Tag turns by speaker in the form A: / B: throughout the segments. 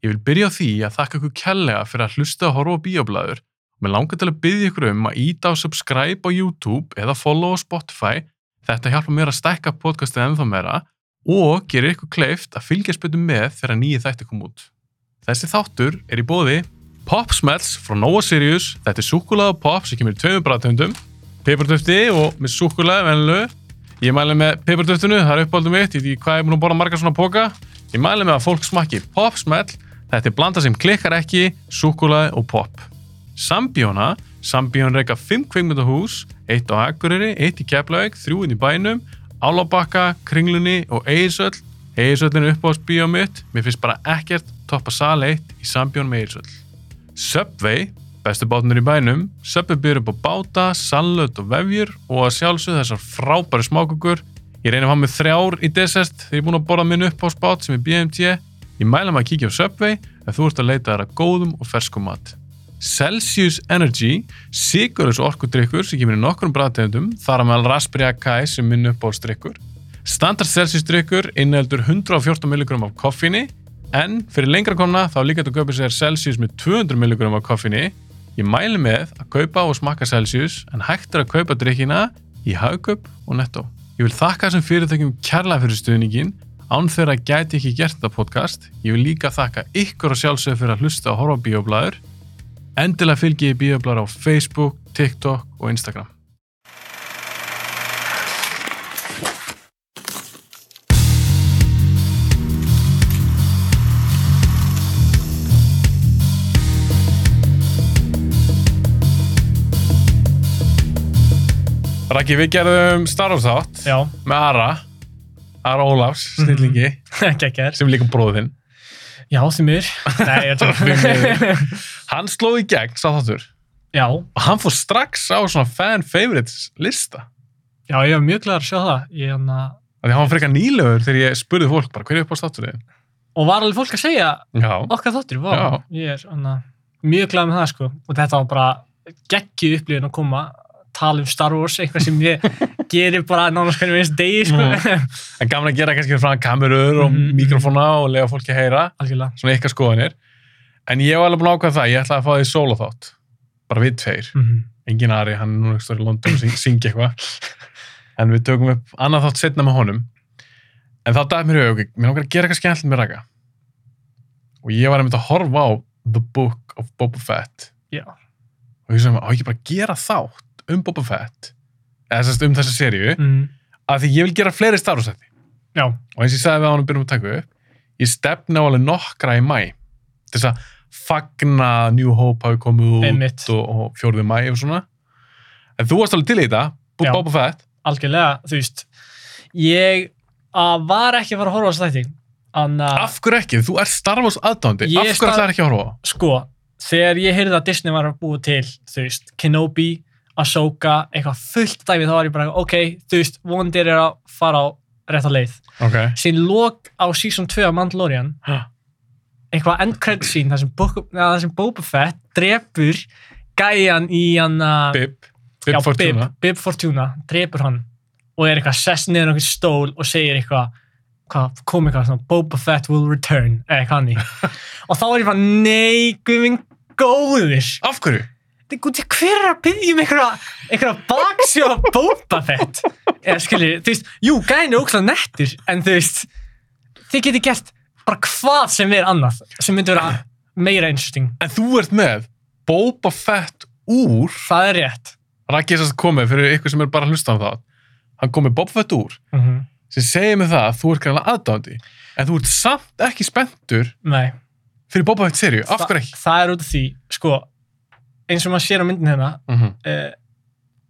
A: Ég vil byrja á því að þakka ykkur kærlega fyrir að hlusta að horfa á bíoblæður og mér langar til að byrja ykkur um að íta á subscribe á YouTube eða follow á Spotify. Þetta hjálpa mér að stækka podcastið ennþá meira og gerir ykkur kleift að fylgjast betur með þegar nýji þætti kom út. Þessi þáttur er í bóði Pop Smells frá Nova Sirius. Þetta er súkkulaði og pop sem kemur í tveimur bræðtöndum, pipartöfti og með súkkulaði venlu. Ég mæli með pipartöftinu, það er uppáldum mitt, ég veit ekki hvað ég er búin að borða margar svona póka. Ég mæli með að fólk smakki pop smell, þetta er blanda sem klikkar ekki, súkkulaði og pop. Sambjóna, Sambjón reyka 5 kveikmyndahús, 1 á Akureyri, 1 í Keflavík, 3 inn í bænum, Álabakka, Kringlunni og Eirsöll. Eirsöllin er uppáhaldsbíó mitt, mér finnst bara ekkert toppa sal 1 í Sambjón með Eirsöll. Subway, bestu bátnur í bænum. Subway byrjur upp á báta, salut og vefjur og að sjálfsög þessar frábæri smákukur. Ég reynir að hafa með þrjár í desert þegar ég er búin að borða minn upp á spát sem er BMT. Ég mæla maður að kíkja á Subway ef þú ert að leita þær að góðum og ferskum mat. Celsius Energy, sigurus orkudrykkur sem kemur í nokkrum bræðtegundum, þar að meðal Raspberry Akai sem minn upp á strykkur. Standard Celsius drykkur inneldur 114 mg af koffinni En fyrir lengra komna þá líka þetta að kaupa sér Celsius með 200 mg af koffinni. Ég mæli með að kaupa og smakka Celsius en hægt er að kaupa drikkina í Hagkaup og Netto. Ég vil þakka þessum fyrirtækjum kærlega fyrir stuðningin án þegar að gæti ekki gert þetta podcast. Ég vil líka þakka ykkur og sjálfsögur fyrir að hlusta og horfa á bíoblæður. Endilega fylgi ég bíoblæður á Facebook, TikTok og Instagram. Raki, við gerðum Star Wars þátt
B: Já,
A: með Ara, Ara Ólafs, snillingi,
B: geggjær.
A: sem er líka bróðinn.
B: Já, því miður. Nei, ég
A: Bara því
B: tjók.
A: Hann sló í gegn, sá þáttur.
B: já,
A: og hann fór strax á svona fan favorites lista
B: já, ég er mjög glæður að sjá það. Ég, hérna, hana,
A: af því hann var frekar nýlegur þegar ég spurði fólk bara hverju upp á státturinn
B: og var alveg fólk að segja
A: já,
B: okkar þóttir, vá. Ég er hana, mjög glæður með það, sko. Og þetta var bara geggju upplifin að koma tala um Star Wars, eitthvað sem ég gerir bara nánast hvernig minnst degi, sko.
A: en gaman að gera kannski fyrir fram kamerur og
B: Mhm.
A: mikrofóna og lega fólki að heyra
B: Algjörlega.
A: svona ykkar skoðanir en ég var alveg búin að ákvæða það, ég ætlaði að fá því solo þátt bara við tveir,
B: Mm -hmm.
A: engin Ari hann er núna ekki stóri í London og syng, syngi eitthvað en við tökum upp annað þátt setna með honum en þá dæði mér í auðvitað, mér langar að gera eitthvað skemmtilegt með raka og ég var einmitt að horfa á The Book of Boba Fett
B: Já.
A: og ég sem á ekki bara að gera þátt um Boba Fett eða sérst um þessa seríu
B: Mm.
A: af því ég vil gera fleiri Star Wars þætti
B: Já,
A: og eins og ég sagði við ánum byrjum að taka upp ég stefna á alveg nokkra í mæ til þess að fagna New Hope hafi komið út
B: Einmitt.
A: og, og fjórðið mæ og svona en þú varst alveg til í þetta Bo-
B: Já.
A: Boba Fett
B: algjörlega, þú veist. Ég að var ekki að fara að horfa á þess þætti. Anna,
A: af hverju ekki? Þú ert Star Wars aðdándi
B: Ah. Ég
A: af
B: er
A: hverju
B: Star-
A: ætlar ekki að horfa á?
B: sko, þegar ég heyrði að Disney var að búa til, þú veist, Kenobi, Ahsoka, eitthvað fullt dæmi, þá var ég bara, ok, þú veist, vondir er að fara á rétt að leið.
A: ok
B: Sín lok á season 2 af Mandalorian,
A: Ha.
B: eitthvað end credit scene, þar sem, Bo- eða þar sem Boba Fett drepur gæjan í hann að...
A: Bib, Bib
B: já,
A: Fortuna
B: Bib, Bib Fortuna, drepur hann og er eitthvað sess niður á einhvern stól og segir eitthvað hvað, kom eitthvað svona, Boba Fett will return eða eitthvað hann í og þá er ég bara, nei, guðminn góðir
A: af hverju?
B: Þetta- guð, hver er að byggja um einhverja einhverja baksjóða Boba Fett eða skilji, þú veist, jú, gæðin er ókslega nettir, en þú veist þið getur gert bara hvað sem er annað, sem myndi vera meira interesting,
A: en þú ert með Boba Fett úr
B: það er rétt
A: Raki er sérst komið fyrir ykkur sem er bara að hlusta á það hann komið Boba Fett úr
B: mm
A: sem segir mig það að þú ert greinlega aðdándi en þú ert samt ekki spenntur
B: nei
A: fyrir Boba Fett serju, af hverju ekki?
B: Þa, það er út af því, sko, eins og maður sér á myndin hérna,
A: Mm -hmm.
B: uh,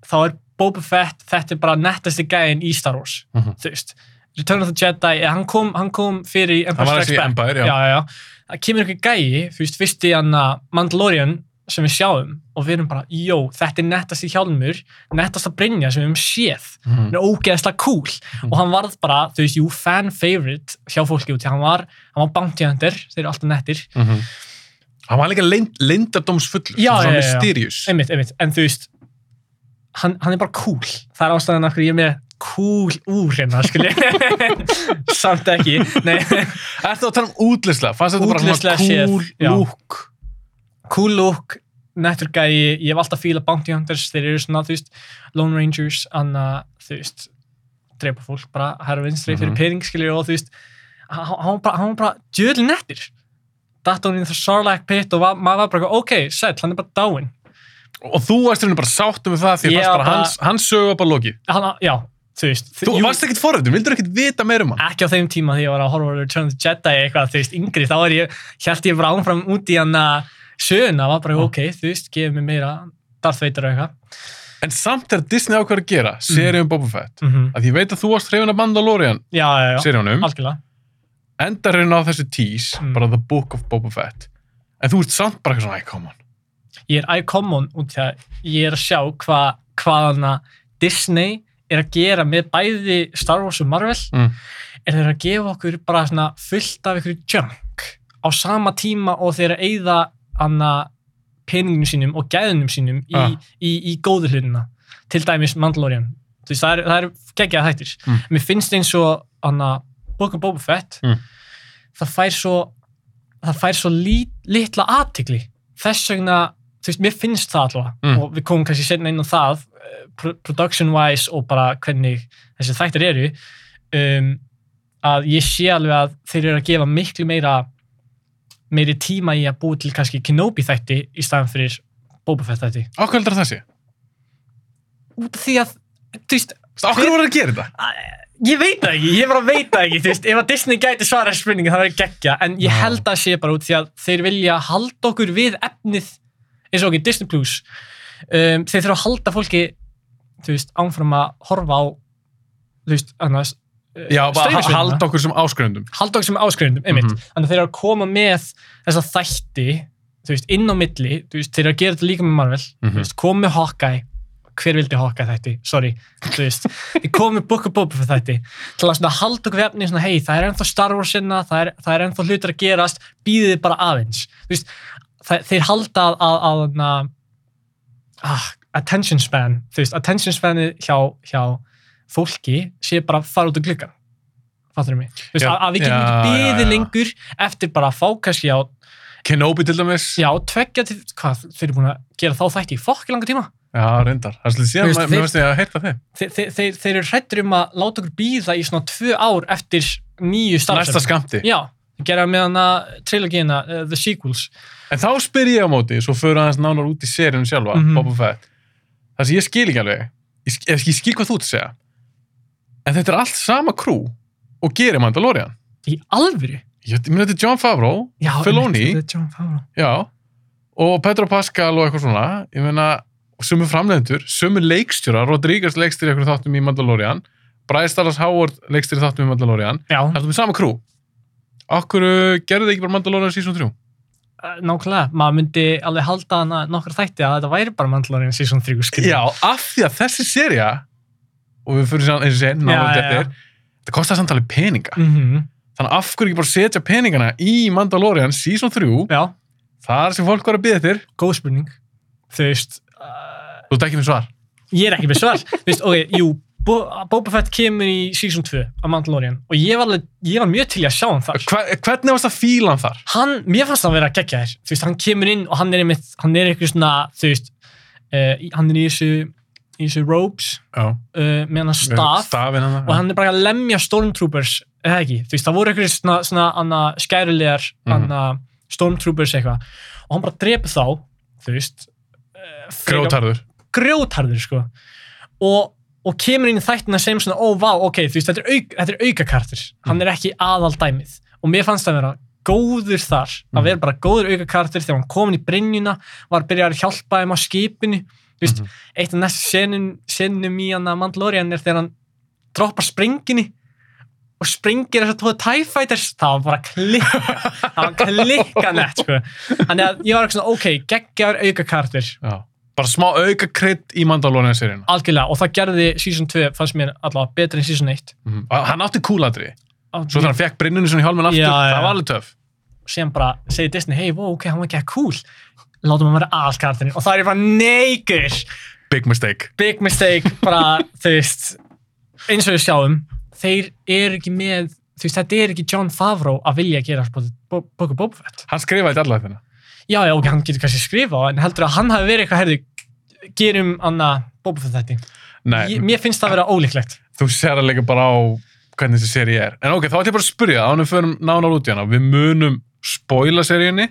B: þá er Boba Fett, þetta er bara nettasti gæðin í Star Wars,
A: Mhm.
B: þú veist. Return of the Jedi, eh, hann kom, hann kom fyrir í Empire
A: Hann var
B: Strikes
A: þessi í
B: Back.
A: Empire, já.
B: já, já. Það kemur einhver gæi, þú veist, fyrst í hann að Mandalorian sem við sjáum og við erum bara, jó, þetta er nettasti hjálmur, nettasta brinja sem við höfum séð
A: Mhm.
B: hann er ógeðslega cool og hann varð bara, þú veist, jú, fan favorite hjá fólki út, því hann var, hann var bounty hunter, þeir eru alltaf nettir
A: Mhm. hann var líka leind, leindardómsfullur
B: Mhm. Já,
A: svona
B: já, já, já.
A: mysterious
B: einmitt, einmitt, en þú veist hann, hann er bara cool, það er ástæðan af hverju ég er með cool úr hérna, skilji. Samt ekki. Nei,
A: Ertu að tala um útlislega? Fannst þetta bara svona
B: Útlitslega séð,
A: cool
B: já.
A: look?
B: cool look, nettur gæi, ég hef alltaf fíla bounty hunters, þeir eru svona, þú veist, lone rangers, annað, þú veist, dreipa fólk bara hæra vinstri
A: Mhm.
B: fyrir pening, skilji, og þú veist, hann hann var bara, hann var bara djöðli nettur. Datt hún í það Sarlacc pit og var, maður var bara, eitthvað, ok, sæll, hann er bara dáinn.
A: Og þú varst hérna bara sáttum við það því að
B: Ég
A: fannst bara
B: bara-
A: hans, hans sögu bara lokið.
B: hann, já, þú veist
A: Þú
B: jú,
A: varst ekkert forröndum, vildur ekkert vita meira um hann.
B: ekki á þeim tíma þegar ég var að horfa á Return of the Jedi eitthvað, þú veist, yngri, þá er ég held ég bara áfram út í hann að söguna, var bara,
A: Já.
B: ok, þú veist, gefið mér meira Darth Vader og eitthvað
A: En samt er Disney ákveður að gera, seríum Boba Fett.
B: mm
A: Að ég veit að þú varst hrifin af Mandalorian
B: já, já, já,
A: seríunum,
B: algjörlega
A: endar hérna á þessu tease,
B: Mm.
A: bara The Book of Boba Fett. En þú ert samt bara eitthvað svona, æ, come on.
B: ég er iCommon út í það ég er að sjá hva, hvað hann að Disney er að gera með bæði Star Wars og Marvel
A: Mm.
B: er þeir að gefa okkur bara svona fullt af ykkur junk á sama tíma og þeir að eyða hann að peninginu sínum og gæðunum sínum í,
A: Ah.
B: í, í góðu hlutina til dæmis Mandalorian Þú veist, það er, það er geggjað hættir
A: Mm.
B: mér finnst eins og hann að Book of um Boba Fett
A: Mm.
B: það fær svo það fær svo lít, litla aðtigli þess vegna, þú veist, mér finnst það allavega
A: Mm.
B: og við komum kannski senna inn á það eh, pro- production wise og bara hvernig þessi þættir eru um, að ég sé alveg að þeir eru að gefa miklu meira meiri tíma í að búi til kannski Kenobi þætti í staðan fyrir Boba Fett þætti
A: Ákveður þessi?
B: út af því að, þú veist,
A: Ákveður voru að gera þetta?
B: Ég veit það ekki, ég bara veit það ekki, þú veist, ef að Disney gæti svara spurningu það verður geggja, en ég
A: Já.
B: held að sé bara út því að þeir vilja halda okkur við efnið eins og ekki Disney Plus, um, þeir þurfa að halda fólki, þú veist, ánfram að horfa á, þú veist, annars, uh,
A: Já, bara
B: streymisveituna.
A: halda okkur sem áskröndum.
B: halda okkur sem áskrifundum, einmitt,
A: Mhm.
B: þannig að þeir eru að koma með þessa þætti, þú veist, inn á milli, þú veist, þeir eru að gera þetta líka með Marvel,
A: Mhm.
B: þú veist, komu með Hawkeye hver vildi Hawkeye þætti, sorry þú veist, við komum með Book of Boba Fett þætti til að svona halda okkur við efni svona, hei, það er ennþá Star Wars sinna, það er, það er ennþá hlutir að gerast, býðið þið bara aðeins þú veist, það, þeir halda að, að, að, að, að attention span, þú veist, attention spanið hjá, hjá fólki sé bara að fara út úr gluggan fattur mig, þú veist,
A: Já,
B: að, að við getum
A: já,
B: ekki
A: já,
B: býðið
A: já.
B: lengur eftir bara að fá kannski á,
A: Kenobi til dæmis.
B: já, tveggja til, hvað, þeir eru búin að gera þá þætti í fokk langa tíma
A: Já, reyndar. Það er svolítið síðan,
B: Þú veist,
A: mér- mér
B: þeir-
A: finnst ég að heyrta þeim.
B: Þe- þe- þeir, þeir eru hrættur um að láta okkur býða í svona tvö ár eftir nýju
A: Næsta
B: starfsefni.
A: skamti.
B: Já, þeir gera með hana trilogíina, uh, The Sequels.
A: En þá spyr ég á móti, svo förum aðeins nánar út í sérinu sjálfa,
B: Mhm.
A: Boba Fett. Það sem ég skil ekki alveg, ég skil, ég skil hvað þú ert að segja, en þetta er allt sama krú og gerir Mandalorian.
B: Í alvöru?
A: Ég ég meina, þetta er John Favreau,
B: Já,
A: Filoni?
B: einmitt, þetta er John Favreau.
A: já, og Pedro Pascal og eitthvað svona, ég meina, og sömu framlegendur, sömu leikstjórar, Rodríguez leikstýri eitthvað þáttum í Mandalorian, Bryce Dallas Howard leikstýri þáttum í Mandalorian,
B: Já,
A: það er með sama krú. Okkur gerðu þið ekki bara Mandalorian season 3?
B: eh, nákvæmlega. Maður myndi alveg halda hana nokkra þætti að þetta væri bara Mandalorian season 3 skrið.
A: Já, af því að þessi seria og við fyrir saman eins og sé nálega
B: Já, já, já.
A: þetta er, þetta kostar samtalið peninga
B: Mm
A: þannig af hverju ekki bara setja peningana í Mandalorian season 3
B: Já,
A: þar sem fólk var að byggja þér
B: góð spurning. Þú veist, eh,
A: þú ert ekki með svar
B: ég er ekki með svar. Þú veist, ok, jú, Bo Boba Fett kemur í season 2 af Mandalorian og ég var, alveg, ég var mjög til í að sjá hann þar.
A: Hva, hvernig varst það fílan þar?
B: hann, mér fannst hann vera að gegja þér þú veist, hann kemur inn og hann er einmitt hann er eitthvað svona, þú veist uh, hann er í þessu, í þessu robes
A: Já,
B: uh, með hann staf
A: stafin hann
B: og hann er bara að lemja stormtroopers eða ekki, þú veist, það voru eitthvað svona, svona anna, skærulegar
A: Mhm.
B: anna, stormtroopers eitthvað og hann bara drepa þá, þú veist uh, frekar-
A: grótarður
B: grjótarður sko og, og kemur inn í þættina sem svona ó vá, ok, þú veist, þetta er, auk, þetta er aukakartur hann er ekki aðaldæmið og mér fannst það vera góður þar
A: Mhm.
B: að vera bara góður aukakartur þegar hann komin í brynjuna var að byrja að hjálpa þeim á skipinu þú veist,
A: Mhm.
B: eitt af næstu senum, senum í hann að Mandalorian er þegar hann droppar sprenginni og sprengir þess að tóða TIE Fighters það var bara klikka það var klikka nett sko þannig að ég var ekki svona ok, geggjaður aukakartur
A: Já. bara smá auka krydd í Mandalorian serina
B: algjörlega og það gerði season 2 fannst mér allavega betri en season 1
A: mm -hmm. hann átti kúladri
B: Á-
A: svo þegar hann fekk brinnunni svona í hjálminn aftur
B: Já, já.
A: það var alveg töf
B: sem bara segi Disney, hei, wow, ok, hann var ekki að cool látum hann vera allkartinni og það er ég bara neigur
A: big mistake
B: big mistake, bara, þú veist eins og við sjáum, þeir eru ekki með, þú veist, þetta er ekki John Favreau að vilja gera Boku Boba Fett.
A: Hann skrifaði þetta allavega þennan.
B: Já, já, ok, hann getur kannski skrifa á, en heldur að hann hafi verið eitthvað, herði, gerum anna Boba Fett þetta.
A: Nei,
B: Mér finnst það að vera ólíklegt.
A: þú sér það líka bara á hvernig þessi seri er. En ok, þá ætlum ég bara að spyrja það, ánum við förum nánar út í hana. Við munum spoila seríunni,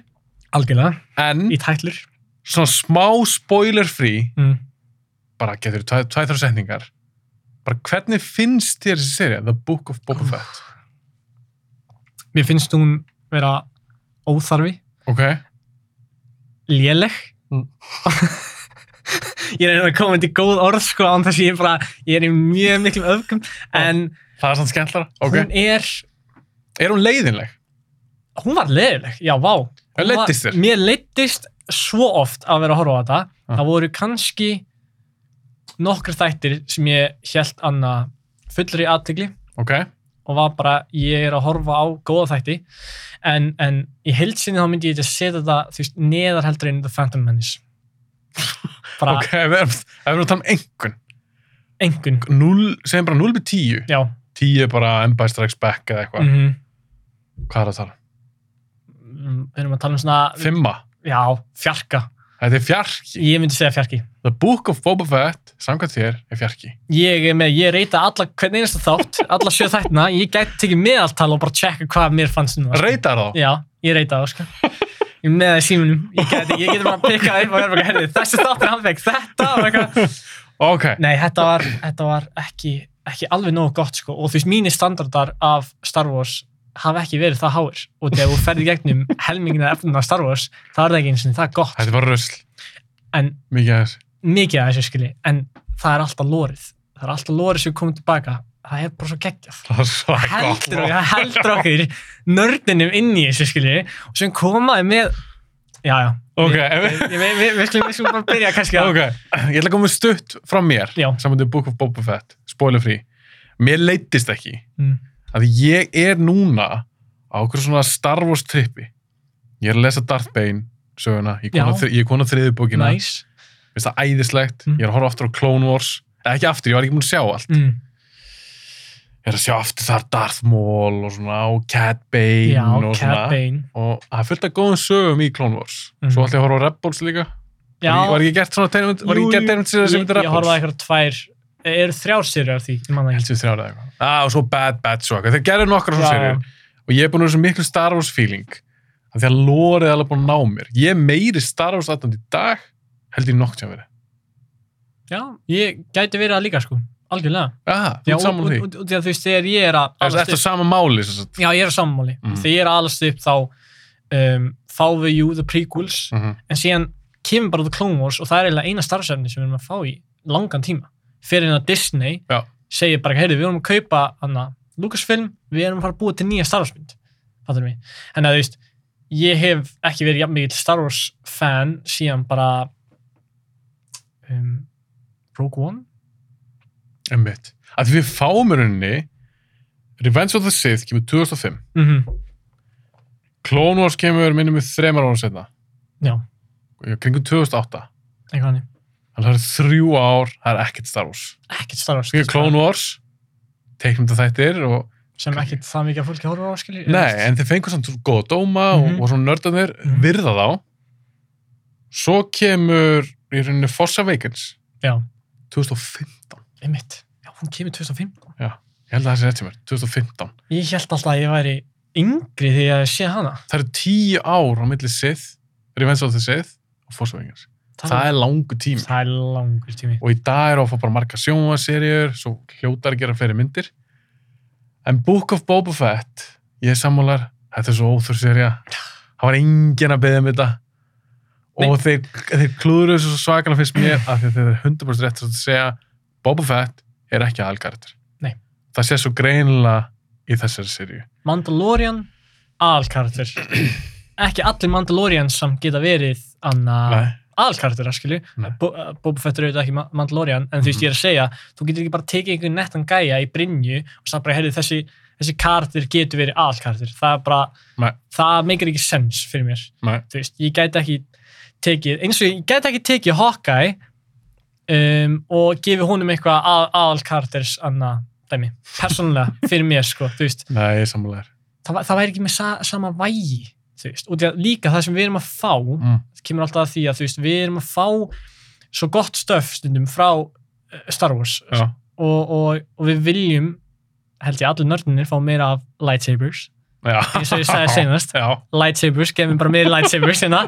B: Algjörlega.
A: en
B: Í tætlur.
A: svona smá spoiler frí,
B: Mm.
A: bara getur þú tvæð þrjá setningar, bara hvernig finnst þér þessi serið, The Book of Boba
B: Úff.
A: Fett?
B: Mér finnst hún vera óþarfi,
A: Ok,
B: léleg.
A: Mm.
B: ég er einhvern að koma til góð orð, sko, án þess að ég er bara, ég er í mjög miklum öfgum, en
A: það er svona skemmtlara. Ok,
B: hún er,
A: er hún leiðinleg?
B: hún var leiðileg, já, vá.
A: En
B: Hún var-
A: leiddist þér? Ah.
B: Mér leittist svo oft að vera að horfa á þetta. Það voru kannski nokkur þættir sem ég held annað fullri aðtegli
A: Ok,
B: og var bara, ég er að horfa á góða þætti, en, en í heilsinni þá myndi ég ekki að setja þetta, þú veist, neðar heldur einu The Phantom Menace. bara
A: ok, við erum, ef við erum að tala um einhvern.
B: engun,
A: 0, segjum bara 0 byrð 10.
B: já.
A: 10 er bara Empire Strikes Back eða eitthvað.
B: Mm
A: Hvað er það að tala?
B: Við erum að tala um svona,
A: Fimma.
B: já, fjarka.
A: Þetta er fjarki.
B: Ég myndi segja fjarki.
A: The Book of Boba Fett, samkvæmt þér, er fjarki.
B: Ég er með, ég reyta alla hvern einasta þátt, alla sjö þættina, ég gæti tekið meðaltal og bara tjekka hvað mér fannst um það. sko.
A: Reytar þá?
B: Já, ég reyta það, sko. Ég er með það í símunum, ég gæti, ég geti bara að pikka það upp og vera bara, herri, þessi þáttur hann fekk þetta og eitthvað.
A: Ok,
B: Nei, þetta var, þetta var ekki, ekki alveg nógu gott, sko, og þú veist, mínir standardar af Star Wars hafa ekki verið það háir og þegar þú ferði gegnum helmingina efnuna af Star Wars, það er það ekki eins og það gott,
A: þetta var rusl.
B: en
A: Mikið aðeins.
B: mikið af þessu skilji, en það er alltaf lórið það er alltaf lórið sem við komum tilbaka það er bara svo geggjað
A: Það var svo
B: Það
A: gott.
B: heldur, okkur- það heldur okkur nördinum inn í þessu skilji og sem komaði með já, já,
A: Ok,
B: við,
A: ef við...
B: við, við, við, við skulum, við skulum bara byrja kannski að
A: Ok, ég ætla að koma með stutt frá mér,
B: Já.
A: saman til Book of Boba Fett, spoiler free. Mér leittist ekki
B: Mm.
A: að ég er núna á okkur svona Star Wars trippi. Ég er að lesa Darth Bane söguna, ég
B: Já.
A: er kona þriðju bókina,
B: næs
A: finnst það æðislegt,
B: Mm.
A: ég er að horfa aftur á Clone Wars, eða ekki aftur, ég var ekki múin að sjá allt.
B: mm.
A: Ég er að sjá aftur þar Darth Maul og svona, og Cad Bane
B: já,
A: og
B: Cat Bane
A: og það er fullt af góðum sögum í Clone Wars
B: Mhm.
A: svo ætla ég að horfa á Rebels líka
B: já,
A: var, ég- var ekki gert svona tegnumund var
B: Jú,
A: ekki
B: jú.
A: gert tegnumund sér sem
B: ég,
A: þetta
B: ég
A: Rebels
B: horfaði eitthvað á tvær e, eru þrjár sérur af því, ég man það ekki
A: helst við þrjára eitthvað ah, og svo Bad Batch og eitthvað þeir gerðu nokkra svona
B: Já,
A: serið og ég er búin að vera svo miklu Star Wars feeling af því að lórið er alveg búin að ná mér ég er meiri Star Wars aðtand í dag heldur ég nokk sem verið
B: já, ég gæti verið að líka sko algjörlega
A: ah, þú
B: já,
A: ert
B: og,
A: saman
B: og,
A: því
B: og, og, og þú veist, þegar ég er að
A: Er þetta sama máli sem sagt?
B: Já, ég er á sammáli.
A: Mm.
B: Þegar ég er aðalast upp þá um, fá við jú the prequels
A: Mhm.
B: en síðan kemur bara The Clone Wars og það er eiginlega eina starfsefni sem við erum að fá í langan tíma. Fyrir en að Disney
A: Já.
B: segir bara, heyrðu, við erum að kaupa hana, Lucasfilm, við erum að fara að búa til nýja starfsmynd. Fattur mig. En að þú veist, ég hef ekki verið jafn mikið Star Wars fan síðan bara um, Rogue One?
A: Einmitt. Af því við fáum í rauninni Revenge of the Sith kemur 2005
B: Mm
A: Clone Wars kemur minnum við þremar ára setna
B: Já,
A: kringum 2008
B: eitthvað hannig.
A: Þannig að það eru þrjú ár, það er ekkert Star Wars.
B: Ekkert Star Wars.
A: Við erum Clone Wars, teiknum þetta þættir og...
B: sem ekkert það mikið að fólki horfa á skilji
A: Nei, en þeir fengur samt svo góða dóma
B: Mhm.
A: og, og svona nördarnir
B: Mhm.
A: virða þá. Svo kemur í rauninni Force Awakens
B: já,
A: 2015.
B: einmitt, já, hún kemur 2015
A: Ég held að það sé rétt sem er, 2015.
B: ég held alltaf að ég væri yngri því að ég sé hana
A: Það eru tíu ár á milli Sith, Revenge of the Sith og Force Awakens. Það, er langu tími.
B: það er langur tími
A: og í dag er að fá bara marga sjónvarserjur, svo hljótar að gera fleiri myndir. En Book of Boba Fett, ég er sammálar, þetta er svo óþurrserja, það var enginn að beða um þetta. Og þeir, þeir klúður þessu svo svakalega fyrst mér af því að þeir er 100% rétt að segja Boba Fett er ekki aðalkaratir.
B: Nei.
A: Það sé svo greinilega í þessari serju.
B: Mandalorian, aðalkartur ekki allir Mandalorians sem geta verið anna
A: Nei.
B: aðalkartur, skilju
A: Nei.
B: Bo- uh, Boba Fett er auðvitað ekki Ma- Mandalorian en
A: Mm.
B: þú veist, ég er að segja, þú getur ekki bara tekið einhvern nettan gæja í brinju og sagt bara, heyrðu, þessi, þessi kartur getur verið aðalkartur, það er bara
A: Nei.
B: það meikir ekki sens fyrir mér
A: Nei.
B: þú veist, ég gæti ekki tekið, eins og ég gæti ekki tekið Hawkeye um, og gefið honum eitthvað aðal karakters anna dæmi, persónulega fyrir mér sko, þú veist,
A: Nei, sammálaður.
B: það, va- það væri ekki með sa, sama vægi, þú veist, og að, líka það sem við erum að fá,
A: Mm.
B: það kemur alltaf að því að þú veist, við erum að fá svo gott stöf stundum frá eh, Star Wars
A: Já.
B: og, og, og við viljum held ég allir nördinir fá meira af lightsabers,
A: Já.
B: eins og ég sagði senast
A: Já,
B: lightsabers, gefum bara meira lightsabers hérna.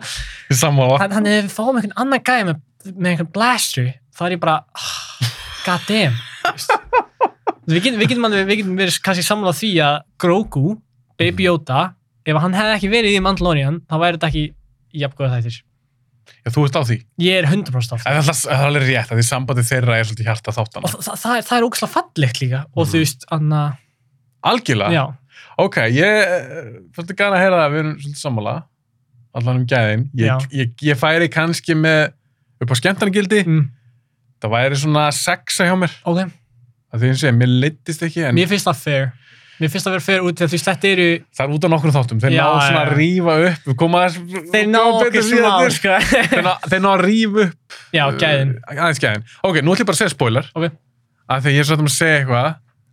A: ég sammála.
B: Þann- þannig að ef við fáum einhvern annan gæði með, með einhvern blaster þá er ég bara ah, god damn þú veist. við getum, við getum, alveg- við getum verið kannski samlað því að Grogu, Baby Yoda ef hann hefði ekki verið í Mandalorian þá væri þetta ekki jafnkvæða þættir
A: Já, þú ert á því.
B: ég er 100%
A: En
B: af því
A: það er alltaf- það er alveg rétt að því sambandi þeirra er svolítið hjarta þáttana.
B: og það, það, er, það er ógslag fallegt líka og
A: Mhm. Ah.
B: þú veist, anna,
A: Algjörlega?
B: já,
A: Ok, ég eh, fyrstu gana að heyra það, við erum svolítið sammála. Allan um gæðin. Ég, ég, ég færi kannski með upp á skemmtarnagildi.
B: mm,
A: Það væri svona sexa hjá mér.
B: ok
A: Það því eins og ég, mér leittist ekki, en
B: mér finnst það fair mér finnst það verið fair út því að þú veist, þetta eru
A: það er út af nokkrum þáttum. Þeir
B: Já,
A: náðu svona
B: já.
A: að rífa upp. Við komum aðeins...
B: þeir ná
A: komum betur
B: okkur smá
A: síðan til.
B: sko.
A: Þeir ná- Þeir ná að rífa upp
B: já, gæðin
A: Uh, Aðeins gæðin. Ok, nú ætlum ég bara að segja spoiler.
B: Ok.
A: Af því að ég er svolítið að segja eitthvað.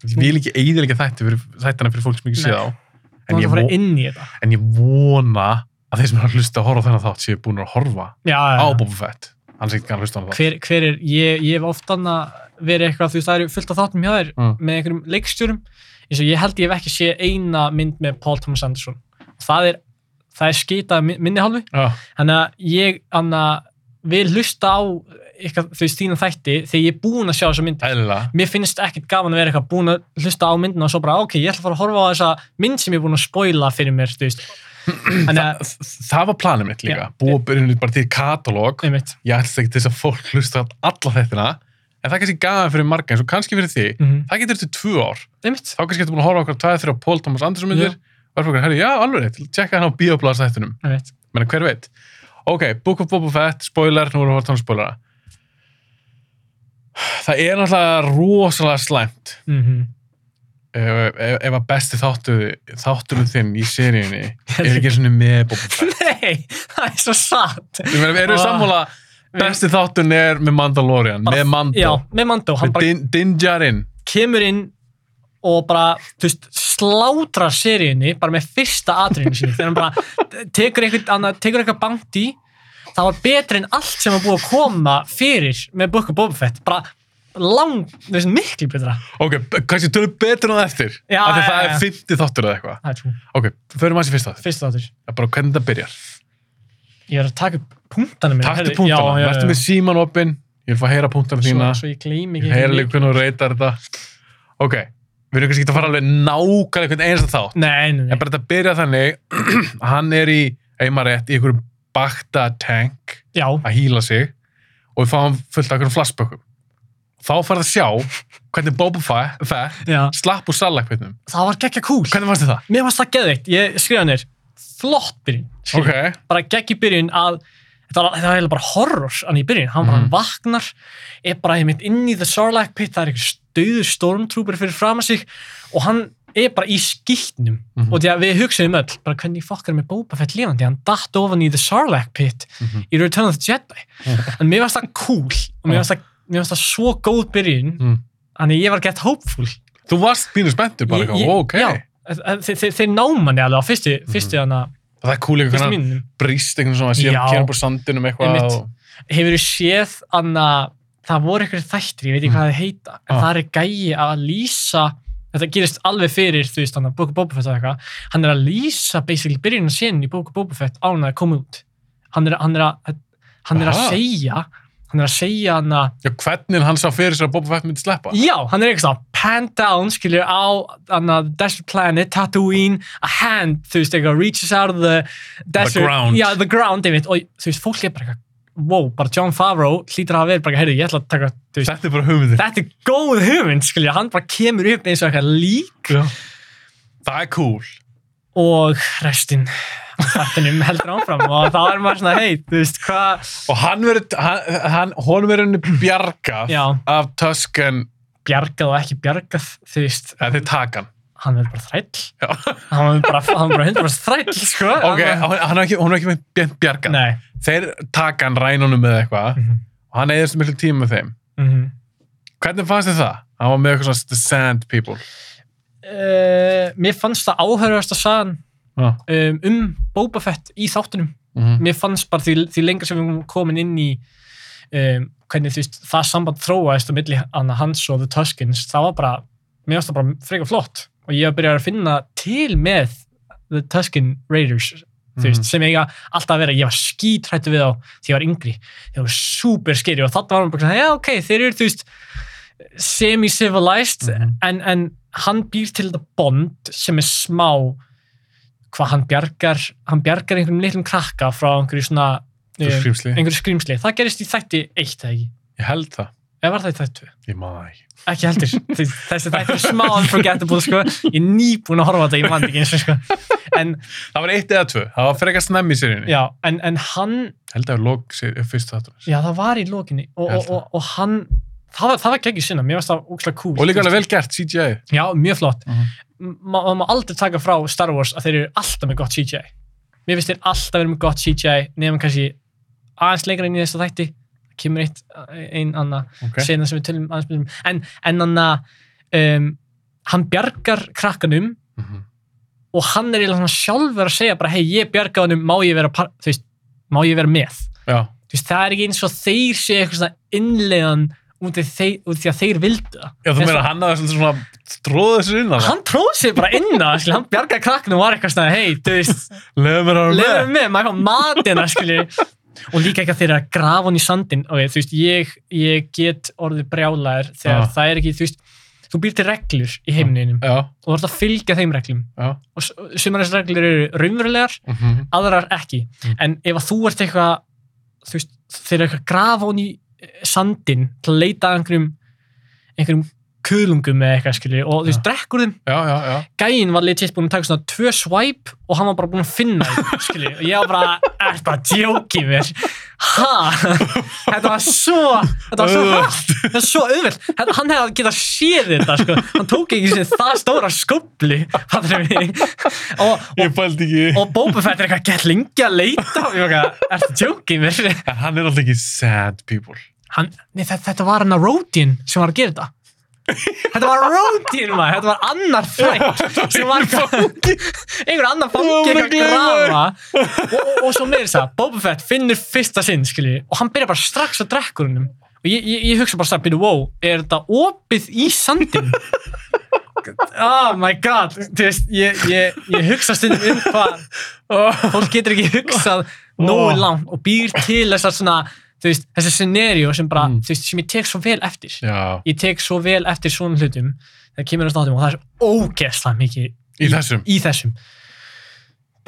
A: Ég vil ekki eiginlega þætti fyrir, þættina fyrir fólk sem ekki
B: Nei.
A: séð á. En
B: þannig
A: ég,
B: að fara
A: vo,
B: inn í þetta
A: en ég vona að þeir sem er að hlusta að horfa á þennan þátt séu búin að horfa
B: já,
A: á
B: já, já.
A: Boba Fett. Hann sé ekki gana að hlusta á þennan þátt.
B: hver, hver er, ég, ég hef oftan að verið eitthvað, þú veist, það eru fullt af þáttum hjá þér
A: Mm.
B: með einhverjum leikstjórum eins og ég held ég hef ekki séð eina mynd með Paul Thomas Anderson það er, það er skita minni hálfu
A: Já,
B: þannig að ég anna, vil hlusta á eitthvað, þú veist, þína þætti þegar ég er búin að sjá þessa myndi
A: eðlilega.
B: mér finnst ekkert gaman að vera eitthvað búin að hlusta á myndina og svo bara, ok, ég ætla að fara að horfa á þessa mynd sem ég er búin að spoila fyrir mér, þú veist þannig að,
A: Þa, það var planið mitt líka.
B: Já.
A: Búa byrjunni bara til katalóg.
B: einmitt
A: Ég ætlst ekki til þess að fólk hlusta á alla þættina. En það er kannski gafan fyrir marga eins og kannski fyrir því.
B: Mhm.
A: Það getur til tvö ár.
B: einmitt,
A: þá kannski ertu búin að horfa okkur tvæði þrjá Pól Tómas Andersson myndir og er fyrir okkur, herri, já, alveg rétt, tjekka hann á bíoblaðstættunum
B: einmitt
A: menn hver veit ok, Book of Boba Fett, spoiler, nú erum við að tala um spoilera það er náttúrulega rosalega slæmt
B: mm
A: ef, ef, ef að besti þáttu, þátturum þinn í seríunni er ekki eins og með Boba Fett
B: Nei, það er svo satt
A: Ég meina, erum við
B: Ah.
A: sammála besti þáttun er með Mandalorian, með Mando
B: Já, með Mando, hann
A: með
B: bara
A: din, Din Djarin
B: kemur inn og bara, þú veist, slátrar seríunni bara með fyrsta atriðinu sinni þegar hann bara tekur eitthvað, annað, tekur eitthvað bankt í það var betri en allt sem var búið að koma fyrir með Book of Boba Fett bara lang, þú veist, miklu betra
A: ok, b- kannski tölum betur en það eftir
B: Já,
A: af því að
B: já,
A: það
B: já.
A: er 50 þáttur eða eitthvað
B: það er trú,
A: ok, förum aðeins í fyrst þátt
B: fyrsta atrið
A: Það er bara hvernig þetta byrjar.
B: ég er að taka upp punktana mér
A: Taktu punktana, verður með síman opinn, ég vil fá að heyra punktana þína,
B: svo, svo ég gleymi
A: ég
B: ekki
A: vil heyra
B: einhverju
A: líka hvernig þú reytar þetta. Ok, við erum kannski ekki að fara alveg nákvæmlega hvernig einasta þátt,
B: Nei, nei,
A: en
B: nei,
A: bara þetta byrja þannig, að hann er í, eigum að rétt, í einhverjum bakta tank
B: já,
A: að hýla sig og við fáum fullt af einhverjum flashbökkum. Þá færðu að sjá hvernig Boba Fe- Fett
B: já,
A: slapp úr salakveitnum.
B: það var gekkja kúl
A: Hvernig fannst þið það?
B: Mér varst það geðveikt, ég skrifa hann þér flott byrjun,
A: Ok,
B: skilur. bara gegg í byrjun að þetta var, þetta var eiginlega bara horror hann í byrjun, hann bara
A: Mhm.
B: vaknar er bara einmitt inn í the Sarlacc pit það er einhver stöður stormtrooper fyrir fram að sig og hann er bara í skýtnum
A: Mhm.
B: og því að við hugsaðum öll bara hvernig fokkar með Boba Fett lifandi hann datt ofan í the Sarlacc pit
A: Mhm.
B: í Return of the Jedi
A: Mhm.
B: en mér varst það cool og mér varst það, mér varst það svo góð byrjun
A: Mhm.
B: þannig að ég var gett hopeful
A: þú varst mínu spenntur bara,
B: Ég-
A: eitthvað,
B: ég-
A: ó, ok. Mhm.
B: já, þeir, þeir, þeir námanni alveg á fyrstu, fyrstu, mm
A: Það er cool eitthvað
B: fyrstu
A: hvernig
B: mínum
A: brýst einhvern svona, síðan
B: Já.
A: kemur upp úr sandinum eitthvað
B: Einmitt.
A: og...
B: hefur þú séð anna, það voru einhverjir þættir, ég veit ekki hvað það heita en
A: Ah.
B: það er gæi að lýsa þetta gerist alveg fyrir, þú veist, hann að Book of Boba Fett og eitthvað, hann er að lýsa basically byrjun að sinn í Book of Boba Fett án að koma út hann er, hann er, að, hann er að
A: Aha.
B: segja hann er að segja hann að
A: Já, hvernig hann sá fyrir sér að Boba Fett myndi sleppa?
B: já, hann er eitthvað svona, pan down, skilur á hann að desert planet, Tatooine a hand, þú veist, eitthvað reaches out of the desert,
A: ground.
B: já, the ground einmitt, og þú veist, fólk er bara eitthvað wow, bara John Favreau hlýtur að hafa verið bara, heyrðu, ég ætla að taka, þú veist,
A: Þetta er bara hugmyndin.
B: þetta er góð hugmynd, skilja, hann bara kemur upp eins og eitthvað lík
A: Já. Það er cool.
B: og restinn þættinum heldur áfram og þá er maður svona, hei, þú veist, hvað
A: Og hann verið, hann, hann, honum verið henni bjargað
B: já,
A: af Tusken,
B: bjargað og ekki bjargað, þú veist
A: eða þið takan.
B: hann verður bara þræll
A: Já.
B: hann verður bara, hann verður bara 100% þræll, sko
A: Ok,
B: Hann
A: hann, hann er ekki, hún er ekki með
B: bara-
A: bjargað.
B: nei
A: Þeir takan rænunum með eitthvað
B: Mhm.
A: og hann eigðist miklu tíma með þeim.
B: Mhm.
A: Hvernig fannst þið það? Hann var með eitthvað svona The Sand People.
B: Uh, mér fannst það áhörðast að sagan
A: Já.
B: um, um Boba Fett í þáttunum.
A: Mm
B: Mér fannst bara því, því lengra sem við erum komin inn í um, hvernig þú veist, það samband þróaðist á milli hana hans og The Tuskins, það var bara, mér fannst það bara frekar flott og ég hef byrjað að finna til með The Tuskin Raiders þú veist, sem eiga alltaf að vera, ég var skítrættu við á því ég var yngri, þeir voru super skeri og þarna var hann bara, svona, já ok, þeir eru þú veist semi-civilized
A: Mhm.
B: en, en hann býr til þetta bond sem er smá hvað hann bjargar, hann bjargar einhverjum litlum krakka frá einhverju svona
A: Þú
B: eh,
A: skrýmsli.
B: einhverju skrýmsli, það gerist í þætti eitt eða ekki,
A: Ég held það.
B: eða var það í þætti tvö?
A: Ég maður það ekki.
B: ekki heldur Þú veist, þessi þætti er smá unforgettable sko, ég er nýbúin að horfa á þetta, ég mann ekki eins og sko en,
A: Það var eitt eða tvö. Það var frekar snemmi í seríunni.
B: já, en, en hann
A: Held að það var lók fyrstu þáttunum.
B: Já, það var í lokinni og,
A: Ég held
B: og, og, og hann, það var, það var ekki sinna, mér finnst það úkslega cool.
A: Og líka alveg vel gert, CGI.
B: Já, mjög flott.
A: Mhm.
B: Ma- Maður má aldrei taka frá Star Wars að þeir eru alltaf með gott CGI. Mér finnst þeir alltaf verið með gott CGI, nefnum kannski aðeins lengra inn í þessa þætti, kemur eitt, ein annað
A: Ok.
B: okay. sena sem við tölum aðeins með um. En, en hann, um, hann bjargar krakkanum
A: Mhm.
B: og hann er eiginlega svona sjálfur að segja bara, hei, ég bjarga honum, má ég vera, par- þú veist, má ég vera með?
A: Já.
B: þú veist, það er ekki eins og þeir séu eitthvað svona innlegan út af þeir, út af því að þeir vildu það.
A: Já, þú
B: En
A: meira
B: svo-
A: hann að það svona tróða þessu inn að það.
B: Hann tróð sér bara inn á, skilur, hann bjargaði krakknum og var eitthvað svona, hei, þú veist,
A: Leður mér að vera
B: lefum með, maður fá matina, skilur, og líka ekki að þeir eru að grafa hann í sandin, og þú veist, ég, ég get orðið brjálæðir þegar
A: Já.
B: það er ekki, þú veist, þú býr til reglur í heimninum
A: Já,
B: og þú ert að fylgja þeim reglum
A: já.
B: og sumar þessar reglur eru raunverulegar
A: Mhm.
B: aðrar ekki
A: Mm.
B: en ef að þú ert eitthvað þú veist, þeir eru eitthvað að grafa hún í eh, sandinn til að leita að einhverjum einhverjum kuðlungum eða eitthvað skilur og þú veist, drekkur þeim,
A: Já, já, já.
B: gæinn var legit búin að taka svona tvö swipe og hann var bara búin að finna þeim skilur, og ég var bara, er bara djóki mér, ha þetta var svo þetta var svo hrætt, þetta var svo auðvelt Þetta- hann hefði getað séð þetta, sko hann tók ekki sem það stóra skópli og, og
A: Ég pældi ekki.
B: og Boba Fett er eitthvað gett lengi að leita og ég var eitthvað, ertu tjókið mér
A: En hann er alltaf ekki sad people.
B: hann, nei, þetta, þetta var hann að Rodin sem var að gera þetta þetta var Rodin maður, þetta var annar fræk sem var einhver annar fangi
A: Ég var búin að
B: eitthvað grafa og, og, og svo meir þess að Boba Fett finnur fyrsta sinn skilji og hann byrjar bara strax að drekka úr hennum og ég, ég, ég hugsa bara strax, byrju, wow er þetta opið í sandin oh my god þú veist, ég, ég, ég hugsa stundum um hvað fólk getur ekki hugsað nógu langt og býr til þessar svona þú veist, þessi scenario sem bara
A: Mm.
B: þú veist, sem ég tek svo vel eftir
A: Já.
B: ég tek svo vel eftir svona hlutum þegar kemur á státum og það er svo ógeðslega mikið
A: Í þessum.
B: í þessum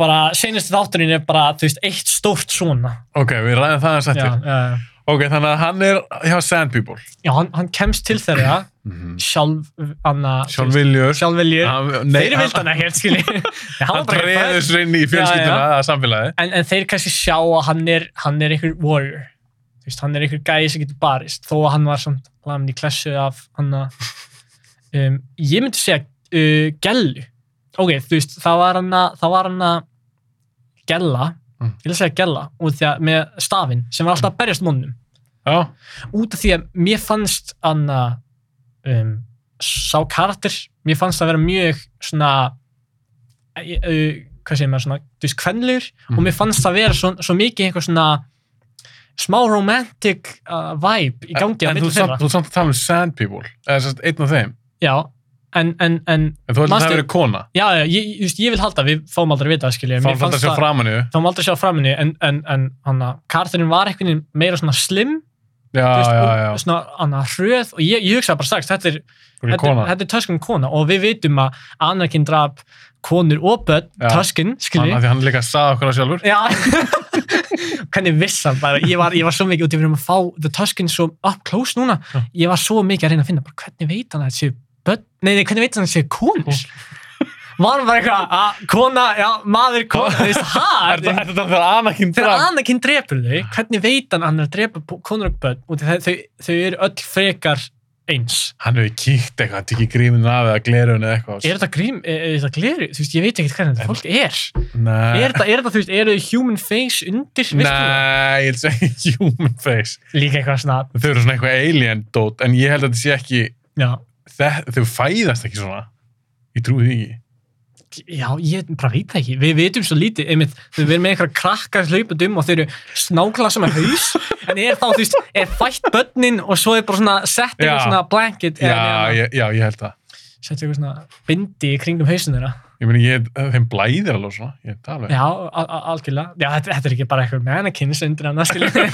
B: bara senast þátturinn er bara þú veist, eitt stórt svona
A: Ok, við ræðum það að
B: já,
A: setja.
B: já, já.
A: Ok, þannig að hann er hjá sad people.
B: já hann, hann kemst til þeirra sjálf anna,
A: Mm. Sjálfviljur.
B: sjálfviljur
A: Hann- Nei,
B: Mhm. þeir vildi hann ekkert skilji hann
A: Hann dreður sér inn í fjölskylduna
B: Já,
A: að samfélagi.
B: en, en þeir kannski sjá að hann er, hann er einhver warrior Þú veist, hann er einhver gæði sem getur barist þó að hann var samt lamin í klessu af hann að um, ég myndi segja uh, gellu ok, þú veist, það var hann að það var hann að gella
A: Mm.
B: ég vil segja gella út því að með stafinn sem var alltaf að berjast monnum
A: Já.
B: út af því að mér fannst hann að um, sá karakter, mér fannst það vera mjög svona eh, eh, hvað segir maður, svona, þú veist, kvenlur
A: Mhm.
B: og mér fannst það vera svo, svo mikið einhver svona smá romantic uh, vibe í gangi
A: Eh, En
B: á
A: þú
B: milli þeirra
A: samt- þú ert samt að tala um sad people. Eða sérst einn af þeim.
B: já, en, en, en
A: En þú heldur að það
B: Manstu-
A: hefur verið kona.
B: já, já, ég, just, ég vil halda, að við fáum aldrei að vita það, skilja,
A: Fáum þetta sér framan í þau.
B: fáum aldrei að sjá framinni en, en, en hann að karakterinn var einhvern veginn meira svona slim
A: Já,
B: þú veist,
A: já,
B: og
A: já.
B: svona hann að hröð og ég, ég hugsaði bara strax, þetta er
A: Hún er
B: þetta,
A: kona.
B: þetta er Tuskin kona og við vitum að Anakin draf konur og börn,
A: Já.
B: Tuskin,
A: Hann,
B: skilji
A: af því hann líka sagði okkur það sjálfur.
B: Já, hvernig vissan bara, ég var, ég var svo mikið út, ég verðum að fá The Tuskin svo up close núna,
A: Já.
B: ég var svo mikið að reyna að finna, bara, hvernig veit hann að þetta séu börn, nei, nei, hvernig veit hann að þetta séu konur? Var hann bara eitthvað, að kona, já, maður, kona, þú veist,
A: Er
B: hæ?
A: þetta þegar Anakin
B: Þegar
A: draf?
B: Anakin drepur þau, hvernig veit hann að hann er að drepa po- konur og börn? Út af því Þau, þau, þau eru öll frekar eins.
A: Hann hefur kíkt eitthvað, hann tekið gríminn af eða glerun eða eitthvað.
B: Er þetta grím, er, er þetta gleru? Þú veist, ég veit ekkert hvernig þetta fólk er.
A: Nei.
B: Er þetta, er þetta, þú veist, eru þau human face undir? Veistu það?
A: Nei, ég vil segja human face.
B: Líka eitthvað svona,
A: Þau eru svona eitthvað alien dót, en ég held að þetta sé ekki
B: já,
A: þe- þau fæðast ekki svona ég trúi því ekki
B: Já, ég bara veit það ekki. Við vitum svo lítið, einmitt, við erum með einhverja krakkar hlaupandi um og þeir eru snáklað sem er haus, en er þá, þú veist, er fætt börnin og svo er bara svona sett eitthvað
A: Já.
B: svona blanket, eða
A: já,
B: neðan á-
A: ég, já, ég held það
B: sett eitthvað svona bindi í kringum hausin þeirra.
A: ég meni, ég, þeim blæðir alveg svona ég held það alveg
B: Já, al- al- algjörlega. Já, þetta, þetta er ekki bara eitthvað mannequins undir annars, skilja.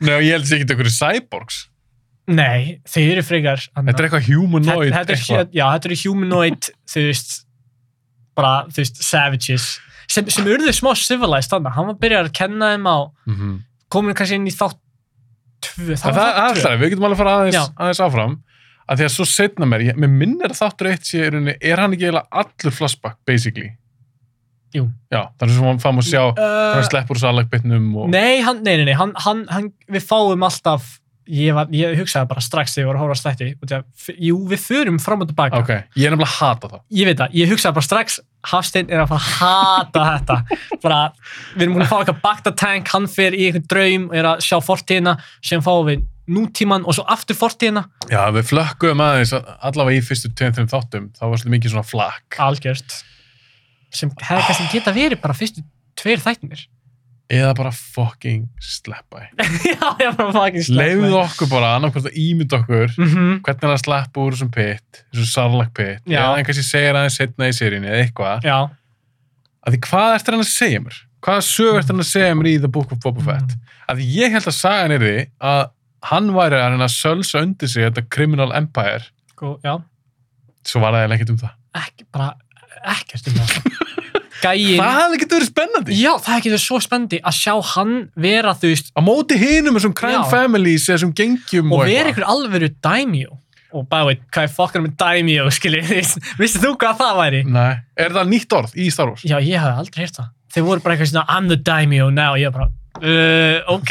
A: Nei, og ég held sér ekki einhverju cyborgs
B: Nei, þeir eru frekar.
A: þetta
B: annað.
A: er eitthvað humanoid
B: þetta, þetta, er,
A: eitthvað.
B: hu- já, þetta eru humanoid þú veist bara, þú veist, savages sem, sem urðu smá civilized þannig hann var byrjað að kenna þeim á
A: Mhm.
B: komin kannski inn í þátt tvö,
A: Það, það, það,
B: tvö.
A: það, við getum alveg að fara
B: Já.
A: aðeins, aðeins áfram að því að svo setna mér, ég, mér minnir að þáttur eitt sé, í rauninni- er hann ekki eiginlega allur flashback, basically
B: Jú.
A: Já, þannig sem hann fáum að sjá uh, hann
B: uh,
A: sleppur úr salakbytnum og
B: nei, hann, nei, nei, nei hann, hann, hann, við fáum alltaf ég, var, ég hugsaði bara strax þegar ég var að horfa á stætti út af- f- jú, við förum fram og tilbaka
A: Ok, ég er nefnilega að hata það
B: ég veit það, ég hugsaði bara strax Hafsteinn er að fara að hata þetta bara, við erum búin að fá eitthvað baktatank, hann fer í einhvern draum og er að sjá fortíðina, sem fáum við nútíman og svo aftur fortíðina
A: Já, við flökkum aðeins, allavega í fyrstu 2-3 þáttum, þá var svolítið mikið svona flakk
B: algjört sem hefði kannski geta verið bara fyrstu tveir þættinir
A: eða bara fucking sleppa því.
B: já, ég bara fucking
A: Leyfðu okkur bara, annarkvæmt að ímynda okkur
B: mm -hmm.
A: hvernig er að sleppa úr þessum pitt, þessum salakpitt
B: Já.
A: eða hann kannski segir aðeins setna í seríunni eða eitthvað
B: já,
A: að því hvað ertu hann að segja mér? Hvaða sög ertu hann að segja mér í The Book of Boba Fett? Að því ég held að sagan er því að hann væri að reyna að sölsa undir sig þetta Criminal Empire
B: Gó, sko, já
A: svo var það eiginlega ekkert um það.
B: ekki, bara ekkert um það gæin
A: Það hefði ekkert verið spennandi.
B: já, það getur svo spendi að sjá hann vera þú veist
A: Á móti hinum þessum crime
B: Já.
A: families eða þessum gengjum
B: og
A: og,
B: vera ykkur alvöru dæmjó og by the way, hvað er fokkar með dæmjó skilji, vissið þú hvað það væri?
A: Nei, er það nýtt orð í Star Wars?
B: Já, ég hafði aldrei hert það þeir voru bara eitthvað svona, I'm the dæmjó now og ég bara, uh, ok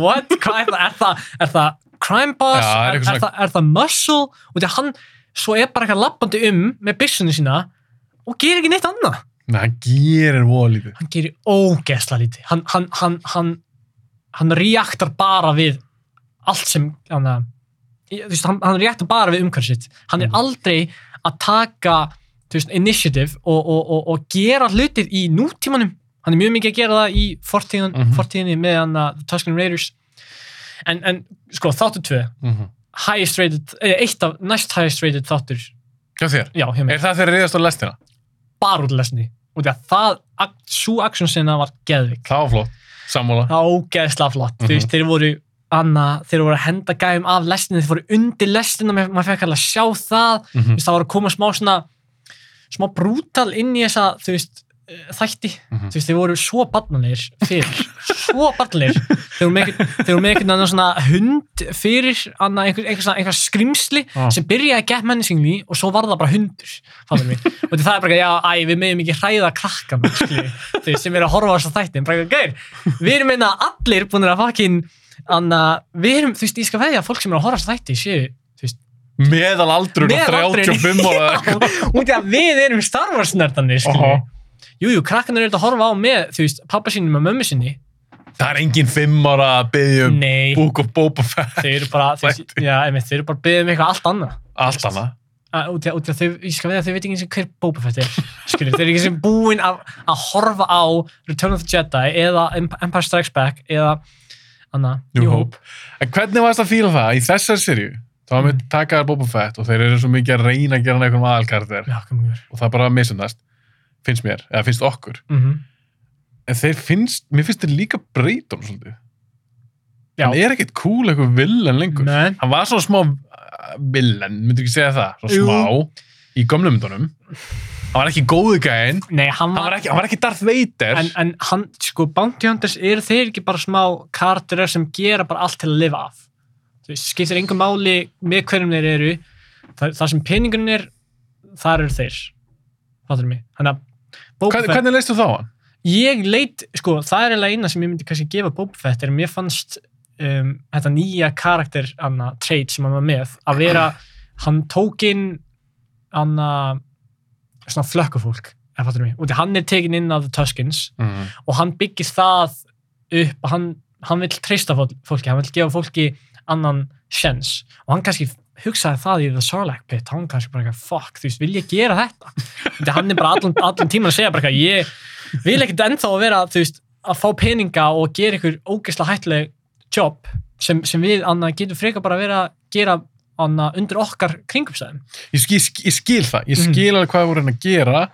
B: what, hvað er það, er það, er það crime
A: Já,
B: boss,
A: er
B: er, er,
A: eitthvað svona-
B: það, er það muscle og því að hann, svo er bara eitthvað lappandi um með byssunu sína og gerir ekki neitt annað
A: Nei, hann gerir voða lítið.
B: hann gerir ógeðsla lítið hann, hann, hann, hann, hann reaktar bara við allt sem hann, eh, ég- þú veist, hann, hann reaktar bara við umhverf sitt hann er
A: Mhm.
B: aldrei að taka þú veist, initiative og, og, og, og gera hlutið í nútímanum hann er mjög mikið að gera það í fortíðin,
A: Mhm.
B: fortíðinni með hann að Tuscan Raiders en, en sko þáttu tvö
A: Mm
B: highest rated, eh, eitt af næst highest rated þáttur,
A: Hjá þér,
B: já, hjá mér
A: er það þegar reyðast á lestina?
B: bara út lesni og því að það, svo action sinna var geðvik
A: Það var flott, sammála.
B: það var ógeðslega flott
A: Mhm.
B: þú veist, þeir voru annað, þeir voru að henda gæjum af lestinni, þeir voru undir lestina maður, maður fekk alveg að sjá það þú
A: Mhm,
B: veist, það var að koma smá svona smá brútal inn í þessa þú veist, eh, þætti
A: mhm.
B: þú veist, þeir voru svo barnalegir fyrir svo barnalegir þeir voru með einhvern- þeir voru með einhvern annan svona hund fyrir annað, einhver, einhver, svona, einhver skrimsli
A: Já.
B: sem byrjaði að get mennisingli og svo var það bara hundur fattar mig, og það er bara, já, æ, við meðum ekki hræða krakkan, þau sem eru að horfa á þess að þættin, bara, gær, við erum einna allir búin að fakkin anna, við erum, þú veist, ég skal veðja að fólk sem eru að horfa á þess að þætti séu, þú veist,
A: Meðalaldurinn og
B: Meðalaldurinn,
A: 35 ára eða eitthvað.
B: út í að við erum Star Wars nördarnir, skilju,
A: Aha.
B: jú, jú, krakkan eru að horfa á með, þú veist, pappa sínum og mömmu sinni,
A: Það er engin fimm ára að byggja um
B: nei,
A: Book of Boba Fett.
B: þau eru bara, þú veist, já, einmitt, þau eru bara beðið um eitthvað allt annað.
A: Allt annað.
B: að- út í að, út í að þau, ég skal veða að þau veit ekki eins og hver Boba Fett er, skilur, þau eru ekki sem búin að, að horfa á Return of the Jedi eða Emp- Empire Strikes Back eða, anna,
A: New Hope. En hvernig varst að fíla það í þessar sirju? Þá var mér takaðar Boba Fett og þeir eru svo mikið að reyna að gera hann eitthvað aðalkarðir
B: Já, komum við
A: og það bara misundast, finnst mér, eða finnst okkur.
B: verið.
A: En þeir finnst, mér finnst þeir líka breyta um svolítið.
B: Já.
A: Hann er ekkit cool eitthvað villan lengur.
B: Nei.
A: Hann var svona smá uh, villan, myndu ekki segja það,
B: Jú.
A: svona smá í gömlum myndunum. Hann var ekki góðu gæinn,
B: Nei, hann
A: hann
B: var,
A: var ekki, hann var ekki Darth Vader.
B: en, en hann, sko, Bounty Hunters eru þeir ekki bara smá karakterar sem gera bara allt til að lifa af. Þú veist, skiptir engu máli með hverjum þeir eru, það, það sem peningurinn er, þar eru þeir. Fattur mig. Þannig að Boba
A: Hvern-
B: Fett-
A: Hvernig leistu þá hann?
B: ég leit, sko, það er eiginlega eina sem ég myndi kannski gefa Boba Fett er að mér fannst um, þetta nýja karakter anna, trait sem hann var með að vera, hann tók inn anna svona flökkufólk, ef fattur mig og hann er tekin inn af The Tuskins
A: Mm.
B: og hann byggir það upp og hann, hann vil treysta fól- fólki, hann vil gefa fólki annan sjens og hann kannski hugsaði það í The Sarlacc pit, hann kannski bara eitthvað, fuck, þú veist, vil ég gera þetta? Þetta hann er bara allan, allan tíman að segja bara eitthvað, ég vil ekkert ennþá að vera, þú veist, að fá peninga og gera ykkur ógeðslega hættileg jobb sem, sem við annað getum frekar bara að vera að gera annað undir okkar kringumstæðum.
A: Ég skil, ég skil- ég skil það,
B: Mhm.
A: ég skil alveg hvað voru hann að gera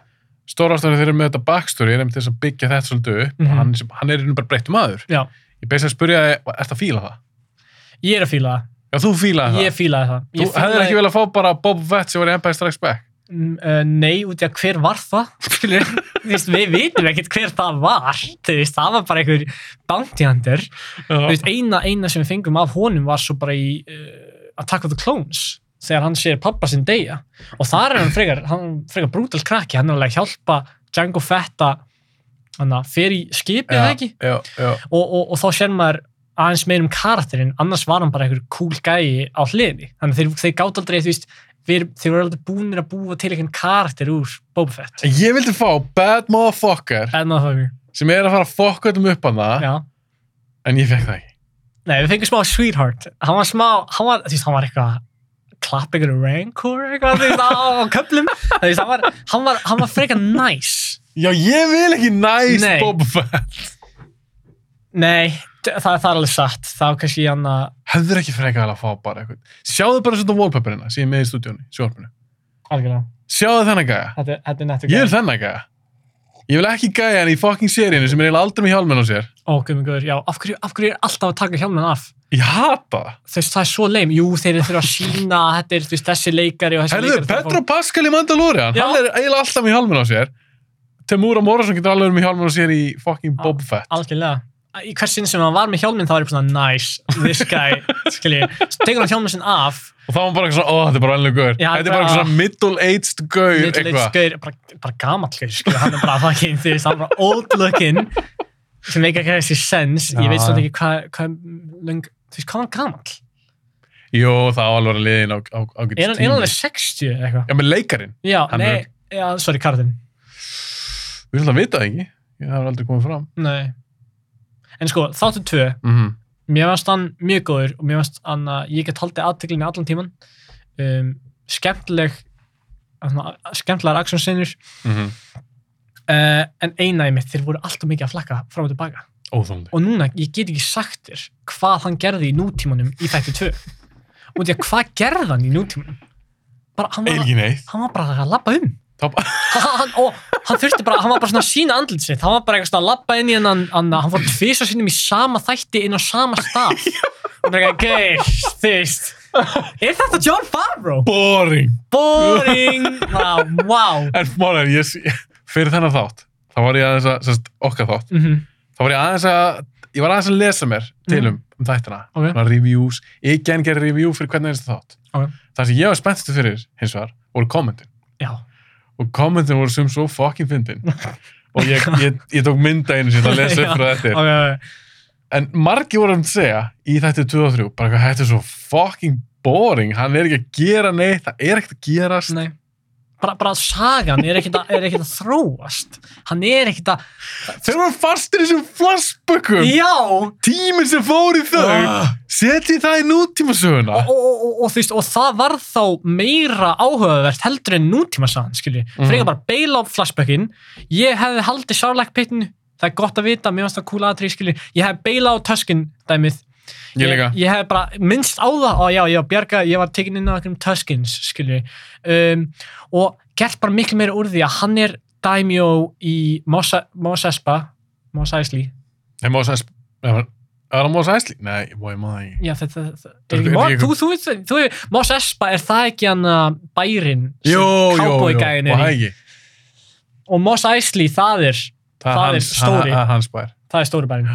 A: Stórastæðan þeirra með þetta backstory er einmitt þess að byggja þetta svolítið upp
B: Mhm.
A: og hann, sem, hann er einu bara breyttum aður
B: Já,
A: Ég beins að spyrja, er þetta að fíla það?
B: ég er að fíla það.
A: Já, þú fílaði
B: Ég
A: það
B: fílaði það.
A: Þú hefðir
B: Ég fílaði-
A: ekki vel að fá bara Bob Vett sem var í Empire Strikes Back
B: Mm, uh, nei, út í að hver var það skilur, þú veist, við vitum ekkert hver það var þú veist, það var bara einhver bounty hunter, þú veist, eina, eina sem við fengum af honum var svo bara í uh, Attack of the Clones þegar hann sér pappa sinn deyja og þar er hann frekar, hann frekar brútal krakki hann er alveg að hjálpa Django Fett að hann að fer í skipið eða ekki
A: já, já,
B: og, og, og þá sér maður aðeins meir um karakterinn, annars var hann bara einhver cool gæi á hliðinni, þannig að þeir, þeir gátt aldrei, þú veist, þeir, þeir voru aldrei búinir að búa til einhvern karakter úr Boba Fett,
A: Ég vildi fá bad motherfucker
B: en að það
A: sem er að fara að fokka þetta upp hann það
B: já,
A: en ég fekk það ekki.
B: nei, við fengum smá sweetheart hann var smá, hann var, þú veist, hann var eitthvað klapp einhverju rancor eitthvað, þú veist, á, á köflum þú veist, hann var, hann var, hann var frekar nice
A: Já, ég vil ekki næst
B: Nei.
A: nice Boba Fett.
B: nei, það, það er alveg satt það var kannski hann að,
A: Hefður ekki frekað að fá bara eitthvað. Sjáðu bara svona wallpaperina sem ég er með í stúdíónu, sjónvarpinu.
B: algjörlega
A: Sjáðu þennan gæja.
B: þetta, þetta er nettur
A: Ég vil þennan gæja. Ég vil ekki gæja hann í fucking seríinu sem er eiginlega aldrei með hjálmen á sér.
B: ó, guðmur, guður, já, af hverju, af hverju er alltaf að taka hjálmen af
A: Ég hata það.
B: þú veist, það er svo leim, jú, þeir þurfa að sína að þetta er, þú veist, þessi leikari og þessi
A: Herðu,
B: leikari
A: Petro Pascal í Mandalorian,
B: Já.
A: hann er eiginlega alltaf með hjálmen á sér. Temura Morrison getur alveg verið með hjálmen á sér í fucking
B: Já.
A: Boba Fett.
B: algjörlega í hvers sinn sem hann var með hjálminn þá var ég bara svona nice, this guy, skilji svo tekur hann hjálminn sinn af
A: Og þá var bara eitthvað svona, ó, þetta er bara alveg gaur.
B: Já,
A: Þetta er bara
B: bara-
A: eitthvað svona middle-aged gaur,
B: little eitt
A: eitthvað.
B: skaur, bara, bara gamall gaur, skilji, hann er bara fucking, þú veist, hann er bara old looking sem ekki ekki þessi sens
A: Já,
B: ég veit svona
A: já.
B: ekki hvað hva, löng þú veist, hvað var hann gamall?
A: Jú, það á alveg að vera liðin á, á, á
B: Er hann er hann alveg 60 eða eitthvað?
A: Já, með leikarinn.
B: Já,
A: Hann
B: nei, já, sorry, Karðin
A: Við erum alltaf að vita það ekki. Það er aldrei komið fram.
B: Nei En sko, þáttu tvö
A: Mm -hmm.
B: mér varst hann mjög góður og mér varst hann að ég get haldið aðteglinu allan tíman um, skemmtileg svona, skemmtilegar aksjónsinnur
A: Mm
B: mhm.
A: -hmm.
B: uh, en einaði mitt, þeir voru alltaf mikið að flakka frá og tilbaka
A: Óþólandi.
B: og núna, ég get ekki sagt þér hvað hann gerði í nútímanum í þætti 2 og því að hvað gerði hann í nútímanum bara, hann
A: Eil
B: var,
A: ekki neitt.
B: hann var bara að labba um
A: Þá bara-
B: hann, og hann þurfti bara, hann var bara svona að sína andlit sitt, hann var bara eitthvað svona að labba inn í hann, hann, hann fór tvisa sinnum í sama þætti inn á sama stað og bara eitthvað, geir, þú veist er þetta John Favreau?
A: Boring.
B: boring wow, wow
A: En málið, er, ég, sé- fyrir þennan þátt, þá var ég aðeins að, sérst, okkar þátt,
B: mm -hmm.
A: þá var ég aðeins að, ég var aðeins að lesa mér til um, um þættina.
B: Mhm. Ok.
A: Svona reviews, ég genn gerir review fyrir hvernig einstu þátt.
B: Ok.
A: Það sem ég var spenntustu fyrir, hins vegar, voru kommentin.
B: já,
A: og kommentin voru sem svo fucking fyndin og ég, ég, ég tók mynda einu sér að lesa upp frá þetta
B: ok, ok.
A: en margi voru að segja í þetta 23 bara hvað þetta er svo fucking boring hann er ekki að gera neitt, það er ekkert að gerast
B: Nei. Bara, bara sagan er ekkert að, er ekkert að þróast hann er ekkert að
A: þeir voru fastir í þessum flashbökkum
B: já,
A: tíminn sem fór í þau
B: Ah.
A: setji það í nútímasöguna
B: og, og, og, og, þú veist, og það var þá meira áhugavert heldur en nútíma sagan skilji,
A: Mhm.
B: frekar bara beila á flashbackin ég hefði haldið sárlækpittin það er gott að vita, mér varst það kúla aðtrið skilji ég hefði beila á töskin dæmið
A: ég líka,
B: ég, hef bara minnst á það og já, ég var bjarga, ég var tekin inn á einhverjum Tuskins, skilju um, og gert bara miklu meira úr því að hann er Daimyo í Mos Mos Espa Mos Eisley
A: þeir má sæs er það má sæsli? nei, bó, ég má það ekki
B: já, þetta, þetta,
A: Þetta
B: er
A: er
B: ekki Mos
A: ekki-
B: þú, þú, þú, þú, Mos Espa, er það ekki hann að bærin
A: jú, jú, jú,
B: gæin
A: og
B: er
A: það
B: í
A: ekki
B: og Mos Eisley, það er
A: það
B: Það er
A: er hans,
B: stóri.
A: það er hans bær
B: það er stóri bærin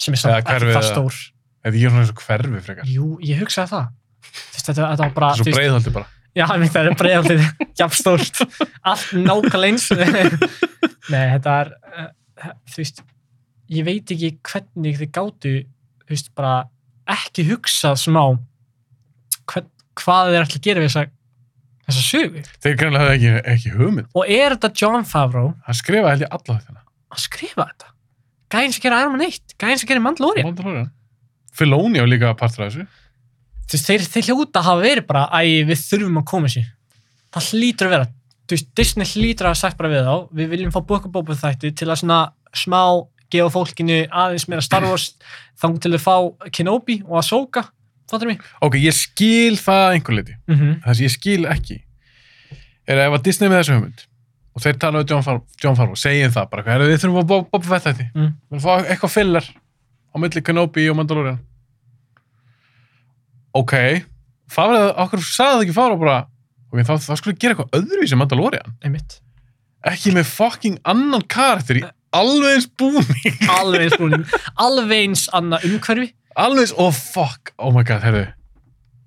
B: sem er samt
A: Eða
B: ekki
A: hverfið
B: það
A: eða-
B: stór
A: þetta er ekki svona eins og hverfi frekar
B: jú, ég hugsaði það Þú veist, þetta, þetta var bara þú
A: svo
B: veist-
A: breiðhaldi bara
B: Já, ég myndi að það er breiðaldið jafnstórt, allt nákvæmlega eins Nei, þetta er eh, þú veist ég veit ekki hvernig þið gátu þú veist, bara ekki hugsað smá hvern, hvað þeir ætla að gera við þessa þessa sögu.
A: Þeir greinlega hefði ekki, ekki hugmynd.
B: Og er þetta John Favreau
A: Hann skrifaði held ég alla þetta.
B: að skrifa þetta? Gæðin sem gera Iron Man 1, gæðin sem gera Mandalorian
A: Mandalorian. Filoni á líka partur af þessu.
B: þú veist, þeir, þeir hljóta hafa verið bara æ, við þurfum að koma sér það hlýtur að vera, þú veist, Disney hlýtur að hafa sagt bara við þá, við viljum fá bókabópa þætti til að svona smá gefa fólkinu aðeins meira Star Wars þangum til að fá Kenobi og Ahsoka þáttur mig
A: Ok, ég skil það að einhver leiti.
B: mm
A: Það sem ég skil ekki er að ef að Disney er með þessu hugmynd og þeir tala um John, Far John Favreau, segjum það bara, "Herra, við þurfum að Bob, Bob Fett þetta.
B: Mm.
A: Við viljum fá eitthvað filler á milli Kenobi og Mandalorian. Ok, Favreau, okkur sagði það ekki Favreau bara, ok, þá, þá skulle gera eitthvað öðruvísi en Mandalorian.
B: einmitt
A: Ekki með fucking annan karakter í alveg eins búning.
B: alveg eins búin alveg eins annað umhverfi
A: Alveg eins, oh fuck, oh my god, herðu.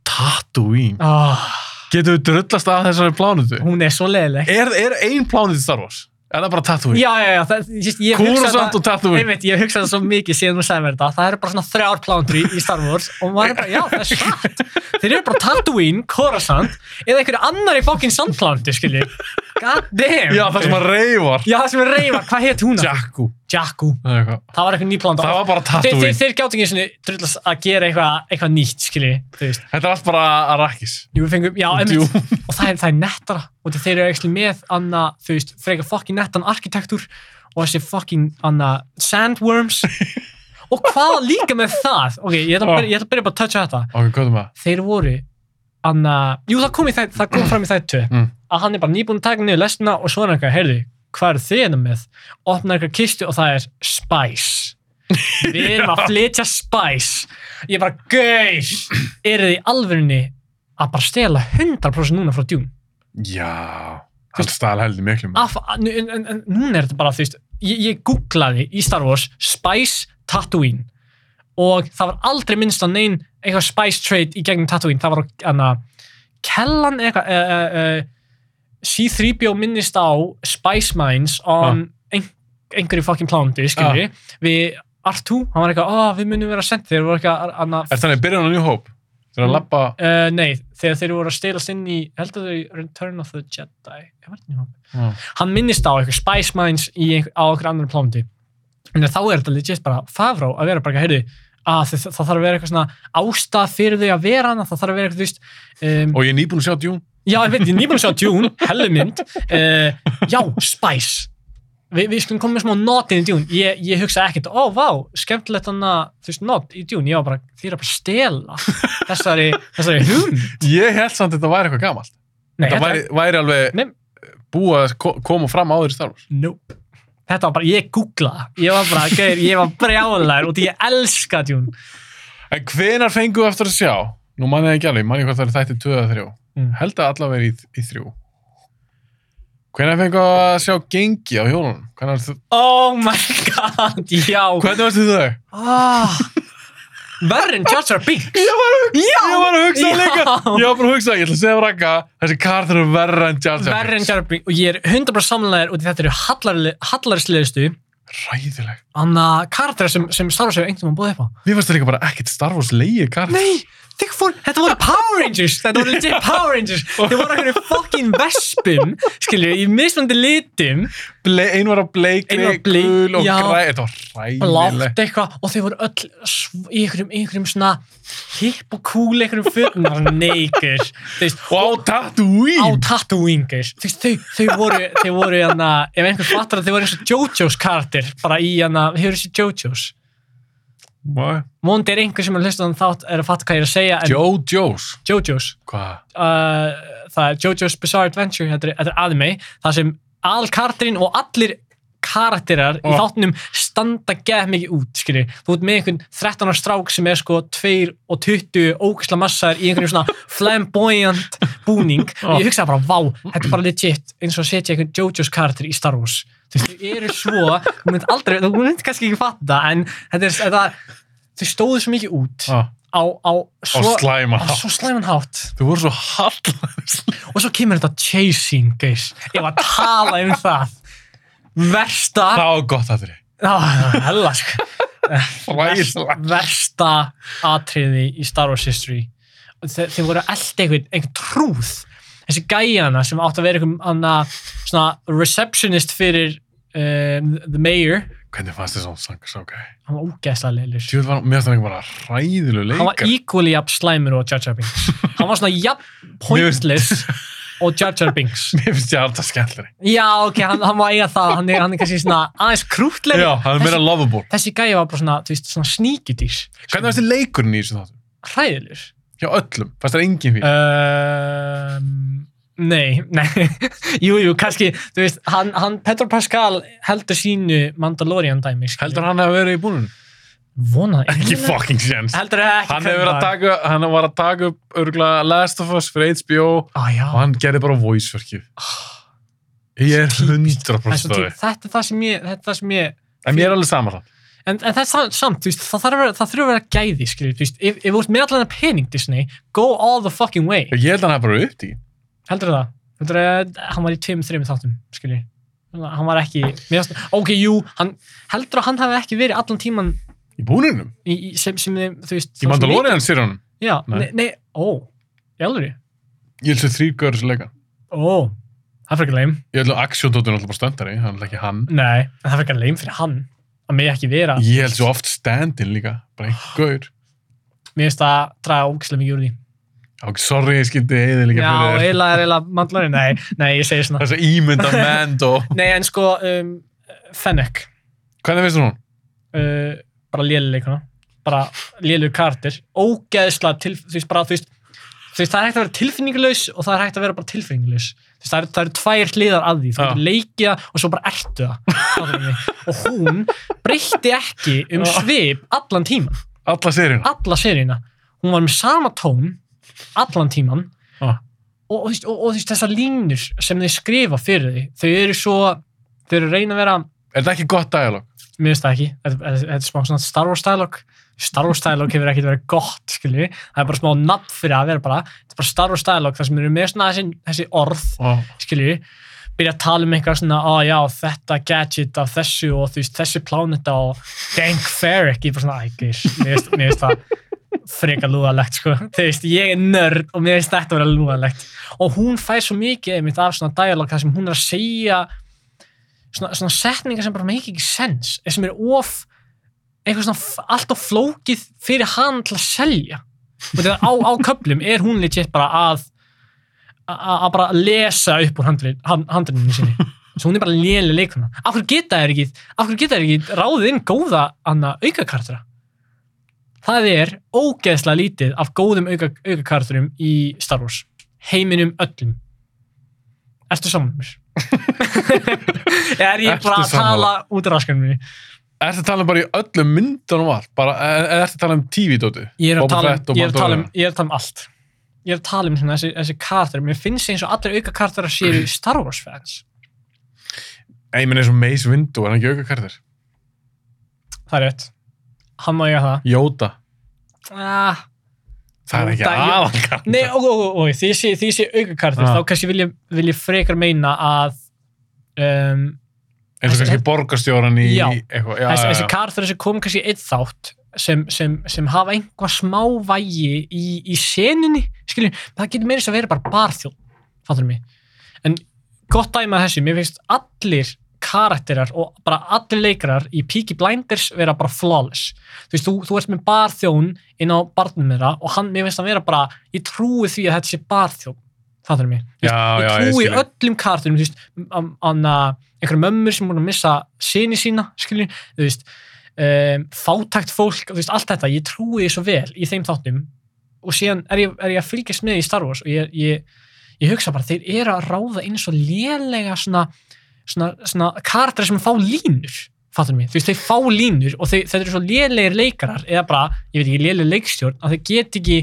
A: Tatooine.
B: oh,
A: Getum við drullast að þessari plánutu?
B: hún er svo leiðileg
A: Er, er ein plánið til Star Wars? Er það bara Tatooine?
B: já, já, já, það, just, ég
A: Coruscant og Tatooine?
B: Einmitt, ég hugsaði svo mikið síðan þú sagði mér þetta það eru bara svona þrjár plándur í- í Star Wars og maður er bara, já, það er satt þeir eru bara Tatooine, Coruscant eða einhverju annar í fokkin sandplándu, skilji god damn
A: Já, það sem að reyvar.
B: já, það sem er reyfa, hvað hétt hún?
A: Jakku.
B: Jakku,
A: Það er eitthvað.
B: það var eitthvað ný plánda
A: Það var bara
B: þeir, þeir,
A: Tatooine.
B: þeir gáttu ekki svona drullast að gera eitthvað eitthva nýtt, skilji þú veist
A: Þetta er allt bara Arrakis.
B: Jú, við fengum, já,
A: Jú.
B: einmitt, og það er, það er nettara og þeir eru ekki með annað, þú veist, frekar fokkin nettan arkitektúr og þessi fokkin annað sandworms og hvað líka með það ok, ég ætla að byrja- ég ætla að byrja bara að toucha þetta
A: Ok, hvað er það?
B: þeir voru annað, jú, það kom, í það, það kom fram í þættu
A: Mm.
B: að hann er bara nýbúin að taka niður lestina og svona eitthvað, heyrðu, hvað eru þið hennar með opnar eitthvað kistu og það er spice við erum að flytja spice ég bara, gauð eru þið í alvörunni að bara stela 100% núna frá djún
A: Já, hann stæl heldur miklu með.
B: af, en, en, en núna er þetta bara þú veist, ég, ég googlaði í Star Wars Spice Tatooine og það var aldrei minnst á neinn eitthvað Spice Trade í gegnum Tatooine það var hana, Kellan eða eitthvað e, e, e, C-3PO minnist á Spice Mines on ein, einhverju fokkin plándi skilji, við R2 hann var eitthvað, oh, við munum vera sendt þeir voru eitthvað annað
A: Er þannig að byrja hann á nýju hóp? Þegar hann
B: Mm.
A: lappa...
B: Uh, nei, þegar þeir voru að stelast inn í heldur þau Return of the Jedi ég var ekki nú hann minnist á eitthvað Spice Mines í einhver, á okkur annar plándi en þá er þetta legit bara Favró að vera bara, heyrðu, að það, það þarf að vera eitthvað svona ástað fyrir þau að vera hana það þarf að vera eitthvað, þú veist um,
A: Og ég er nýbúin að sjá Dune.
B: já, ég veit, ég er nýbúin að sjá Dune, hellu mynd uh, já, Spice Vi, við skulum koma með smá notið í Dune ég, ég hugsa ekkert, ó, vá, skemmtilegt hann að, þú veist, not í Dune, ég var bara þið er að bara stela þessari, þessari hugmynd
A: Ég held samt að þetta væri eitthvað gamalt.
B: Nei,
A: Þetta væri, væri alveg
B: Nei.
A: búið að ko- koma fram áður í Star Wars.
B: Nope. Þetta var bara, ég googlaði. það. Ég var bara, gauðir, ég var brjálæður og því ég elska Dune.
A: En hvenar fengu eftir að sjá? Nú mann ég ekki alveg, mann ég hvort það er þætti 2 eða 3.
B: Mm.
A: held að allavega verið í, í þrjú hvernig fengið að sjá gengi á hjólunum hvernig, varstu-
B: Oh my god, já.
A: hvernig varstu þau?
B: Ah, verrin Jar Jar Binks.
A: ég var að hugsa,
B: Já,
A: ég var að hugsa
B: já.
A: líka ég var bara að hugsa, ég ætla að segja raka þessi kar þurfa verra en Jar Jar
B: Verrin Jar Jar Binks. Og ég er 100% samlæður og þetta eru hallarle- hallarslegustu
A: ræðileg
B: annað karakter sem, sem Star Wars hefur einhvern veginn búið upp á.
A: mér fannst það líka bara ekkert Star Wars leið kar
B: Nei, þeir fór, þetta voru Power Rangers Þetta voru legit Power Rangers Þeir voru okkur fucking vespum Skilju, í mismandi litum
A: Ble, ein var á bleikri,
B: Ein var á bleik-
A: gul og
B: já.
A: græ þetta var ræðileg
B: blátt eitthvað og þau voru öll sv- í einhverjum, einhverjum svona hipp og cool einhverjum fötnar neikur
A: og á
B: á
A: Tatooine
B: tattooingur þau, þau voru, þau voru hana, ef einhver fattar að þau voru eins og Jojo's kartir bara í hana, hefur þessi Jojo's
A: Má-
B: Móndi er einhver sem er hlustað um þátt er að fatta hvað ég er að segja en
A: Joe Joes
B: Jojo's
A: hvað?
B: uh, það er Jojo's Bizarre Adventure þetta er, þetta er anime, það sem alkartirinn og allir karakterar í
A: Oh.
B: þáttunum standa geð mikið út, skilji, þú ert með einhvern 13 ára strák sem er sko 2 og 20 ógisla massar í einhvern svona flamboyant búning og ég hugsaði bara, vá, þetta er bara legit eins og að setja einhvern Jojo's karakter í Star Wars þú veist, þau eru svo þú mynd aldrei, þú mynd kannski ekki fatta en þetta er, þetta, þau stóðu svo mikið út á,
A: Ah,
B: á
A: á
B: svo,
A: slæma
B: á svo slæman hátt
A: þú voru svo hallæðislega
B: og svo kemur þetta chasing guys. ég var að tala um það
A: það
B: versta
A: var gott að
B: Á, hella, sko.
A: ræðilega
B: versta atriði í Star Wars history Og þe þeir voru alltaf einhvern, einhvern trúð þessi gæjana sem átt að vera einhvern anna, svona receptionist fyrir um, the mayor
A: Hvernig fannst þér svona sangas, ok?
B: Hann var ógeðslega leilur.
A: Tjóð var, mér finnst það ekki bara ræðilegu leikar.
B: Hann var equally jafn slæmur og Jar Jar Binks. Hann var svona jafn pointless og Jar Jar Binks.
A: Mér finnst ég alltaf skemmtleri.
B: Já, ok, hann, hann má eiga það. Hann er, hann er kannski svona aðeins krútlegur.
A: Já, hann er meira lovable.
B: Þessi gæi var bara svona, þú veist, svona sníkjudís.
A: Hvernig fannst þér leikurinn í þessu þáttum?
B: Hræðilegur.
A: Hjá öllum, fannst þér engin fyrir?
B: Um, nei, nei, jú, jú, kannski, þú veist, hann, hann Petro Pascal heldur sínu Mandalorian dæmi, skilju.
A: Heldur hann að verið í búnun?
B: Vona,
A: Ekki fucking séns.
B: Heldur það ekki
A: Hann, hefur verið að taka, hann var að taka upp örgulega Last of Us fyrir HBO
B: Á, Ah, já.
A: og hann gerði bara voice-verkið. Ég er
B: Svo típist.
A: 100%
B: Þetta,
A: stöði.
B: þetta er það sem ég, þetta er það sem ég,
A: En mér er alveg saman það.
B: en, en það er sam- samt, þú veist, það þarf að vera, það þurfa að vera gæði, skilju, þú veist, ef, ef þú ert með allan að pening Disney, go all the fucking way.
A: Ég held að hann hafi bara upp í.
B: Heldur það? Heldur það, hann var í tveim, þreim þáttum, skilju. Hann var ekki, mér finnst, ok, jú, hann, heldur að hann hafi ekki verið allan tíman
A: Í búnunum?
B: í, í, sem, sem þið, þú veist
A: Í
B: þá sem
A: Mandalorian seriðanum?
B: við- já,
A: Nei.
B: nei, nei, ó, í alveg
A: Ég held að þrýr görður sem leika.
B: ó, það fyrir ekki leim
A: Ég held að Action.dóttur er alltaf bara stöndari, hann er ekki hann.
B: nei, en það fyrir ekki leim fyrir hann að mig ekki vera,
A: Ég held svo oft stand-in líka, bara einhver gaur.
B: mér finnst það að draga ógislega mikið úr því
A: Ok, sorry, ég skildi eða líka
B: já,
A: fyrir þér.
B: eiginlega er eiginlega mandlari, nei, nei, ég segi svona
A: Þess að ímynda Mando.
B: nei, en sko, um, Fennec
A: Hvernig finnst þú hún?
B: uh, bara léluleikuna bara lélur kartir, ógeðslega til, þú veist, bara, þú veist Þú veist, það er hægt að vera tilfinningulegs og það er hægt að vera bara tilfinningulegs. Þú veist, það eru, það eru tvær hliðar að því. Þú
A: Já.
B: getur leikja og svo bara ertu það. Fattar mig? og hún breytti ekki um
A: Já.
B: svip allan tíman.
A: Alla seriðina?
B: Alla seríuna. Hún var með sama tón allan tíman
A: Já.
B: og, og, þú veist, og, og þú veist, þessar línur sem þeir skrifa fyrir því, þau eru svo, þau eru að reyna að vera
A: Er þetta ekki gott dialog?
B: mér finnst það ekki, þetta, þetta, þetta er smá svona Star Wars dialog Star Wars dialog hefur ekkert verið gott skilju, það er bara smá nafn fyrir að vera bara, þetta er bara Star Wars dialog þar sem eru með svona þessi, þessi orð
A: Oh.
B: skilju, byrja að tala um eitthvað svona, á já, þetta gadget af þessu og þú veist, þessi pláneta og Dank Ferrick, ég er bara svona, ægis mér finnst- mér finnst það freka lúðalegt sko, þú veist, ég er nörd og mér finnst þetta að vera lúðalegt og hún fær svo mikið einmitt af svona dialog þar sem hún er að segja svona, svona setningar sem bara make ekki sens eða sem er of eitthvað svona f- allt of flókið fyrir hann til að selja og þetta á, á köflum er hún legit bara að að að bara lesa upp úr handri- hand- handriðinu sinni svo hún er bara léli leikuna af hverju geta þær ekki, af hverju geta þær ekki ráðið inn góða anna aukakartra það er ógeðslega lítið af góðum auka, aukakartrum í Star Wars heiminum öllum Ertu saman mér? Eða er ég
A: Ertu
B: bara að tala
A: sammála?
B: út af raskanum minni?
A: Er þetta talað um bara í öllum myndunum var? Bara, er þetta talað um TV-dóttu?
B: Ég er að
A: Boba
B: tala
A: Fett
B: um,
A: og
B: ég er að tala um,
A: Mandalorian.
B: ég er að tala um allt. Ég er að tala um svona þessi, þessi kartar. Mér finnst eins og allir auka kartar að séu Star Wars fans.
A: Ég minn eins og Mace Windu, er hann ekki auka kartir?
B: Það er rétt. Hann má eiga það.
A: Jóta.
B: Ah,
A: Það er ekki
B: Yoda, ég-
A: aðalkartir.
B: nei, og, og, og, og því sé, því sé auka kartar.
A: Ah.
B: Þá kannski vil ég, vil ég frekar meina að um,
A: eins og
B: Þessi-
A: kannski borgarstjóran í
B: Já.
A: eitthvað, já,
B: þessi,
A: já,
B: þessi
A: já.
B: kartar sem kom kannski í einn þátt sem, sem, sem hafa einhvað smá vægi í, í seninni, skiljum, það getur meira sem að vera bara barþjóð, fattur mig en gott dæma þessi, mér finnst allir karakterar og bara allir leikarar í Peaky Blinders vera bara flawless, þú veist, þú, þú ert með barþjón inn á barnum þeirra og hann, mér finnst það vera bara, ég trúi því að þetta sé barþjón, fattur mig
A: já, já,
B: ég trúi
A: skil.
B: öllum kartunum þú veist, anna, einhverja mömmur sem voru að missa sinni sína, skilju þú veist, um, fátækt fólk þú veist, allt þetta, ég trúi því svo vel í þeim þáttum og síðan er ég, er ég að fylgjast með í Star Wars og ég, ég, ég hugsa bara, þeir eru að ráða inn svo lélega svona, svona, svona kartar sem fá línur fattur mig, þú veist, þeir fá línur og þeir, þeir eru svo lélegir leikarar eða bara, ég veit ekki, léleg leikstjórn að þeir get ekki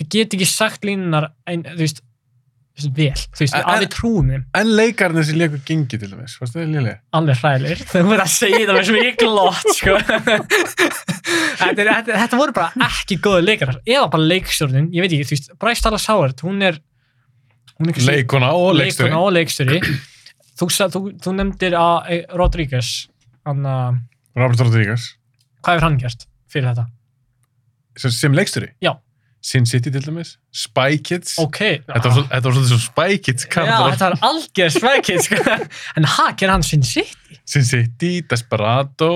B: þeir get ekki sagt línunar ein, þú veist, þú veist, vel, þú veist,
A: En-
B: að við trúum þeim
A: en leikarnir sem leikur gengi til dæmis fannst það lélega?
B: alveg hræðilegir, þau verða að segja það með svona ekki lott, sko þetta, er, þetta, þetta voru bara ekki góðu leikarar, eða bara leikstjórnin ég veit ekki, þú veist, Bryce Dallas Howard hún er, hún er kannski-
A: leikuna og leikstöri
B: leikstjóri og leikstjóri þú, sa- þú, þú nefndir að eh, Rodríguez hann að,
A: Robert Rodriguez
B: hvað hefur hann gert fyrir þetta?
A: sem, sem leikstjóri
B: Já.
A: Sin City til dæmis, Spy Kids
B: ok Ah.
A: þetta, var, svo- þetta var svolítið svo Spy Kids
B: Já,
A: karakterar.
B: þetta var algjör svækið sko. en hæk er hann sinn sitt
A: Sin City, Desperado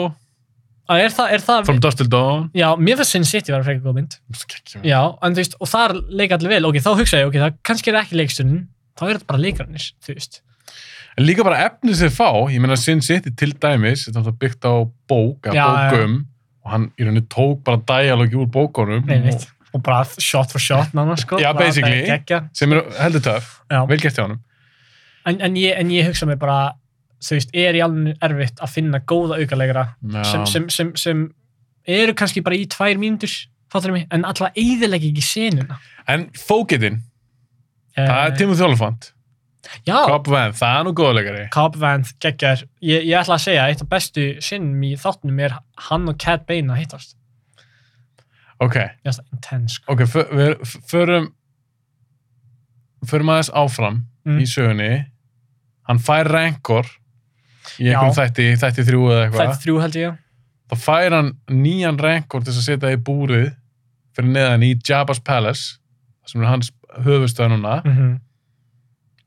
B: er það, er það
A: From Dust Till Dawn
B: já, mér finnst sinn sitt vera frekar góð mynd
A: Skekjum.
B: já, en þú veist, og þar leik allir vel ok, þá hugsa ég, ok, það kannski er ekki leikstunum þá er þetta bara leikarnir, þú veist
A: En líka bara efnið sem fá, ég meina Sin City til dæmis, þetta er náttúrulega byggt á bók,
B: Já,
A: eða bókum, og hann í rauninni tók bara dialogi úr bókunum,
B: einmitt, og bara shot for shot nána, sko,
A: Mhm. Já,
B: Bara
A: basically.
B: bara geggja.
A: sem er heldur töf,
B: Já.
A: vel gert hjá honum.
B: en, en, ég, en ég hugsa mig bara þú veist, er í alveg erfitt að finna góða aukalegra
A: Já.
B: sem, sem, sem, sem eru kannski bara í tvær mínútur fattur mig, en alltaf eyðilegi ekki senuna Eh,
A: En fókitinn, það er Timothy Olyphant,
B: já,
A: Cobb Van, það er nú góðleikari.
B: Cobb Van geggar, ég, ég ætla að segja eitt af bestu sinnum í þáttunum er hann og Cat Bane að hittast
A: Ok,
B: ég ætla intense sko.
A: ok, för- við f- förum, förum aðeins áfram
B: Mm.
A: í sögunni, hann fær rankor í
B: Já.
A: einhverjum þætti, þætti þrjú eða eitthvað.
B: það er þrjú held ég
A: þá fær hann nýjan renkord til þess að setja í búrið fyrir neðan í Jabba's Palace sem er hans höfustöð núna
B: mm -hmm.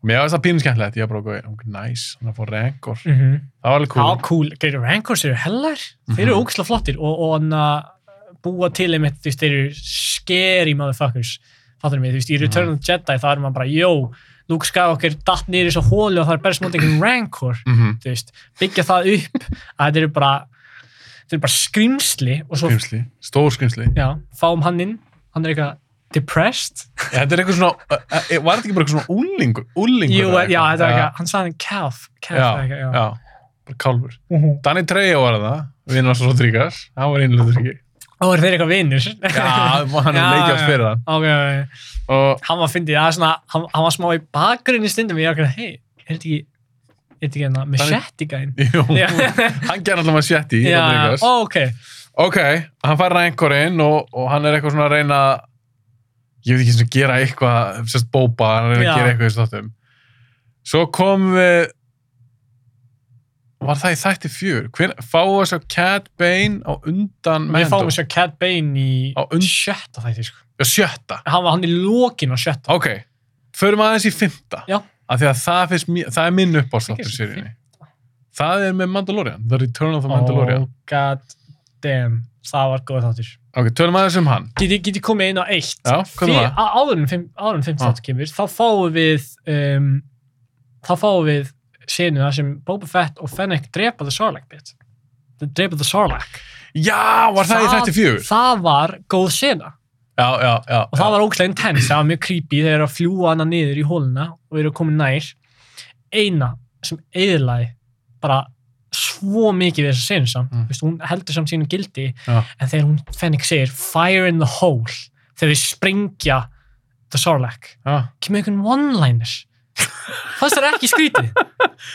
A: mér finnst það pínum skemmtilegt, ég bara okkur ok, nice, hann er að fá renkord
B: Mm -hmm.
A: það var alveg cool,
B: já, cool, Gary Rancors eru hellar þeir eru
A: Mhm.
B: ógislega flottir og, og hann að búa til einmitt, þú veist, þeir eru scary motherfuckers fattur mig,
A: Mhm.
B: þú veist, í Return of the Jedi það er maður bara, jó, Luke Skywalker datt niður í svo hólu og það er berst móti einhverjum Rancor
A: mm -hmm.
B: þú veist, byggja það upp að þetta eru bara þetta eru bara skrimsli og svo
A: skrimsli, stór skrimsli
B: já, fáum hann inn hann er eitthvað depressed
A: þetta er eitthvað svona, uh, uh, var þetta ekki bara eitthvað svona úlingur, úlingur
B: Jú,
A: eða
B: já, þetta
A: Já,
B: er eitthvað, hann sagði hann calf, calf
A: Já,
B: eða eitthvað, já.
A: já, bara kálfur
B: Mhm.
A: Danny Trejo var það, vinnur hans Rodríguez hann var einlega þurrki
B: og er þeir eitthvað vinnir
A: já, hann er
B: Já,
A: leikjast
B: já.
A: fyrir hann
B: ok, ok,
A: og
B: hann var fyndið, það er svona hann, hann var smá í bakgrunni stundum og ég var ekki, hei, er þetta ekki er þetta ekki hérna, machete gæn
A: jú,
B: Já.
A: hann gerði allavega sjetti í
B: já,
A: Rodríguez
B: ó, ok,
A: Ok, hann fær rænkorinn og, og hann er eitthvað svona að reyna ég veit ekki sem að gera eitthvað sérst bópa, hann er að,
B: Já.
A: gera eitthvað í státtum Svo kom við var það í þætti fjör Hver, fáum við að sjá Cat Bane á undan
B: við
A: Mando,
B: fáum svo Cat Bane í
A: Á und-
B: sjötta þætti, sko
A: Já, sjötta
B: hann var hann í lokin á sjötta
A: Ok, förum aðeins í fymta
B: Já.
A: af því að það, finnst, mér- það er minn
B: Ekki
A: uppástáttur
B: sem
A: sérinni Það er með Mandalorian, The Return of the Mandalorian
B: god damn, það var góð þáttur
A: Ok, tölum aðeins um hann
B: Get ég, get ég komið inn á eitt?
A: Já, hvað
B: Fyrir-
A: er það?
B: á- áður en fimm- áður en fimm
A: Já.
B: þátt kemur, þá fáum við um, þá fáum við senu það sem Boba Fett og Fennec drepa the Sarlacc bit. Þeir drepa the Sarlacc.
A: Já, var það, í þætti fjör?
B: Það var góð sena
A: Já, já, já
B: og það var ógæslega intense, það var mjög creepy þeir eru að fljúa hana niður í hóluna og eru að koma nær. Eina sem eðlaði bara svo mikið við þessa senu samt,
A: Mm.
B: mm. hún heldur samt sínu gildi
A: Já.
B: en þegar hún Fennec segir fire in the hole þegar við springja the Sarlacc
A: já.
B: kemur einhvern one-liner fannst það ekki skrítið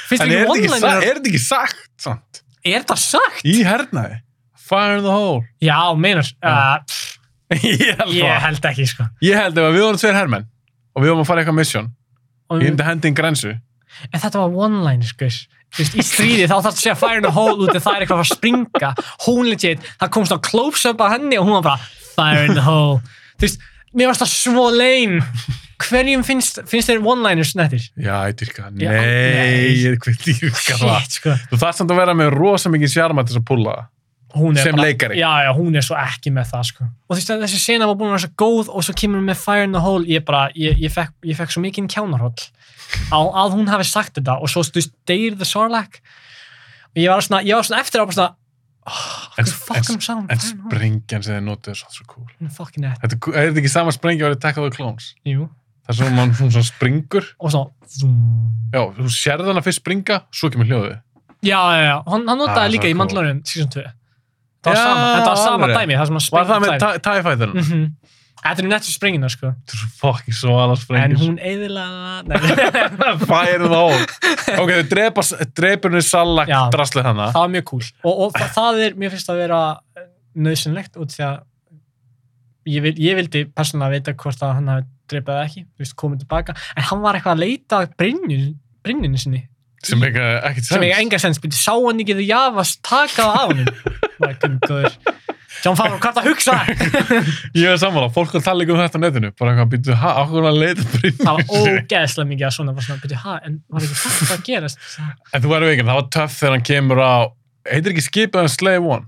B: finnst
A: En
B: það
A: er
B: ekki
A: þetta ekki, sa
B: one-liner
A: er þetta ekki sagt samt?
B: er það sagt?
A: Í hernaði? Fire in the hole.
B: já, meinar
A: Já.
B: uh, pff,
A: ég held
B: ég
A: það.
B: held ekki sko
A: Ég held ef að við vorum tveir hermenn og við vorum að fara í eitthvað mission.
B: Og, um
A: Ég hefndi að hendi inn grensu.
B: en þetta var one-liner sko Þú veist, í stríði þá þarf að segja fire in the hole út af það er eitthvað að springa hún legit, það komst á close-up á henni og hún var bara fire in the hole þú veist, mér varst það svo leim hverjum finnst, finnst þeir one-liners nettir?
A: Já, ég dyrka. Nei,
B: Já, nei.
A: ég er hvað dyrka það.
B: shit sko
A: Þú þarf samt að vera með rosa mikið sjarma til þess að púla það.
B: Hún er
A: Sem
B: bara,
A: leikari.
B: já, já, hún er svo ekki með það sko. og þú veist að þessi sena var búin að vera svo góð og svo kemur hún með Fire in the Hole ég, bara, ég, ég, fekk, ég fekk svo mikinn kjánarhóll á að hún hafi sagt þetta og svo þú veist, deyr the Sarlacc og ég var svona, ég var svona eftir á bara svona oh,
A: En-
B: hvað
A: en-
B: fokkum sá hún
A: En
B: Fire in the Hole
A: sprengjan sem þið notuðu er svo, svo cool.
B: hún er fokkin nett,
A: Þetta er er þetta ekki sama sprengja að vera Attack of the Clones?
B: jú
A: Það er svona mann svona svona springur.
B: og svona zoom.
A: Já, þú sérði hana fyrst springa, svo kemur hljóðið.
B: já, já, já, hann, hann
A: Ah,
B: notaði líka
A: svo
B: í
A: cool.
B: Mandalorian season 2 það var
A: Já,
B: sama, þetta var sama
A: alveg.
B: dæmi það sem að
A: Var það
B: springa
A: með TIE- TIE Fighterinn?
B: mm -hmm. þetta er nettur springina sko
A: Þetta er svo fucking svo alveg
B: en
A: sprengjur.
B: hún eðilaða
A: Fire in the hole Ok, þau drepa, drepur henni salak
B: Já.
A: draslið hana
B: það var mjög cool og, og það, það er, mér finnst það að vera nöðsynlegt út því að ég, vil, ég vildi persónulega vita hvort að hann hafi dreipað eða ekki, þú veist, komið tilbaka en hann var eitthvað að leita að brynjun, brynjunni sinni,
A: sem eiga ekkert sens
B: sem eiga enga sens byrja, sá hann ekki þegar jafast taka það af hann John Favreau, hvað er það að hugsa?
A: Ég er sammála, fólk vil tala líka um þetta á netinu, bara eitthvað, býttu, hæ, okkur að leita Brynju
B: það var ógeðslega mikið að svona, bara svona, byrja, ha, en var ekki þetta að gerast?
A: En þú verður veginn, það var töff þegar hann kemur á, heitir ekki skipið en Slave One?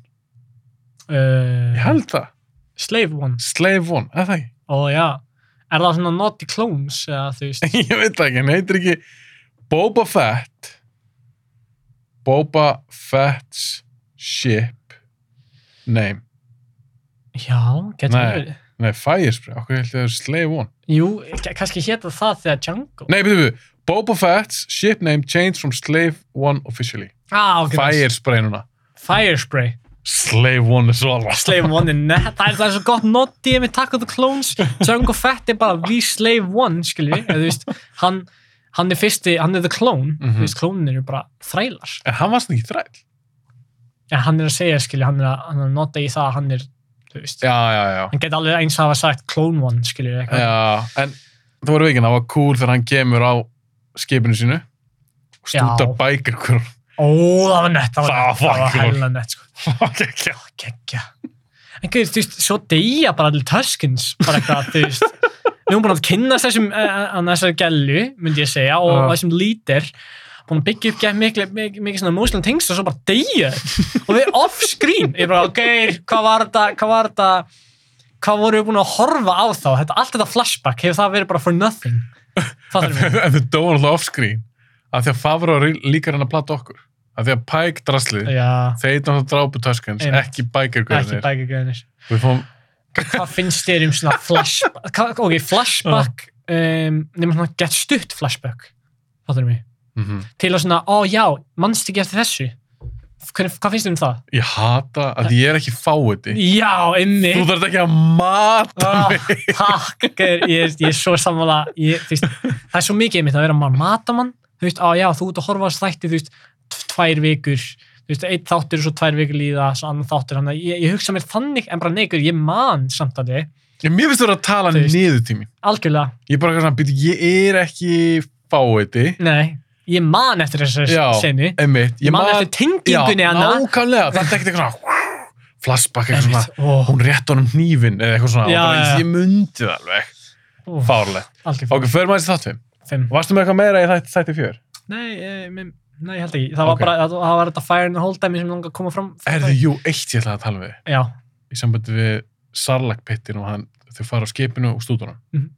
A: Ég
B: Uh,
A: held það,
B: Slave One,
A: Slave One, eða það ekki?
B: ó já, er það svona Naughty Clones, eða þú veist,
A: Ég veit það ekki, hann heitir ekki Boba Fett, Boba Fett's Ship, name,
B: já, getur
A: Nei.
B: verið.
A: nei, Firespray, okkur heldur það er Slave One.
B: Jú, ka- kannski hétta það þegar Django.
A: Nei, býttu, býttu, Boba Fett's ship name changed from Slave One officially.
B: Ah, ok, nice.
A: Firespray núna.
B: Fire Spray.
A: Slave One er svo alveg.
B: Slave One er nett, það er, það er svo gott noti með Attack of the Clones, Django Fett er bara The Slave One, skilji, eða þú veist, hann, hann er fyrsti, hann er the clone,
A: Mhm.
B: þú veist, klónin eru bara þrælar,
A: En hann varst ekki þræll.
B: en hann er að segja, skilji, hann er að, hann er að nota í það að hann er, þú veist,
A: Já, já, já.
B: hann geti alveg eins að hafa sagt Clone One, skilji, eitthvað,
A: Já, en þú verður veginn, það var cool þegar hann kemur á skipinu sínu og stútar
B: Já.
A: bækur hver
B: ó, það var nett, það var
A: Það
B: nett,
A: var
B: það var
A: cool.
B: heila nett, sko,
A: okay,
B: geggja, en gauð, þú veist, svo deyja bara allir Tuskins, bara eitthvað, þú veist, við erum búin að kynna þessum, uh, þessar gælu, myndi ég segja, og
A: Já.
B: þessum lítir, búin að byggja upp gæð mikið, mikið, mikið svona Muslim tengsl og svo bara deyja, þeir. og við off-screen, ég bara, ok, hvað var þetta, hvað var þetta, hvað vorum við búin að horfa á þá, þetta, allt þetta flashback, hefur það verið bara for nothing, fattar við,
A: En þau dói alltaf offscreen af því að Favro líkar hann að plata okkur af því að Pike draslið
B: já,
A: þeir náttúrulega drápu Tuskens,
B: Einmitt.
A: ekki bækur
B: ekki
A: hverðir
B: bækagöðinir.
A: Við fáum,
B: hvað finnst þér um svona flashback hvað- ok, flashback um, nema svona gett stutt flashback fattur mig,
A: mm
B: til að svona, ó já mannst ekki eftir þessu Hver, hvað finnst þér um það?
A: ég hata að ég er ekki fáiði
B: já, inni
A: Þú þarf ekki að mata
B: Ah,
A: mig
B: takk, gaur, ég, er- ég er svo sammála ég, þú veist, það er svo mikið einmitt að vera maður matamann þú veist, á já, þú ert að horfa á þessa þætti þú veist, tv- tvær vikur þú veist, einn þáttur og svo tvær vikur líða svo annan þáttur, þannig að ég, ég hugsa mér þannig en bara neikur, ég man samt að þið
A: Ég- Mér finnst þú að tala
B: Þú veist.
A: niður til mín
B: algjörlega,
A: Ég er bara eitthvað svona, býtu, ég er ekki fáiði
B: Nei, ég man eftir þessari
A: Já.
B: senu.
A: Einmitt,
B: Ég
A: ég
B: man,
A: man-
B: eftir tengingunni
A: Já,
B: hana.
A: nákvæmlega, það er ekkert eitthvað svona flashback, eitthvað svona,
B: Einmitt. Ó,
A: hún rétt honum hnífin eða eitthvað svona,
B: Já,
A: já, bara,
B: já, já.
A: ég myndi það alveg,
B: ó,
A: fárlegt
B: Algjör
A: ok, förum aðeins í þátt fimm,
B: fimm.
A: varstu með eitthvað meira í þætti, þætti fjör?
B: Nei, eh, mér- nei, ég held ekki. Það var
A: Ok.
B: bara, það, það var þetta fire and hold dæmi sem langar að koma fram.
A: Erðu, jú, eitt ég ætlaði að tala við þig,
B: Já,
A: í sambandi við Sarlakpittin og hann, þau fara á skipinu og stúdunum
B: Mhm.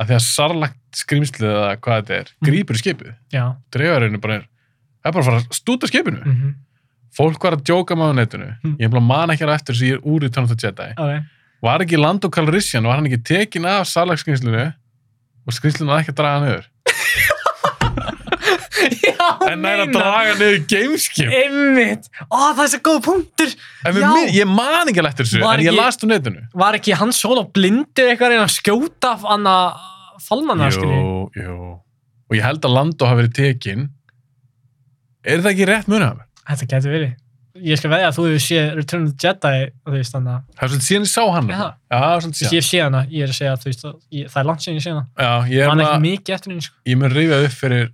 A: að því að Sarlak skrýmslið eða hvað þetta er, grýpur í skipið
B: já.
A: dreifarinu bara er, það er bara að fara að stúta skipinu
B: Mm
A: fólk var að djóka með á netinu,
B: Mhm.
A: ég er bara man ekki alveg eftir þess að ég er úr í Tönn of the Jedi
B: Ok,
A: Var ekki Lando Calrissian, var hann ekki tekin af salagskrynslinu og skrynslinu að ekki að draga hann niður?
B: já,
A: En það er að draga niður gameskip.
B: Einmitt. Ó, það er svo góð punktur.
A: En við,
B: já.
A: minn- ég man ekki alveg eftir þessu,
B: Var
A: en ég
B: ekki-
A: last um netinu.
B: Var ekki hann sól og blindur eitthvað að reyna að skjóta af hann að fallmanna, skilji?
A: Jú, jú. Og ég held að Lando hafi verið tekin. Er það ekki rétt munið af mér?
B: Þetta getur verið. Ég skal veðja að þú hefur séð Return of the Jedi, þú veist, þannig að
A: Það er svolítið síðan ég sá hann.
B: Já.
A: alveg. Já, það er
B: Þú veist,
A: svolítið síðan.
B: ég sé hana, ég er að segja að þú veist, að ég, það er langt síðan ég sé hana.
A: Já, ég, er
B: Man ekki
A: maður,
B: mikið eftir henni, sko.
A: ég mun rifja upp fyrir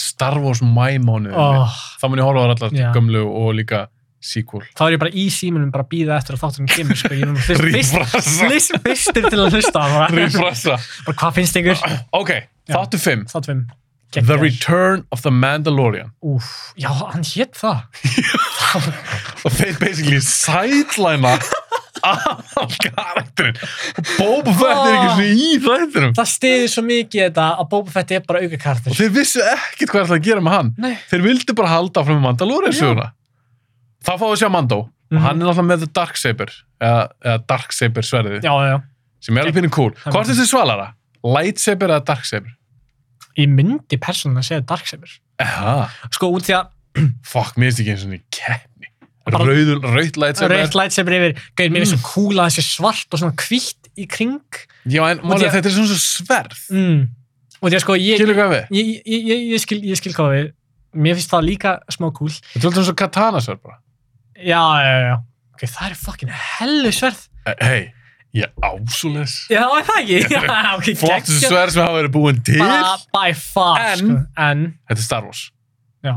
A: Star Wars mæmónið. Oh.
B: Oh,
A: Þá mun ég horfa á þær allar
B: Já.
A: gömlu og líka sequel.
B: þá er ég bara í símunum bara að býða eftir að þátturinn kemur, sko. Ég er nú fyrst, fyrst,
A: Rífrasa.
B: fyrst, fyrstur til að hlusta. Bara,
A: Rífrasa.
B: bara hvað finnst ykkur?
A: Ok,
B: Já.
A: þáttu fimm.
B: Þáttum.
A: The Return of the Mandalorian
B: Úf, já, hann hétt það.
A: og þeir basically sidelæna af karakterinn og Boba Fett er ekki svona í þættinum
B: Það stiðir svo mikið þetta að Boba Fett er bara
A: og
B: aukakartur.
A: þeir vissu ekkert hvað það að gera með hann
B: Nei.
A: þeir vildu bara halda áfram með Mandalorian söguna þá fáum við að sjá Mando
B: Mhm.
A: og hann er náttúrulega með The Darksaber eða, eða Darksaber sverðið
B: Já, já, já.
A: sem er alveg pínu cool
B: er
A: hvort er þessi svalara? Lightsaber eða Darksaber?
B: Ég myndi persónulega segja Darksaber.
A: Eha,
B: Sko, út því að
A: fuck, mér finnst ekki eins og niður keppni
B: Bara-
A: Rauður- rautt lightsaber
B: reitt lightsaber yfir, gauðir mér er svo kúla þessi svart og svona hvitt í kring.
A: Já, en málið er
B: því
A: að þetta er svona svo sverð
B: Mm. Og því að sko, ég,
A: Skilur hvað við?
B: ég, ég, ég, ég, skil, ég skil hvað við mér finnst það líka smá kúl
A: Þetta er alltaf eins og katana sverð bara.
B: já, já, já, ok, það er fucking hellu sverð
A: Eh, Hei, ég ásúleis.
B: já, er það ekki, já, ok,
A: Flottu
B: geggjað.
A: sverð sem hafa verið búin til.
B: bara by far
A: En-
B: sko. en
A: Þetta er Star Wars.
B: já,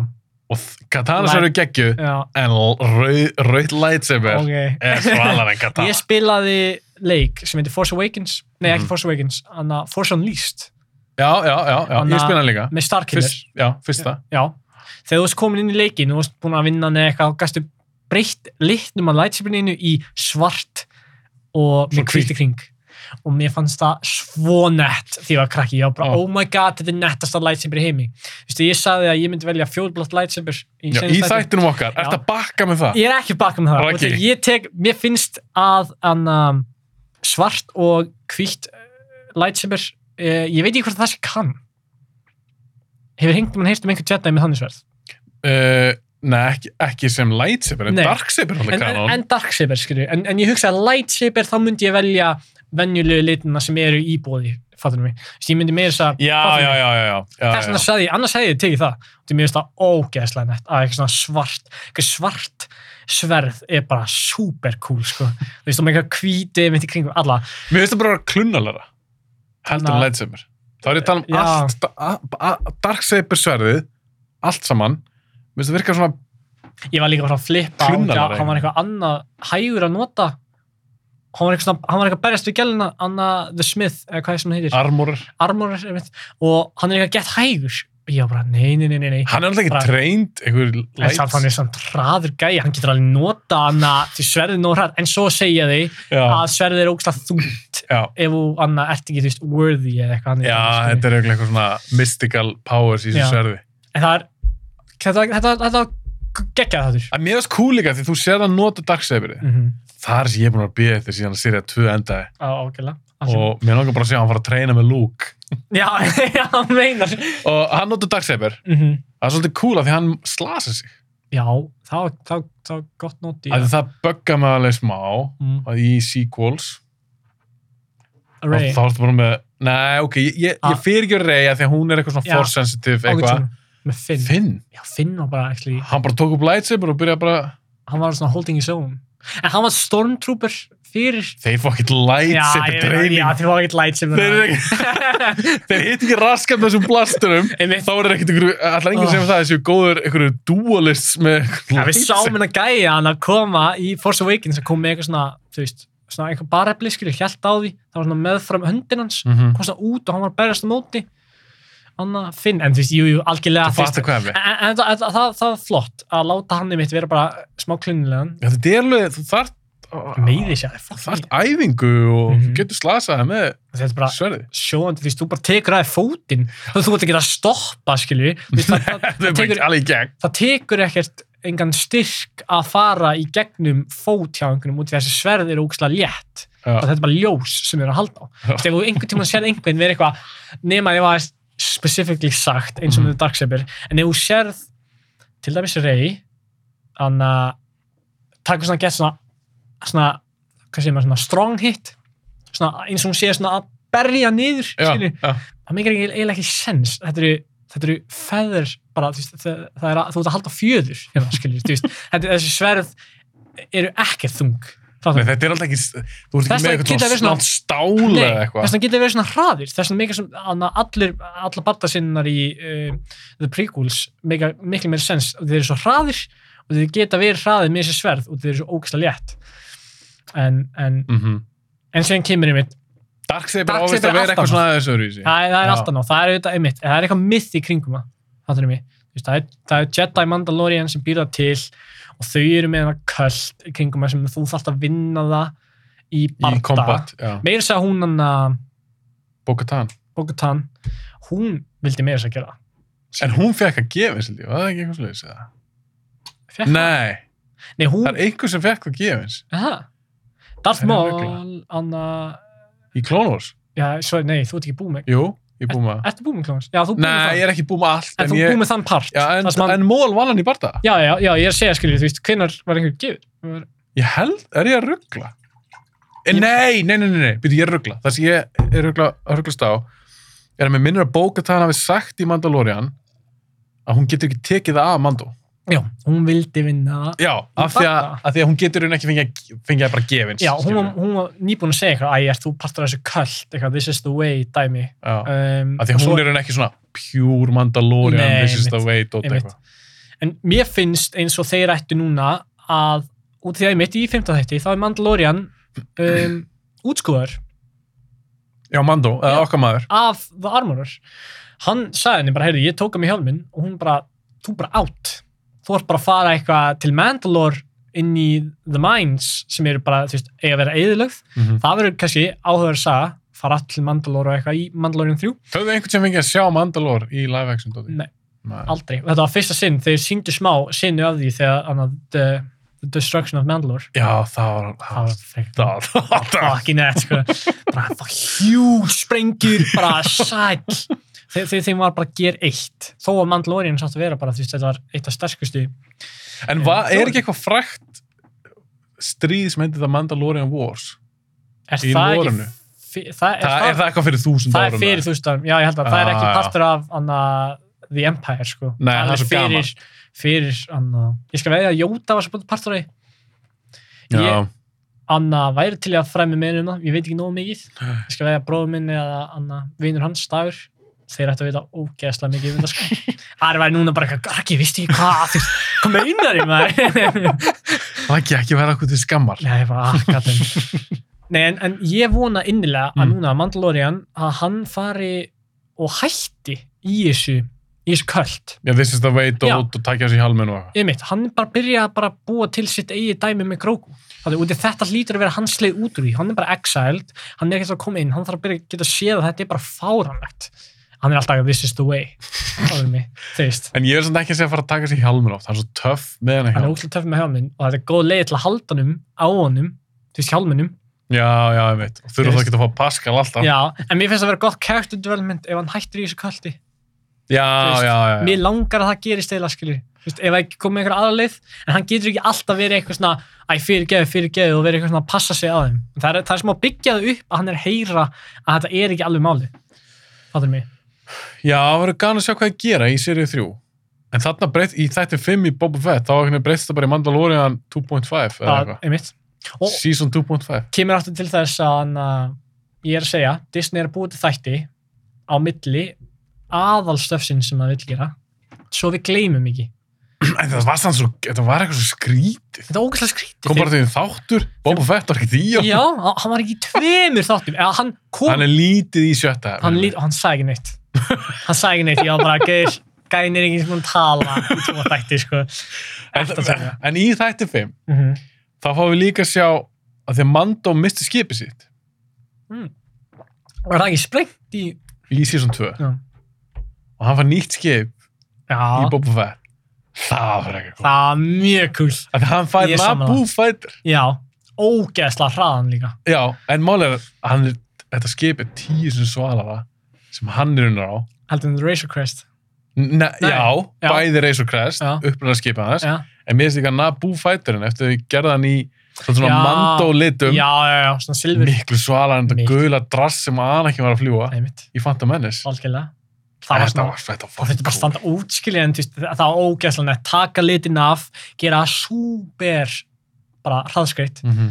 B: Light-
A: eru geggju
B: Já,
A: en rauð, rauð lightsaber
B: ok.
A: er svalar en
B: Ég
A: katana
B: spilaði leik sem heitir Force Awakens, nei ekki
A: Mhm.
B: Force Awakens, hann að Force Unleashed
A: já, já, já, já,
B: Anna-
A: ég spila hann líka
B: með Starkiller.
A: Fyrst, já, fyrsta
B: Já, þegar þú varst komin inn í leikin og þú varst búin að vinna neð eitthvað og gæstu breytt litnum að lightsaberninu í svart og
A: Svo
B: með hvíti kring og mér fannst það svo nett því ég var krakki, ég var bara,
A: Já.
B: oh my god þetta er nettasta lightsaber í heimi Vistu, ég sagði að ég myndi velja fjólblátt lightsaber
A: já,
B: seinasta
A: í
B: þætti.
A: þættinum okkar,
B: Já.
A: ertu að bakka með það
B: ég er ekki baka með það
A: Raggi.
B: Út af því ég tek, mér finnst að an, um, svart og hvítt uh, lightsaber uh, ég veit ekki hvort það sé kann hefur hengt mann heyrt um einhvern tjætnaði með þannig sverð
A: uh, nei, ekki, ekki sem lightsaber en
B: Nei.
A: darksaber er
B: en,
A: alveg
B: en,
A: kanon
B: en darksaber skilju en, en ég hugsa að lightsaber þá myndi ég velja venjulegu litina sem eru í bóði fattur mig, þess ég myndi meira þess að
A: já, já, já, já, já, já,
B: þess vegna
A: já.
B: sagði ég, annars hefði ég tekið það því mér finnst það ógeðslega nett að eitthvað svona svart eitthvað svart sverð er bara super cool sko, þú veist, og með eitthvað hvíti mitt í kringum, alla,
A: mér finnst það bara klunnalara heldur
B: Anna-
A: en lightsaber þá er ég að
B: Já.
A: tala um allt a- a- darksaber sverðið, allt saman mér finnst það virka svona
B: ég var líka bara að flippa á því
A: Klunnalega.
B: að hann var eitthvað annað hægur að nota hann var eitthvað, svona- hann var eitthvað berjast við gæluna Anna the Smith, eða hvað er sem hann heitir
A: armor
B: Armor, einmitt, og hann er eitthvað gett hægur ég var bara, nei, nei, nei, nei, nei.
A: hann er alltaf
B: Bara-
A: ekki treynd einhver
B: En samt hann
A: lights
B: er samt hraður gæja, hann getur alveg nota hana til sverðið nóg hraður, en svo segja þau
A: já,
B: að sverðið er ógstlega þungt
A: já,
B: ef þú annað ert ekki, þú veist, worthy eða eitthvað annað.
A: Já,
B: skilur.
A: þetta er eiginlega eitthvað svona mystical powers í
B: sko. Já.
A: þessu sverði.
B: En það er, þetta, þetta, þetta geggjað þáttur.
A: En mér finnst cool líka því þú sér að nota dagsefri.
B: Mm -hmm.
A: Þar sem ég er búin að bíða eftir síðan að sérja tvö endaði.
B: Á, ágæðlega.
A: Og mér langar bara að sjá hann fara að treyna með Luke.
B: Já, já, hann meinar.
A: Og hann nota dagsefir.
B: Mm
A: Það er svolítið cool af því hann slasa sig.
B: Já, þá, þá, þá, gott nóti.
A: Af því það bugga mig alveg smá
B: Mm.
A: að í sequels.
B: Ray.
A: Og þá ertu bara með... Nei, ok, ég, ég,
B: Ah.
A: ég fyrir ekki Rey af því að hún er eitthvað
B: Já.
A: svona force sensitive
B: Ágætt
A: eitthvað.
B: svona. Með Finn.
A: Finn.
B: Já, Finn var bara, actually,
A: Hann bara tók upp lightsaber og byrjaði bara...
B: hann var svona holding his own. En hann var stormtrooper fyrir...
A: Þeir fá ekkert
B: Já,
A: lightsaber
B: ég veit- já,
A: treyning.
B: þið var ekkert lightsaber.
A: Þeir eru ekki... þeir hitt ekki raskat með þessum blasturum
B: Einmitt.
A: þá er ekkert ykkur, allar enginn sem það þessu góður ykkur dualists með einhverju
B: Já, við
A: lightsaber.
B: sáum hérna hennar gæja hann að koma í Force Awakens að koma með eitthvað svona, þú veist, svona einhver barefli, skilur, hjælt á því, það var svona meðfram höndin hans,
A: Mhm.
B: kom svona út og hann var að berjast á móti, hann að finn, en þú veist, jú, jú, algjörlega,
A: Þú fattar hvað ég
B: en, en, en það, það, það var flott að láta hann í mitt vera bara smá klunilegan,
A: með þetta er alveg, þú þart
B: meiði sér,
A: þart
B: fuck,
A: æfingu og
B: Mhm.
A: þú getur slasaði með
B: þetta er bara
A: sverði
B: sjóandi, þú veist, þú bara tekur aðeins fótinn, þú þú ert ekki að stoppa, skilur, þú veist, það, það,
A: það
B: það
A: er
B: tekur
A: bara alveg í gegn
B: það tekur ekkert engan styrk að fara í gegnum fót hjá einhvernum út í þessi sverð eru ógslag létt
A: Já.
B: og þetta er bara ljós sem eru að halda á
A: Já.
B: Þegar þú einhvern tímann sér einhvern verið eitthvað nema ef það er specifíkli sagt eins og
A: Mhm.
B: með Darksaber en ef þú sérð til dæmis Rey hann að taka svona gett svona, svona hvað segir maður, svona strong hit svona, eins og hún sé svona að berja niður skilur,
A: Já, já.
B: það mikil eiginlega ekki sens þetta eru, þetta eru feður bara, þú, veist, það, það er að, þú ert að halda á fjöður ef það skilur, þú veist, þetta, þessi sverð eru ekkert þung
A: Nei,
B: Fattar þú?
A: þetta er alltaf ekki þú ert
B: Þess
A: ekki með
B: vegna
A: eitthvað
B: geta
A: svona
B: verið svona-
A: snátt stál
B: Nei,
A: eða
B: þess
A: eitthvað
B: vegna getur verið svona hraðir þess vegna mikil sem anna, allir, allar bardasinnar í uh, The Prequels mikil, mikil meira sens og þeir eru svo hraðir og þeir geta verið hraðir með þessi sverð og þeir eru svo ógæslega létt en, en,
A: Mhm.
B: en síðan kemur einmitt
A: Darksaber
B: Darksaber
A: ávist að vera
B: aftan
A: eitthvað
B: á.
A: svona aðeins öðruvísi
B: það, það er
A: Já.
B: allt annað, það er auðvitað einmitt það er eitthvað myth í kringum það fattar mig, þú veist, það er, það er Jedi Mandalorian sem býr það til og þau eru með hana köld í kringum það sem þú þarft að vinna það í
A: í
B: barda,
A: kombat, já,
B: meira þess að hún hann að
A: Bokatan
B: Bogotan, hún vildi meira þess að gera
A: en hún fekk að gefa, sildi, var það ekki eitthvað sliðis eða?
B: Fékk það?
A: Nei,
B: nei, hún,
A: það er einhver sem fekk það gefins
B: aha Darth
A: Það er
B: Maul,
A: regla.
B: Anna
A: í Clone Wars.
B: já, svo, nei, þú ert ekki búið með
A: Jú, ég búið með það.
B: ertu búið með klóns? já, þú búið með
A: Nei,
B: það
A: ég er ekki búið með allt.
B: en þú
A: ég,
B: búið með þann part
A: já, en,
B: það sem hann-
A: en Mól vann hann í barða.
B: já, já, já, ég er að segja skiljið, þú veist, hvenær var einhver gefur
A: Ég held, er ég að ruggla?
B: Ég-
A: Ég... Nei, nei, nei, nei, nei, byrju, ég er að ruggla. Það sem ég er ruggla, að rugglast á er að mér minnir að Bókatan hafi sagt í Mandalorian að hún getur ekki tekið það af Mandó.
B: já, hún vildi vinna það
A: Já, af því, að, af því að hún getur hún ekki fengið, fengið bara gefins.
B: Já, hún var,
A: skilurðu.
B: hún var nýbúin að segja eitthvað, æ, ert þú partur af þessu köld, eitthvað, this is the way, dæmi.
A: Já,
B: Um,
A: af því að hún er hún ekki svona pure Mandalorian,
B: Nei,
A: this is the
B: einmitt,
A: way, dot
B: einmitt.
A: eitthvað.
B: en mér finnst eins og þeir ættu núna að út af því að ég mitt í 15 þætti þá er Mandalorian um, útskúðar
A: Já, Mando, eða okkar maður.
B: af The Armorer hann sagði henni bara, heyrðu, ég tók að mig hjálminn og hún bara, þú bara átt þú ert bara að fara eitthvað til Mandalore inn í The Mines sem eru bara, þú veist, eiga að vera eðilögð
A: Mm -hmm.
B: það verður kannski áhugaður að saga fara all til Mandalore og eitthvað í Mandalorian 3
A: Höfðu einhvern sem fengið að sjá Mandalore í live action, Dóti?
B: Nei.
A: Nei.
B: aldrei, þetta var fyrsta sinn, þeir síndu smá sinnu af því þegar annað, the, the Destruction of Mandalore
A: Já, það var... Það
B: það
A: var...
B: var frekar
A: Það var... Það var...
B: fucking net sko. bara fuck huge sprengjur bara sæl þegar þeir, þeim var bara að gera eitt þó að Mandalorian sátt að vera bara því þetta var eitt af sterkustu
A: En va, er ekki eitthvað frækt stríð sem heitir það Mandalorian Wars?
B: er
A: Í
B: það
A: lorinu.
B: ekki fyr- það er,
A: Það, er það eitthvað fyrir þúsund
B: það
A: árum?
B: er fyrir
A: eða?
B: þú stöðum já ég held að það er
A: Ah,
B: ekki
A: já.
B: partur af anna, The Empire sko
A: Nei, það er
B: alveg
A: svo
B: fyrir, fyrir anna, ég skal veðja að Jóta var svo partur af því
A: Já,
B: Ég- Anna væri til í að fræmi meira um það, ég veit ekki nógu mikið. Ég skal vega bróður minni eða Anna, vinur hans, Dagur, þeir ættu að vita ógeðslega mikið um þetta sko. Ari væri núna bara eitthvað, Gargi, vistu ég hvað, kom með unnar í maður.
A: það ekki ekki vera eitthvað til skammar.
B: Nei, ég bara, ah, gattum. Nei, en, en ég vona innilega að
A: Mm.
B: núna Mandalorian, að hann fari og hætti í þessu, í þessu kvöld.
A: Já, this is the way,
B: Já.
A: Dót, og takja sér hjálminn og eitthvað.
B: Ég mitt, hann bara byrja að bara búa til sitt eigi dæmi með Grogu. Þannig út í þetta hlýtur að vera hans leið út úr því. Hann er bara exiled, hann er ekkert að koma inn, hann þarf að byrja að geta séð að þetta er bara fáranlegt. Hann er alltaf að this is the way. Það er mig, þú veist.
A: En ég er samt ekki að segja að fara að taka sér hjálminn oft. Hann er svo töff með hann
B: Hann er
A: hjálm.
B: útlut töff með hjálminn og þetta er góð leið til að halda hann á honum, þú veist, hjálminnum.
A: Já, já, ég veit. Og þurfa þá
B: Ég veist.
A: ekki að fá Pascal alltaf.
B: Já, en mér finnst það að vera gott character development ef hann hættir í þessu kvöldi.
A: já,
B: Þú veist,
A: já. já, já.
B: Mér langar að það gerist eða, skilju. Þú veist, ef ekki komið einhver aðra leið, en hann getur ekki alltaf verið eitthvað svona, æ, fyrirgeðu, fyrirgeðu og verið eitthvað svona að passa sig að þeim. Það er, það er sem að byggja það upp að hann er að heyra að þetta er ekki alveg máli. Fattur mig.
A: Já, það verður gana að sjá hvað ég gera í seríu 3. En þarna breytt, í þætti 5 í Boba Fett, þá breytst það bara í Mandalorian 2.5 eða
B: Það
A: eitthvað.
B: er mitt. Og
A: Season 2.5.
B: kemur aftur til þess að hann, að- ég er að segja, Disney er að búið til þætti á milli aðalstöfsin sem það vil gera, svo við gleymum ekki.
A: En það var, samt svo, þetta var eitthvað svo skrítið.
B: Þetta er ógæslega skrítið.
A: Kom bara til því þáttur, Boba Fett var ekki í
B: Já, hann var ekki í tveimur þáttum, eða hann kom
A: Hann er lítið í sjötta.
B: hann, lít, hann sagði ekki neitt hann sagði ekki neitt, ég var bara gauð gæðin er ekki sem hún tala í tvo þætti sko
A: en,
B: Ertu að segja?
A: en í þætti 5,
B: mm
A: þá fáum við líka að sjá að því að Mando misti skipið sitt
B: var það ekki sprengt í
A: í season 2
B: Já.
A: og hann fær nýtt skip í
B: já,
A: Boba Fett. Það var ekki.
B: það var mjög kúl
A: Að hann fær
B: Ég er sammála.
A: Naboo fætt
B: já, ógeðslega hraðan líka
A: Já, en málega hann er, þetta skip er tíu sem svalara sem hann er unnar á
B: heldur en The Razor Crest
A: N
B: Nei,
A: já,
B: já.
A: bæði Razor Crest
B: Já.
A: upprunar skipið hans,
B: já,
A: en mér finnst ekki að Naboo fæturinn eftir að við gerða hann í svona, svona
B: Já.
A: mandó
B: já,
A: litum
B: já, já, svona silfur
A: miklu svalara en þetta
B: Miklu.
A: gula drass sem hann ekki var að fljúa
B: Nei, mitt,
A: í Phantom Menace
B: algjörlega það var
A: Þetta
B: svona
A: var þetta
B: og þetta bara
A: var-
B: standa útskilja en þú veist, það var ógeðslega nett taka litin af, gera súper bara hraðskreitt
A: Mhm.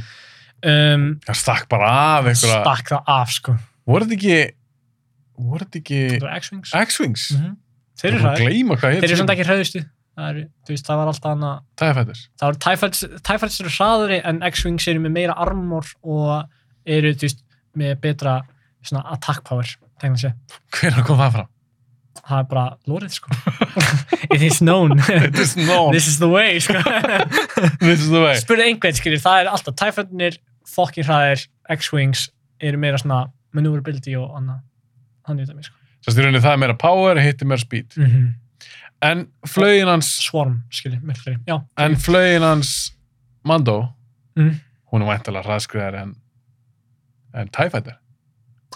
B: um,
A: Það stakk bara af einhverja
B: stakk það af sko
A: voru þetta ekki voru þetta ekki
B: Það var X-Wings
A: X-Wings?
B: -hmm. Þeir
A: Ég er
B: eru
A: búinn að
B: hræðir.
A: gleyma hvað
B: Þeir eru
A: heitir
B: svona
A: skipið.
B: ekki hræðustu. Það, eru, þú veist, það var alltaf hana...
A: Það er fættis
B: Það voru Typhides, Typhides eru hraðari en X-Wings eru með meira armor og eru, þú veist, með betra svona attack power, tegna sé.
A: Hvenær kom það fram?
B: Það er bara lórið, sko. It is known.
A: It is known,
B: This is the way, sko.
A: this is the way
B: Spurðu einhvern, skiljið, það er alltaf Typhides fokkin hraðir, X-Wings eru meira svona maneuverability og annað. Þannig þetta mér, sko.
A: Sérst í rauninni það er meira power, hittir meira speed.
B: Mm -hmm.
A: En flögin hans,
B: Swarm, skiljið, myrkri. Já.
A: en flögin hans Mando,
B: Mm.
A: hún er væntalega hraðskriðar en, en TIE Fighter.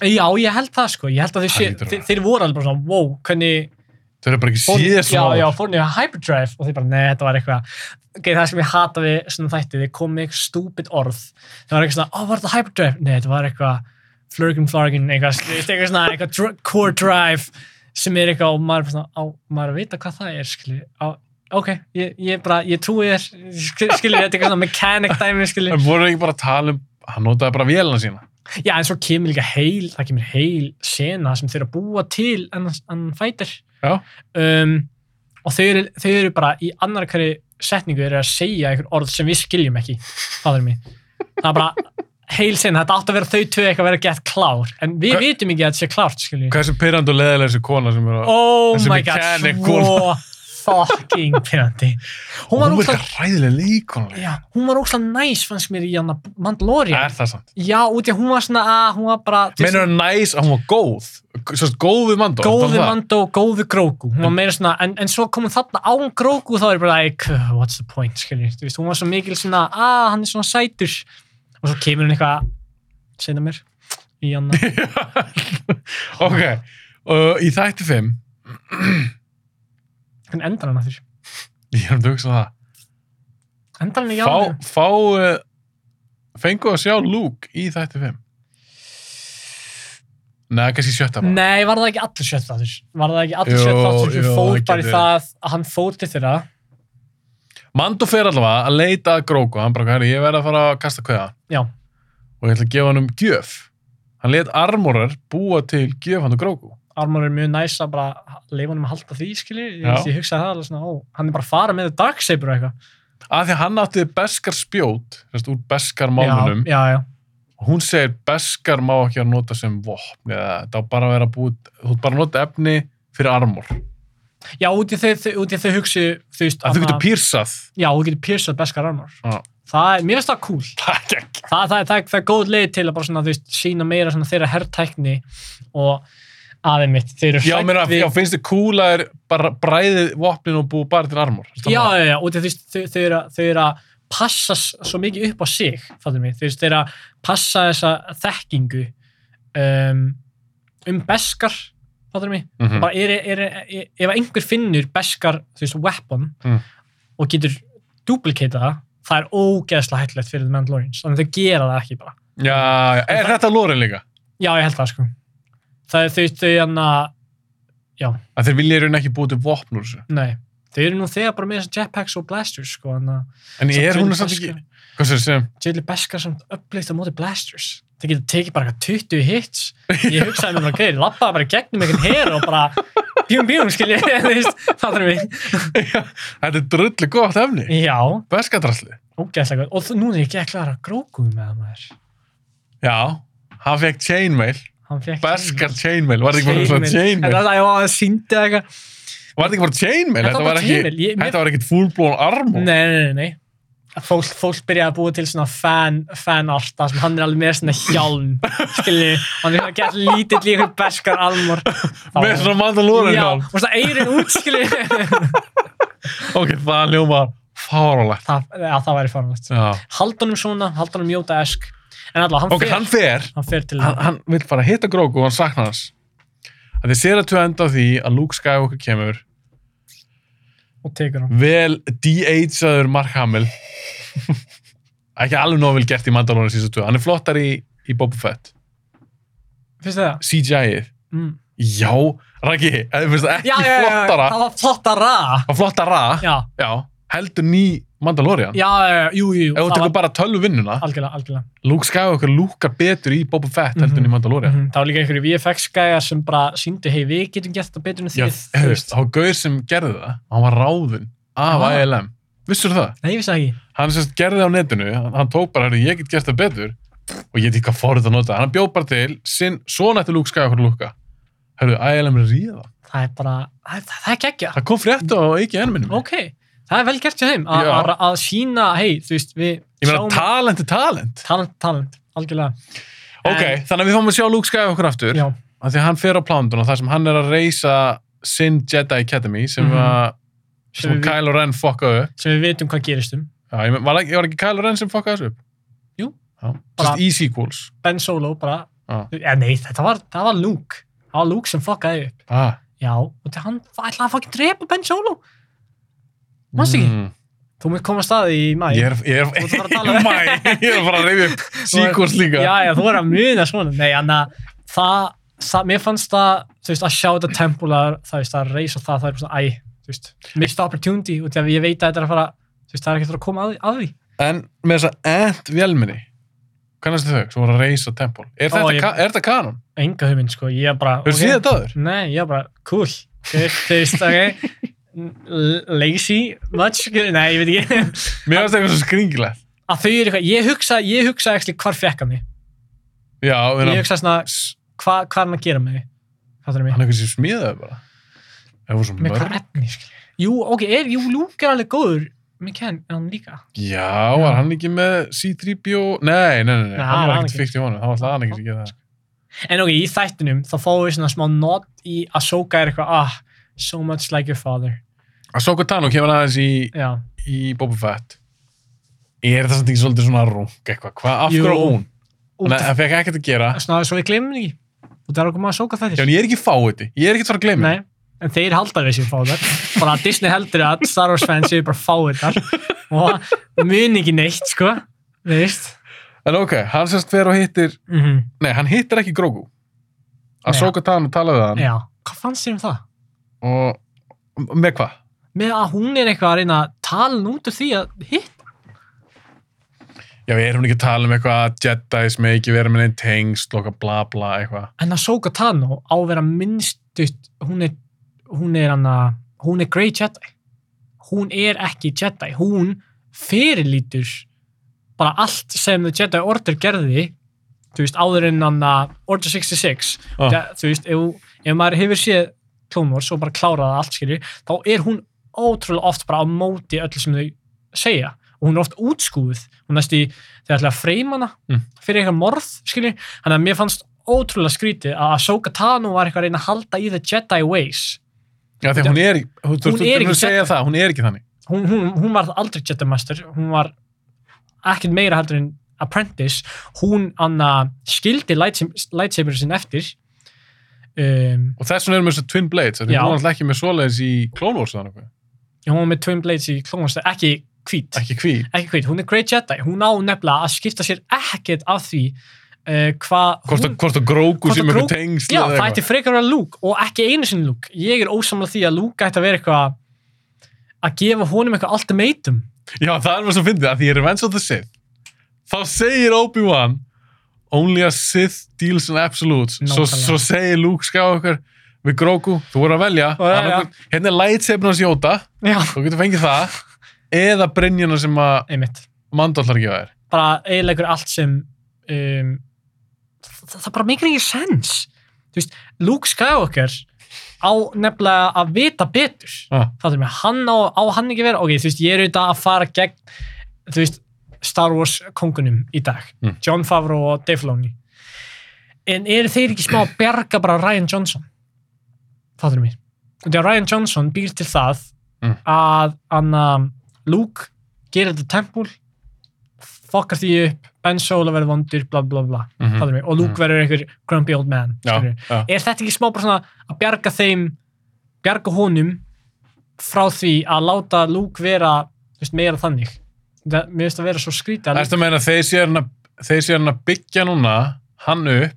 B: Já, ég held það sko, ég held að þeir,
A: Það
B: sé,
A: hlýtur að
B: þeir,
A: vera.
B: þeir voru alveg bara svona, wow, hvernig
A: Þau eru bara ekki
B: fór-
A: síðast
B: já,
A: svona
B: já,
A: áður.
B: fór niður að hyperdrive og þeir bara, nei, þetta var eitthvað ok, það sem ég hata við svona þætti, þeir kom með eitthvað stúpid orð, það var eitthvað svona, ó, var þetta hyperdrive? Nei, þetta var eitthvað flurgin flargin, eitthvað, þú veist, eitthvað svona eitthvað dr core drive sem er eitthvað og maður er bara svona, á, maður er að vita hvað það er skilji, á, ok, ég, ég bara ég trúi þér, skilji, þetta er eitthvað svona mechanic dæmi, skilji
A: En voru ekki bara að tala um, hann notaði bara vélina sína.
B: Já, en svo kemur líka heil, það kemur heil sena sem þeir eru að búa til en hann fætir.
A: Já.
B: Um, og þau eru, þau eru bara í annar hverju setningu eru að segja einhver orð sem við skiljum ekki það er mér það er bara heil sinna, þetta átt að vera þau tvö eitthvað að vera gett klár en við
A: Hva-
B: vitum ekki að þetta sé klárt skiljum
A: Hvað er þessi pyrrandi og leðilega þessi kona sem er að...
B: oh
A: Þessi
B: my god,
A: mechanic
B: svo fucking pyrrandi hún
A: Hún
B: var
A: er
B: ósla
A: eitthvað ræðilega leikonuleg.
B: já, hún var ósla næs fannst mér í hann Mandalorian
A: Er það sant?
B: já, út í að hún var svona að hún var bara
A: Meinar það næs að hún var góð? Svo góð við mandó?
B: góðu Mando, góðu Grogu hún var meira svona, en, en svo kom hún þarna án Grogu þá er ég bara like, "Ugh, what's the point skiljum, þú veist, hún var svo mikil svona að hann er svona sætur og svo kemur hún eitthvað segna mér í hann
A: ok, uh, í þætti 5,
B: hvernig endar hann að þér?
A: ég er um að hugsa það,
B: endar hann í
A: fá,
B: hann?
A: fá uh, fengu að sjá Luke í þætti 5. Nei, kannski sjötta bara.
B: Nei, var það ekki allir sjött þáttur? Var það ekki allir
A: Jú,
B: sjött þáttur sem
A: jú, það
B: fór bara í
A: getur-
B: það að hann fór til þeirra?
A: Mandó fer allavega að leita að Grogu, hann bara, herri, ég verð að fara að kasta kveða
B: Já,
A: og ég ætla að gefa hann um gjöf. Hann let armorar búa til gjöf hann og Grogu.
B: Armor er mjög næs að bara leifa hann um að halda því, skilji. Ég,
A: Já.
B: ég hugsaði það alveg svona, ó, hann er bara að fara með Darksaber og eitthvað.
A: Af því að hann átti beskar spjót, sérst, úr beskar
B: Já,
A: málunum.
B: já, já.
A: og hún segir beskar má ekki að nota sem vopn eða það á bara að vera búið þú ert bara að nota efni fyrir armor
B: Já, út í þau, þau, út í þau hugsi, þú veist,
A: að þú
B: annað-
A: getur pýrsað
B: já, þú getur pírsað beskar armor.
A: Já.
B: Það er, mér finnst það cool.
A: það er ekki
B: Það, það, er- það, er- það er góð leið til að bara svona, þú veist, sína meira svona þeirra herrtækni og aðeins mitt, þeir eru
A: já,
B: hrætt
A: meina, já, finnst þið cool að er bara bræðið vopnin og búið bara til armor Ertu
B: já,
A: að-
B: já, já, og þau, þau, þau, eru, að- þau eru að passa s- svo mikið upp á sig fattum við, þau eru að passa þessa þekkingu um, um beskar fattum við,
A: Mhm.
B: bara er, er, er, ef einhver finnur beskar þú veist, weapon
A: Mm.
B: og getur duplicata það það er ógeðslega hættilegt fyrir The Mandalorians þannig að þau gera það ekki bara
A: já, já, er þetta lórin líka
B: já, ég held það sko það er þau, hérna, þau hann að
A: að þeir vilja í raun ekki búið til vopn úr þessu
B: nei, þau eru nú þegar bara með þessar jetpacks og blasters sko, hann að
A: en er hún
B: Samt
A: samt
B: Beskar-
A: ekki hvað sem sem
B: Jilly Beskar samt uppleitt á móti Blasters það getur tekið bara eitthvað 20 hits ég hugsaði mér bara, ok, lappaði bara í gegnum einhvern her og bara bjúm bjúm, skilji það er mig,
A: þetta er drullu gott efni
B: já,
A: beskadrasli
B: ógæðslega gott. og þú- núna er ég ekki að klara grókum með það maður
A: já, hann fekk chainmail
B: hann fekk
A: beskar chainmail var þetta ekki bara
B: en
A: chainmail
B: það er að síndi eitthvað
A: var þetta ekki bara chainmail þetta
B: Þetta var
A: var
B: bara
A: ekki
B: chainmail. Ég- mér-
A: þetta var ekkit fullblón armor
B: nei, nei, nei, nei Að Fólk, fólk byrjaði að búa til svona fan, fanart þar sem hann er alveg með svona hjálm skilji, hann er að geta lítill í einhver beskar almor
A: með
B: Þá-
A: svona Mandalorian
B: Já,
A: hjálm
B: og svona eirin útskili
A: ok, það ljómar fáralegt
B: það, ja, það væri farlegt
A: Já.
B: haldunum svona, haldunum jóta esk en allavega, hann
A: ok,
B: fer
A: hann fer
B: hann fer til
A: hann, hann vil bara hitta Grogu og hann saknar hans að þið sér að tjóða enda á því að Luke Skywalker kemur
B: og tekur hann
A: vel de-ageaður Mark Hamill ekki alveg nóg vel gert í Mandalorian síðan tjóða, hann er flottar í, í Boba Fett
B: finnst þið það?
A: CGI-ið,
B: Mm.
A: já Raki, ef þið finnst það ekki
B: já, já, já, já,
A: flottara
B: það var flottara
A: að flottara,
B: já,
A: já, heldur ný Mandalorian,
B: já, já, já, jú, jú, jú
A: ef þú
B: það
A: tekur bara tölvu vinnuna
B: algjörlega, algjörlega
A: Luke Skywalker lúkar betur í Boba Fett heldur en í Mandalorian
B: Mhm, það var líka einhverju VFX-gæja sem bara síndu, hei, við getum gert það betur en
A: Já,
B: þið þú
A: hefðist, þá gauður sem gerði það, hann var ráðinn af
B: Ah.
A: ILM. Vissur það?
B: nei, ég vissi það ekki
A: Hann sérst gerði það á netinu, hann, hann tók bara, "Heyrðu, ég get gert það betur og ég veit ekki hvað fórið að nota. Hann bjóð bara til, sinn, svona eftir Luke Skywalker lúka. Hörru, ILM er að ríða.
B: það er bara, það, það, það er geggja
A: Það kom frétt á ekki enn minnum.
B: ok, það er vel gert hjá þeim að-
A: Já.
B: að að sína, hei, þú veist, við
A: Ég meina, talent er talent.
B: talent, talent, algjörlega
A: Ok, þannig að við fáum að sjá Luke Skywalker aftur,
B: já,
A: af því að hann fer á plándun og það sem hann er að reysa sinn Jedi Academy sem, mm
B: Mhm.
A: sem
B: sem, við,
A: Kylo Ren fokkaði upp.
B: sem við vitum hvað gerist um
A: Já, ég, men- var, ekki- var ekki Kylo Ren sem fokkaði þessu upp?
B: Jú.
A: Já,
B: Bara-
A: sérst í sequels.
B: Ben Solo bara
A: Já.
B: ja, nei, þetta var, það var Luke það var Luke sem fokkaði upp
A: Ah.
B: já, og til hann ætlaði að fokkin drepa Ben Solo Manstu ekki?
A: Mm.
B: þú mér koma staði í mæ
A: Ég er, ég er,
B: ert bara að tala um-
A: Mæ, ég er bara að reyfi upp sequels líka.
B: já, já, þú er að muna svona nei, en að það, það mér fannst það, þú veist, að sjá þetta tempular það veist, að reysa það, það er bara svona æ, þú veist, missed opportunity og þegar ég veit að þetta er að fara, þú veist, það er ekkert að koma að því, að því.
A: En með þess að ent vélminni, hvernig er þau sem voru að reysa tempól? Er
B: Ó,
A: þetta,
B: ég-
A: ka, er þetta kanon?
B: enga hugmynd, sko, ég er bara
A: Hefur okay.
B: ok.
A: síðan þetta aður?
B: Nei, ég var bara, cool, Ok, þú veist, ok, l- lazy much, nei, ég veit ekki
A: Mér finnst eitthvað svo skringilegt.
B: að þau eru eitthvað, ég hugsa, ég hugsa ekki hvar fekka mig,
A: Já, en
B: ég
A: hann,
B: hugsa svona hva, hvað er hann að gera með mig, hvað er mig
A: hann eitthvað sem smíðaði bara. Það voru svo
B: með
A: mörg.
B: hvað efni, skilja jú, ok, er, jú, Luke er alveg góður með Ken, er hann líka
A: Já, var hann ekki með C-3PO? Nei, nei, nei, nei,
B: Nei,
A: hann var
B: hann
A: ekkert
B: ekki.
A: fyrst í honum. Það var alltaf hann ekki sem gera það. sko.
B: en ok, í þættinum, þá fáum við svona smá not í að Soka er eitthvað, ah, so much like your father
A: Ahsoka Tano kemur aðeins í,
B: já,
A: í Boba Fett. Er það samt ekki svolítið svona rung eitthvað? Hvað, af
B: Jú.
A: hverju á hún?
B: út
A: Nei, það fekk ekkert að gera.
B: af svona svo við glemum því og það er okkur maður Soka
A: Já,
B: þættir
A: en ég er ekki fáið þetta. Ég er ekki að fara að gleyma.
B: Nei, en þeir halda við sér fáðar bara að Disney heldur að Star Wars fans séu bara fáðar og mun ekki neitt sko þú veist
A: En ok, hann sérst fer og hittir...
B: mm
A: Nei, hann hittir ekki Grogu.
B: Nei.
A: Ahsoka Tano talaði við hann.
B: já, hvað fannst þér um það?
A: Og með hvað?
B: með að hún er eitthvað að reyna að tala nú út úr því að hitt
A: Já, er hún ekki að tala um eitthvað að Jedis með ekki vera með neinn tengsl og eitthvað bla bla eitthvað.
B: en að Soka Tano á að vera minnstutt hún er hún er, hana, hún er Grey Jedi hún er ekki Jedi hún fyrirlítur bara allt sem The Jedi Order gerði þú veist, áður en hann Order 66
A: Ah.
B: ja, þú veist, ef, ef maður hefur séð Clone Wars og bara klárað það allt skilur þá er hún ótrúlega oft bara á móti öllu sem þau segja og hún er oft útskúið hún næst í þegar ætla að freyma hana
A: Mm.
B: fyrir eitthvað morð skilur þannig að mér fannst ótrúlega skrítið að Ahsoka Tano var eitthvað að reyna að halda í The Jedi Ways
A: Já, því að hún er, hún, þú,
B: Hún
A: þú,
B: er
A: þú,
B: ekki
A: þú segja
B: Jedi.
A: það, hún er ekki þannig.
B: hún, hún, hún var aldrei Jedi Master hún var ekkert meira heldur en Apprentice hún anna, skildi lightsab- lightsaber sinn eftir um,
A: Og þess vegna erum við þessu Twin Blades, af því
B: Já.
A: hún var alltaf ekki með svoleiðis í Clone Wars þannig.
B: hún var með Twin Blades í klónast ekki hvít,
A: Ekki hví.
B: ekki hvít, hún er Great Jedi hún á nefnilega að skipta sér ekkert af því uh, hvað
A: Hvort, að- hvort að Grogu
B: Hvort
A: sem
B: að
A: eitthvað
B: Grogu-
A: tengsl
B: Já,
A: eða
B: það ætti frekar að vera Luke og ekki einu sinni Luke. Ég er ósamlega því að Luke ætti að vera eitthvað að gefa honum eitthvað ultimatum.
A: Já, það er mér svo fyndið, af því ég er Revenge of the Sith. Þá segir Obi-Wan, only a Sith deals in absolutes. Svo,
B: Nákvæmlega.
A: svo segir Luke Skywalker við Grogu, þú voru að velja.
B: Já, já, já.
A: annarkvort- Hérna er lightsaber hans Jóta,
B: Já,
A: þú getur fengið það, eða Brynjana sem að
B: einmitt.
A: mandallar gefa þér.
B: Bara eiginlegur allt sem um, það, það bara meikir ekki sens. Þú veist, Luke Skywalker á nefnilega að vita betur.
A: Ah.
B: Það er með hann á, á hann ekki að vera. Ok, þú veist, ég er auðvitað að fara gegn, þú veist, Star Wars kongunum í dag.
A: Mm.
B: John Favreau og Dave Filoni. En eru þeir ekki smá að berga bara Ryan Johnson? Fattur mér. Þegar Ryan Johnson býr til það
A: Mm.
B: að anna, Luke gerir þetta tempul, fokkar því upp, Ben Solo verður vondur, bla bla bla.
A: Mm
B: Fattur mér. Og Luke
A: Mhm.
B: verður einhver grumpy old man.
A: Já,
B: skilurðu.
A: já.
B: Er þetta ekki smá bara svona að bjarga þeim, bjarga honum frá því að láta Luke vera þú veist, meira þannig? Það, mér finnst að vera svo skrítið að Luke-
A: Ertu að meina að þeir séu hann að, þeir séu hann að byggja núna hann upp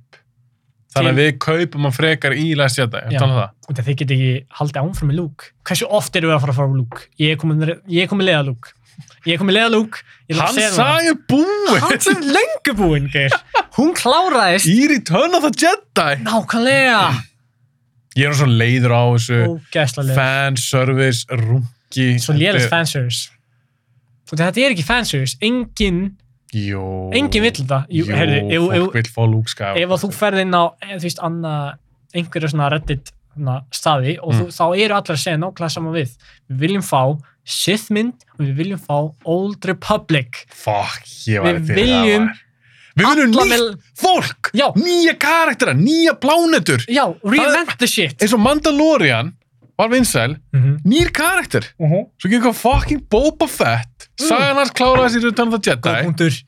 A: þannig að við kaupum hann frekar í Last Jedi,
B: Já.
A: ég tala um það.
B: Út af þið geti ekki haldið ánfram með Luke. Hversu oft erum við að fara að fara á Luke? Ég er komin, ég er komin leiða Luke. Ég er komin leiða Luke. Ég ætla að
A: Hann
B: segja það.
A: sagði búið
B: Hann sem lengur búinn, geir. Hún kláraðist.
A: í Return of the Jedi.
B: Nákvæmlega.
A: Ég er nú svo leiður á þessu
B: Ógæslega.
A: fanservice, rungi.
B: Svo léðast fanservice. Út af þetta er ekki fanservice. Engin,
A: Jó.
B: engin vill þetta. Jú,
A: Jú,
B: heyrðu, ef-
A: fólk
B: ef-
A: vill fá Luke
B: ef
A: Skywalker.
B: að þú ferð inn á, eh, þú veist, annað, einhverja svona reddit svona, staði og
A: Mm.
B: þú, þá eru allir að segja nákvæmlega sama við. Við viljum fá Sith mynd og við viljum fá Old Republic.
A: Fuck, ég var
B: Við
A: til í það,
B: viljum
A: maður. Við viljum
B: alla
A: nýtt fólk,
B: Já.
A: nýja karaktera, nýja plánetur.
B: Já, reinvent the shit
A: Eins og Mandalorian var vinsæl,
B: mm
A: nýr karakter.
B: -hmm.
A: Svo gengur fucking Boba Fett Sagan hans kláraði sér utan það Jedi
B: Mm. punktur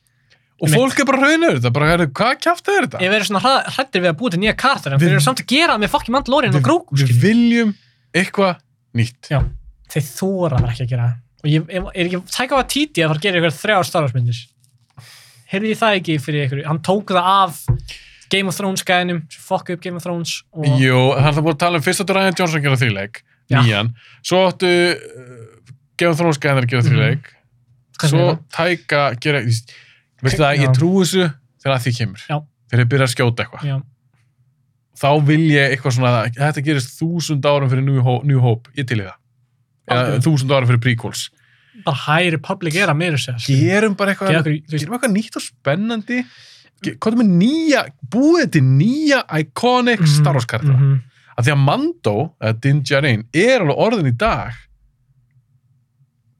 A: Og fólk er bara raunur þetta bara, heyrðu, Hvað kjátt er þetta?
B: Ég verður svona hrættir við að búið til nýja kartar en
A: Við-
B: þeir eru samt að gera það með fokki mandlórin og gróku
A: Við viljum eitthvað nýtt
B: Já, þeir þóra það ekki að gera það. og ég, ég er ekki tæka að títi að fara að gera eitthvað þrjár starfarsmyndir Heyrði ég það ekki fyrir ykkur Hann tók það af Game of Thrones gæðinum fokki upp Game of Thrones og...
A: Jú, hann er það búið að tala um fyrst áttu Ryan Johnson að gera þrjuleik
B: Já.
A: Nýjan Svo áttu uh, Gefum þrónska hennar að gera
B: Mhm.
A: þrjuleik
B: Hvað sem
A: Svo
B: er það?
A: tæka gera Veistu það,
B: Já.
A: ég trú þessu þegar að því kemur
B: Já.
A: Þegar þið byrja að skjóta eitthvað
B: Já,
A: Þá vil ég eitthvað svona Þetta gerist þúsund árum fyrir New Hope, New Hope. Ég til í það eða
B: Algjörlega.
A: þúsund ára fyrir prequels
B: bara High Republic er að meira sér
A: gerum bara eitthvað,
B: Gerum okkur- þú veist-
A: gerum eitthvað nýtt og spennandi Ge- hvað er með nýja, búið til nýja iconic
B: Mhm,
A: Star Wars karakter
B: -hmm.
A: að því að Mando, eða Din Djarin er alveg orðin í dag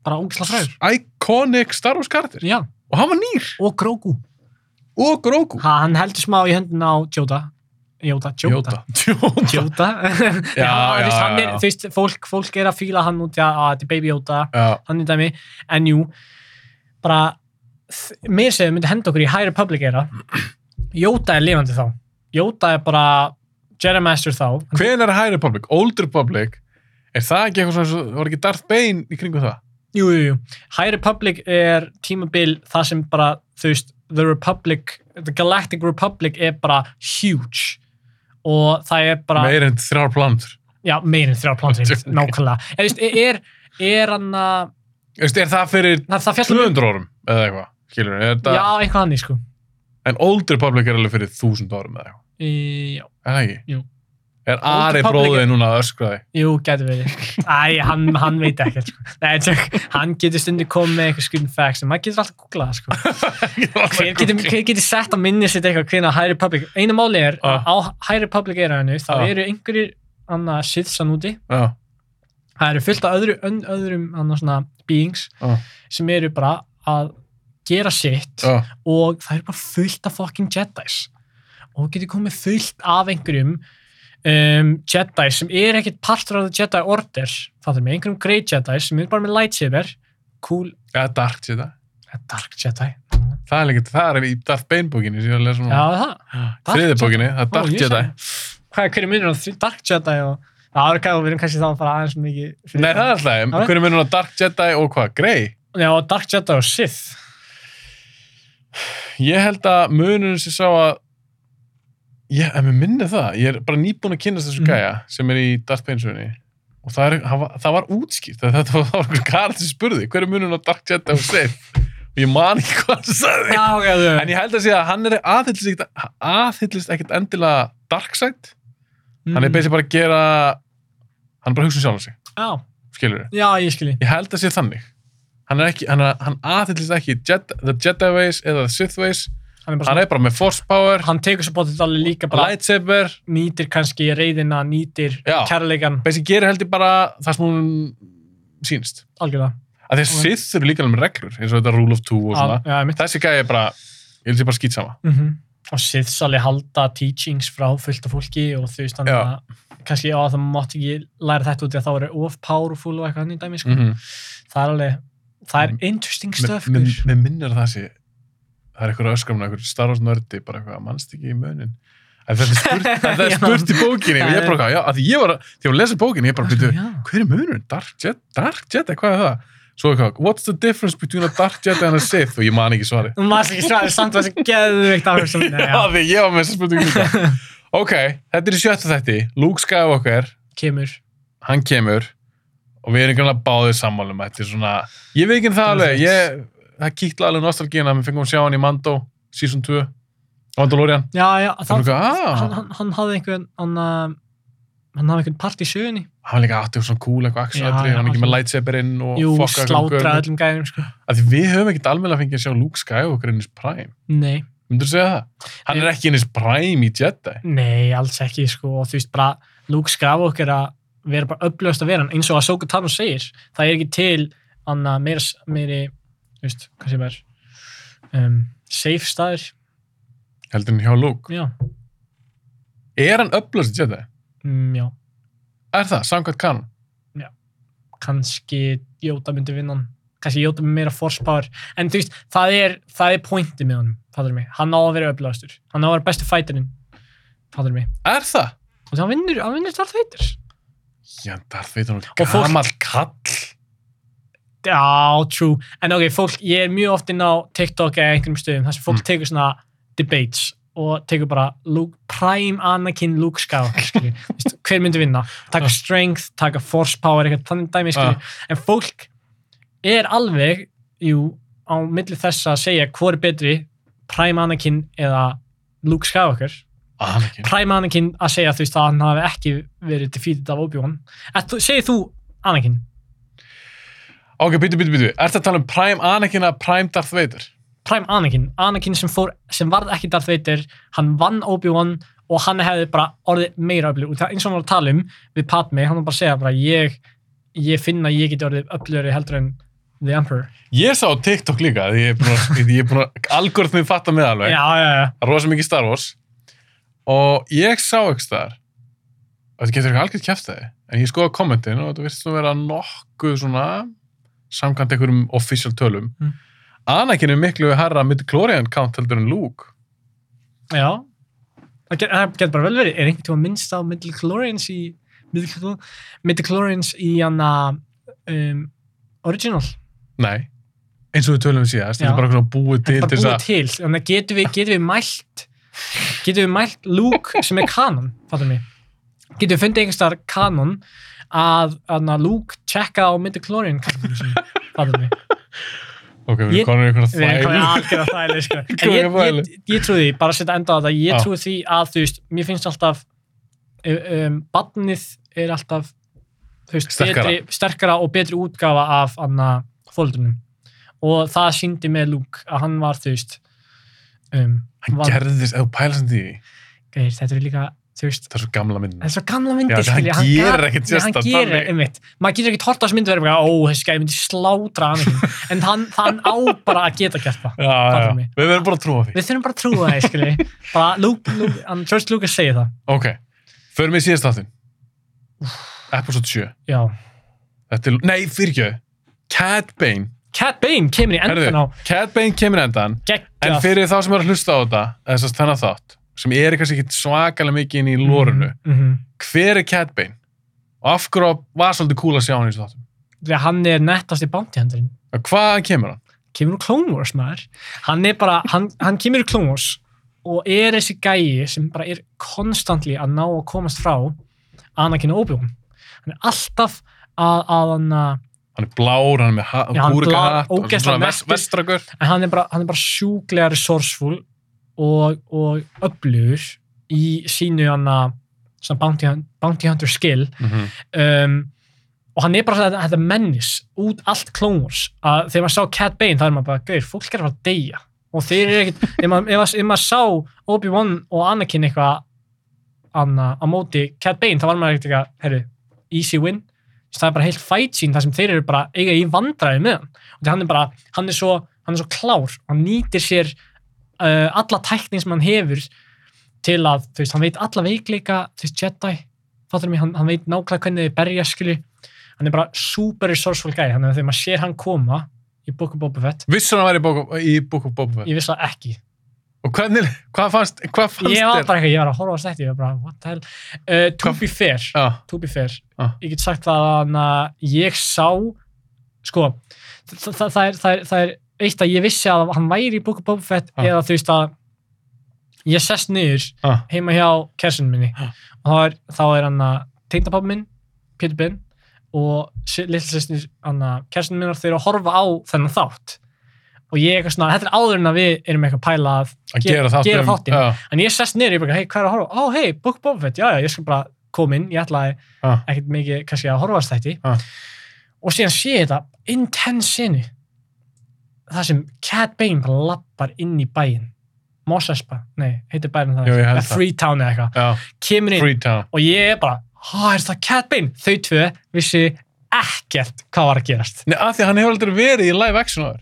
B: bara ógislega fræður
A: iconic Star Wars karakter
B: já,
A: og hann var nýr
B: og Grogu
A: og Grogu
B: ha, hann heldur smá í höndin á Jóta Jóta, Jóta
A: Jóta
B: Jóta
A: Já, já,
B: þú veist,
A: já,
B: hann er,
A: já.
B: þú veist, fólk, fólk er að fíla hann út í að að þetta er baby Jóta
A: Já,
B: hann í dæmi, en jú bara, þ- mér segir myndi henda okkur í High Republic era Jóta er lifandi þá Jóta er bara Jedi Master þá
A: hven er High Republic, Old Republic er það ekki eitthvað svona, svo- var ekki Darth Bane í kringum það?
B: jú, jú, jú. High Republic er tímabil það sem bara, þú veist The Republic, The Galactic Republic er bara huge og það er bara
A: meir en þrjár plantur
B: já, meirinn þrjá plantir,
A: Djók.
B: nákvæmlega en þú veist, er, er hann að
A: Veist, er það fyrir
B: það, það fjallar um-
A: 200 árum eða eitthvað, skilur við
B: já, eitthvað hann í sko
A: en Old Republic er alveg fyrir 1000 árum eða eitthvað
B: í, já,
A: Er það ekki?
B: Jú.
A: Er Ari
B: Republic-
A: bróðið núna að öskra þig?
B: Jú, getur verið. Æ, hann, hann veit ekkert. Sko. Nei, tjök, hann getur stundu komið með eitthvað skrifin facts en maður getur alltaf að googla það, sko. Hver getur, hver getur sett að minni sitt eitthvað hvernig að High Republic, einu máli er
A: Ah.
B: á High Republic er hennu, þá
A: Ah.
B: eru einhverjir annað siðsan úti,
A: Já,
B: það eru fullt af öðru, ön, öðrum annað svona beings
A: Ah.
B: sem eru bara að gera sitt
A: já,
B: og það eru bara fullt af fucking Jedis og þú getur komið fullt af einhverjum um, Jedis sem er ekkit partur af the Jedi Order fattur mig, einhverjum Grey Jedis sem er bara með lightsaber cool,
A: ja, Dark Jedi
B: eh, Dark Jedi
A: Það er líka, það er í Darth Bane bókinni sem ég er að lesa
B: já
A: núna
B: það, Dark
A: Þriði
B: Jedi.
A: bókinni, það er
B: Ó,
A: Ah, Dark
B: ég
A: Jedi
B: hvað er hverju munur á því- Dark Jedi og já, það er hvað, við erum kannski þá að fara aðeins of mikið fyrir-
A: Nei, það er alltaf,
B: Já.
A: hvernig munur það Dark Jedi og hvað, Grey?
B: já, Dark Jedi og Sith
A: Ég held að munurinn sem sá að Ég, ef mér minni það, ég er bara nýbúin að kynast þessu
B: Mhm.
A: gæja sem er í Darth Bane sögunni og það, er, hann var, það var útskýrt það, það var einhver karl sem spurði hver er munurinn á Dark Jedi og Sith og ég man ekki hvað hann sagði
B: já, ok, þú
A: En ég held að segja að hann er aðhyllist ekkit, aðhyllist ekkit endilega darkside. Hann
B: Mhm. Mm.
A: er basically bara að gera, hann er bara að hugsa um sjálf sig,
B: já,
A: skilur við.
B: já, ég skilji
A: Ég held að segja þannig. Hann er ekki, hann, er, hann aðhyllist ekki Jedi, the Jedi ways eða the Sith ways.
B: hann, er bara
A: Hann
B: svona-
A: er bara með force power,
B: hann tekur svo bótið alveg líka bara
A: lightsaber.
B: nýtir kannski reyðina, nýtir
A: Já.
B: kærleikan,
A: Basically gerir held ég bara það sem hún sýnst.
B: algjörlega
A: Af því að
B: Ok.
A: Sith eru líka alveg með reglur, eins og þetta rule of two og svona.
B: Al- já, mitt
A: Þessi gæði er bara, ég held sér bara skýt sama.
B: -hmm. og siðsali halda teachings frá fullt af fólki og þú veist þannig
A: Já.
B: að kannski já það mátt ekki læra þetta út í að þá eru of powerful og eitthvað hann í dæmi sko.
A: Mm -hmm.
B: það er alveg, það er
A: Mm.
B: interesting stuff
A: Mér
B: guður.
A: mér minnir að það sé það er eitthvað öskramna, eitthvað Star Wars nördi bara eitthvað, mannst ekki í munin en þetta er spurt, en það er
B: Já.
A: spurt í bókinni og ég bara, eitthvað, já, að því ég var, að- því ég var að lesa bókinni ég bara, byrju,
B: Já.
A: hver er munurinn? Dark Jedi? Dark Jedi, hvað er það? Svo eitthvað, what's the difference between a Dark Jedi and a Sith? og ég man ekki svari
B: Þú maður ekki svæðið samt að þessi geðveikt af þessu
A: Já, því ég var með þessa spurningu líka ok, þetta er í sjötta þætti Luke Skywalker,
B: kemur
A: hann kemur og við erum kannski báðið sammálum um þetta er svona, ég veit ekki um það alveg ég, það kýtla alveg nostalgíin að við fengum að sjá hann í Mando, season 2 Mandalorian,
B: já, já,
A: það var
B: það,
A: eitthvað, ah,
B: hann,
A: hann,
B: hann, hann hafði einhvern hann, um, hann hafði einhvern part í sögunni
A: var líka áttið og svona cool eitthvað
B: Já,
A: axlaðri,
B: já,
A: hann er ekki
B: algjörlega.
A: með lightsaberinn og
B: jú,
A: fokka eitthvað
B: slátra
A: gaur.
B: öllum gæðum sko.
A: Af því við höfum ekkert alveg að fengið að sjá Luke Skywalker innis Prime,
B: nei
A: myndur þú segja það? hann
B: Ég-
A: er ekki innis Prime í Jedi
B: Nei, alls ekki, sko, og þú veist bara Luke Skywalker að vera bara upplöðast að vera hann, eins og að Soka Tano segir það er ekki til annað meira, meiri, þú veist, hvað sem er um, safe staður
A: heldur hann hjá Luke,
B: já,
A: er hann upplöst í Jedi?
B: mm, já,
A: er það, samkvæmt kanon?
B: kannski Jóta myndi vinna hann kannski Jóta með meira force power en þú veist, það er, það er pointi með honum fattur mig, hann á að vera upplöðastur hann á að vera bestu fighterinn fattur mig,
A: er það?
B: og það vinnur, hann vinnur þar þeitir
A: já, Darth Vader er
B: Og fólk-
A: gamall kall
B: Já, true. En ok, fólk, ég er mjög oft inn á TikTok eða einhverjum stöðum þar sem fólk
A: Mm.
B: tekur svona debates og tekur bara Luke, Prime Anakin Luke Skywalker, skilju. Veist, hver myndi vinna? Taka
A: Ah.
B: strength, taka force power, eitthvað þannig dæmi, skilju. En fólk er alveg, jú, á milli þess að segja hvor er betri Prime Anakin eða Luke Skywalker.
A: Anakin
B: Prime Anakin að segja þú veist að hann hafi ekki verið defeated af Obi-Wan. En þú- Segir þú Anakin?
A: Ok, býtu, býtu, býtu. Ertu að tala um Prime Anakin eða Prime Darth Vader?
B: Prime Anakin, Anakin sem, fór, sem varð ekki Darth Vader, hann vann Obi-Wan og hann hefði bara orðið meira öflug og það er eins og hann var að tala um við Padme hann var bara að segja bara ég ég finn að ég geti orðið öflugri heldur en The Emperor
A: Ég sá á TikTok líka, því ég er búin að, ég er búin að algoritmið fatta með alveg.
B: Já, já, já,
A: Það er rosa mikið Star Wars. Og ég sá ekki staðar, og þetta getur eitthvað algjörð kjæft það, en ég skoða kommentin og þetta virðist nú vera nokkuð svona, samkvæmt einhverjum official tölum.
B: Mm.
A: Anakin er miklu herra midichlorian count heldur en Luke.
B: já. Það, get, það getur bara vel verið er einhvern tíma minnst á Midichlorians í Midichlor- Midichlorians í hann um, original
A: Nei, eins og við tölum við síðast, þetta
B: Já.
A: er bara svona búið til
B: þetta er
A: til
B: bara
A: þess
B: búið
A: að...
B: til þannig að getum við, getum við mælt getum við mælt Luke sem er kanon fattum við getum við fundið einhvers þar kanon að, að Luke checka á midichlorian fattum við
A: Ok, við
B: Ég-
A: erum konur í einhverja
B: við erum komið
A: þvæl.
B: algjör að þæli sko. en
A: Komið
B: ég,
A: að
B: ég, ég trúi því, bara að setja enda á þetta
A: Já.
B: ég trúi því að þú veist, mér finnst alltaf um, badnið er alltaf þú veist,
A: Sterkara.
B: Betri, sterkara og betri útgafa af anna fóldunum og það síndi með Luke að hann var þú veist um,
A: Hann
B: var-
A: gerðist, ef þú pæla samt í því,
B: Geir, þetta er líka, þú veist,
A: það er svo gamla mynd.
B: það er svo gamla myndir,
A: Já, hann
B: skilja,
A: gerir
B: gat-
A: ekkert
B: Nei,
A: sérstakt
B: Hann gerir,
A: þannig.
B: einmitt. Maður getur ekki hort á þessu myndu verið, ó, þessi gæði myndi slátra hann ekki. En hann, hann á bara að geta gert það.
A: Já, já,
B: Fattar
A: já.
B: mig.
A: Við verðum bara að trúa því.
B: Við þurfum bara að trúa það, skilji. Bara, Luke, Luke, hann, George Lucas segir það.
A: Ok, förum við í síðast þáttinn. Episode 7.
B: Já.
A: Þetta er, nei, fyrirgjöðu. Cat Bane.
B: Cat Bane kemur í endan á
A: Herðu, Cat Bane kemur endan. En
B: geggja.
A: fyrir þá sem eru að hlusta á þetta, þessast þennan þátt, sem er kannski ekki svakalega mikið inn í lórunu,
B: Mm -hmm.
A: hver er Cat Bane? Og af hverju var svolítið cool að sjá hann í þessu þáttum?
B: Þegar hann er nettast í bounty hunterinn.
A: Og Hvaðan kemur hann?
B: kemur úr Clone Wars maður hann er bara, hann, hann kemur úr Clone Wars og er þessi gæi sem bara er konstantli að ná að komast frá Anakin og Obi-Wan hann er alltaf að, að hann að-
A: Hann er blár, hann er með ha-
B: Já, hann er
A: búrika
B: blár,
A: hatt og
B: ógeðslega
A: svona vest-
B: merktur.
A: vestrakur.
B: en hann er bara, hann er bara sjúklega resourceful og, og öflugur í sínu hann að svona bounty, hunt- bounty hunter skill um, og hann er bara þetta, þetta mennis út allt Clone Wars að þegar maður sá Cat Bane þá er maður bara gauð, fólk er að fara að deyja og þeir eru ekkit, ef maður, ef maður, ef maður sá Obi-Wan og Anakin eitthvað anna, á móti Cat Bane þá var maður ekkit eitthvað, herru, easy win Þú veist, það er bara heilt fight scene þar sem þeir eru bara eiga í vandræði með hann og því hann er bara, hann er svo, hann er svo klár hann nýtir sér uh, alla tækni sem hann hefur til að, þú veist, hann veit alla veikleika þú veist, Jedi, fattur mig, hann, hann veit nákvæmlega hvernig þið berja, skilji hann er bara super resourceful guy, þannig að þegar maður sér hann koma í Book of Boba Fett
A: Vissur hann að vera í Book of- í Book of Boba Fett?
B: ég vissi það ekki,
A: Og hvernig, hvað fannst, hvað fannst
B: ég var
A: þér?
B: bara eitthvað, ég var að horfa á þetta ég var bara, what the hell, uh, to
A: Hvað-
B: be fair
A: Já,
B: to be fair,
A: Ah.
B: ég get sagt það að hana, ég sá sko, það, það, það, er, það, er, það er eitt að ég vissi að hann væri í Book of Boba Fett
A: Ah.
B: eða þú veist að ég sest niður
A: já,
B: heima hjá kersin minni
A: Ha.
B: og þá er, þá er hann að teindapapp minn Pétur Ben og lillsestir hann að kersin minnar þeir eru að horfa á þennan þátt og ég eitthvað svona, þetta er áður en að við erum eitthvað að pæla að
A: að
B: ge-
A: gera þáttum.
B: gera þáttinn.
A: Já,
B: en ég sest niður, ég bara, hei, hvað er að horfa á? Ó, hei, Book of Boba Fett, já, já, ég skal bara koma inn, ég ætlaði
A: já.
B: ekkert mikið kannski að horfast þætti
A: Ha.
B: og síðan sé ég þetta intense sinni það sem Cat Bane bara lappar inn í bæinn Mos Espa, nei, heitir bærin það
A: Jú, ég held
B: Eða
A: það.
B: Freetown eða eitthvað,
A: já,
B: kemur inn
A: Freetown.
B: og ég er bara, hvað er það Cat Bane? Þau tvö vissi ekkert hvað var að gerast.
A: Nei, að því að hann hefur aldrei verið í live action áður.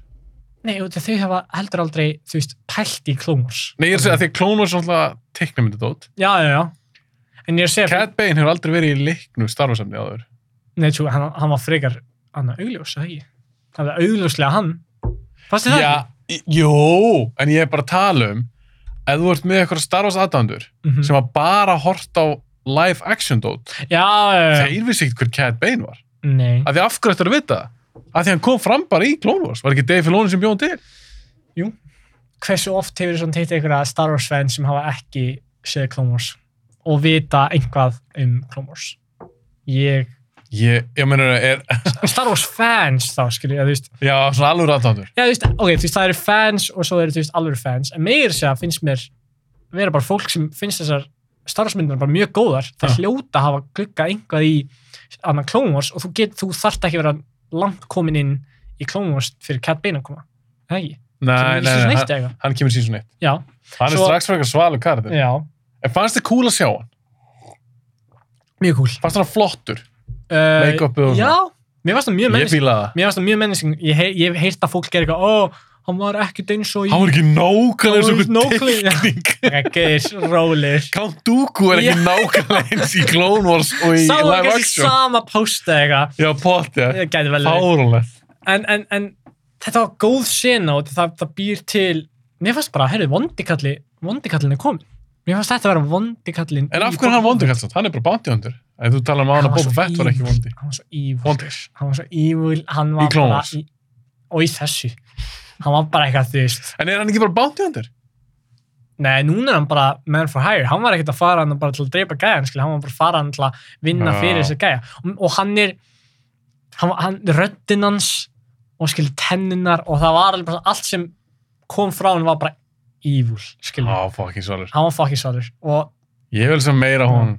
B: Nei, og þau hafa heldur aldrei, þú veist, pælt í klómurs.
A: Nei, ég er að segja að því að Clone Wars er náttúrulega teiknumyndu dót.
B: Já, já, já. En ég er að segja,
A: Cat Bane hefur aldrei verið í leiknu starfarsamni áður.
B: nei, tjú, hann, hann var frekar, hann var augljós, það ekki? Það var augljóslega hann. Fannst þið það?
A: Já, í- jú, en ég er bara að tala um ef þú ert með eitthvað Star Wars aðdandur
B: Mm
A: sem að bara hort á live action dót,
B: Já, já, já.
A: þeir vissi ekkert hver Cat Bane var.
B: Nei.
A: Að því af hverju ættir að vita það? Að því hann kom fram bara í Clone Wars. Var ekki Dave Filoni sem bjóðan til?
B: Hversu oft hefur þið svona teitt einhverja Star Wars fans sem hafa ekki séð klómurs og vita einhvað um klómurs? Ég...
A: Ég, ég meina, er,
B: Star Wars fans þá, skilja, þú veist,
A: já, svona alveg aðdandur.
B: Já, þú veist, ok, þú veist, það eru fans og svo eru, þú veist, alveg fans, en meir segja finnst mér vera bara fólk sem finnst þessar starfsmyndunar bara mjög góðar það
A: Já.
B: hljóta að hafa glugga einhvað í annan Clone Wars og þú get, þú þarft ekki vera langt komin inn í Clone Wars fyrir Cat Bane að koma. Það er ekki.
A: Nei,
B: Sem
A: nei,
B: er í season
A: nei,
B: eitt
A: hann,
B: eða eitthvað.
A: hann kemur síðan eitt.
B: Já,
A: Hann
B: Svo-
A: er strax frekar svalur karður.
B: já.
A: En fannst þið cool að sjá hann?
B: Mjög cool.
A: Fannst hann flottur?
B: Uh,
A: Make-upið og svona.
B: Já, mér varst það mjög
A: Ég
B: mennising.
A: fílaði það.
B: Mér varst það mjög mennising. Ég, hei, ég heilt að fólk gera eitthvað, ó, hann var ekkert eins og í...
A: Hann var ekki nákvæmlega eins og
B: Hann
A: einhver
B: var nákvæmlega-
A: teikning.
B: Ekkert, rólir.
A: Count Dooku er ekki
B: Já.
A: nákvæmlega eins í Clone Wars og í
B: Sá það
A: live
B: kannski
A: action.
B: sama posta eitthvað.
A: Já, potið.
B: Það gæti vel verið.
A: Fáránlegt.
B: en, en, en þetta var góð sena og það, það býr til mér fannst bara, herru, vondikalli vondikallin er komin mér fannst þetta að vera vondikallin
A: En af hverju er hann vondur kallt Hann er bara bounty hunter. En þú talar um að hann að Boba Fett var ekki vondi.
B: hann var svo evil,
A: Vondur.
B: hann var svo evil hann
A: Í
B: var
A: Clone
B: bara
A: Wars.
B: í, og í þessu hann var bara eitthvað þú veist
A: En er hann ekki bara bounty hunter?
B: nei, núna er hann bara man for hire hann var ekkert að fara hann bara til að dreipa gæja skilja, hann var bara að fara hann til að vinna
A: Já.
B: fyrir þessi gæja og, og hann er hann, hann, röddinn hans og skil tennunar og það var alveg bara allt sem kom frá hann var bara evil skil,
A: Á, fucking svalur.
B: hann var fucking svalur og
A: Ég vil sem meira hún.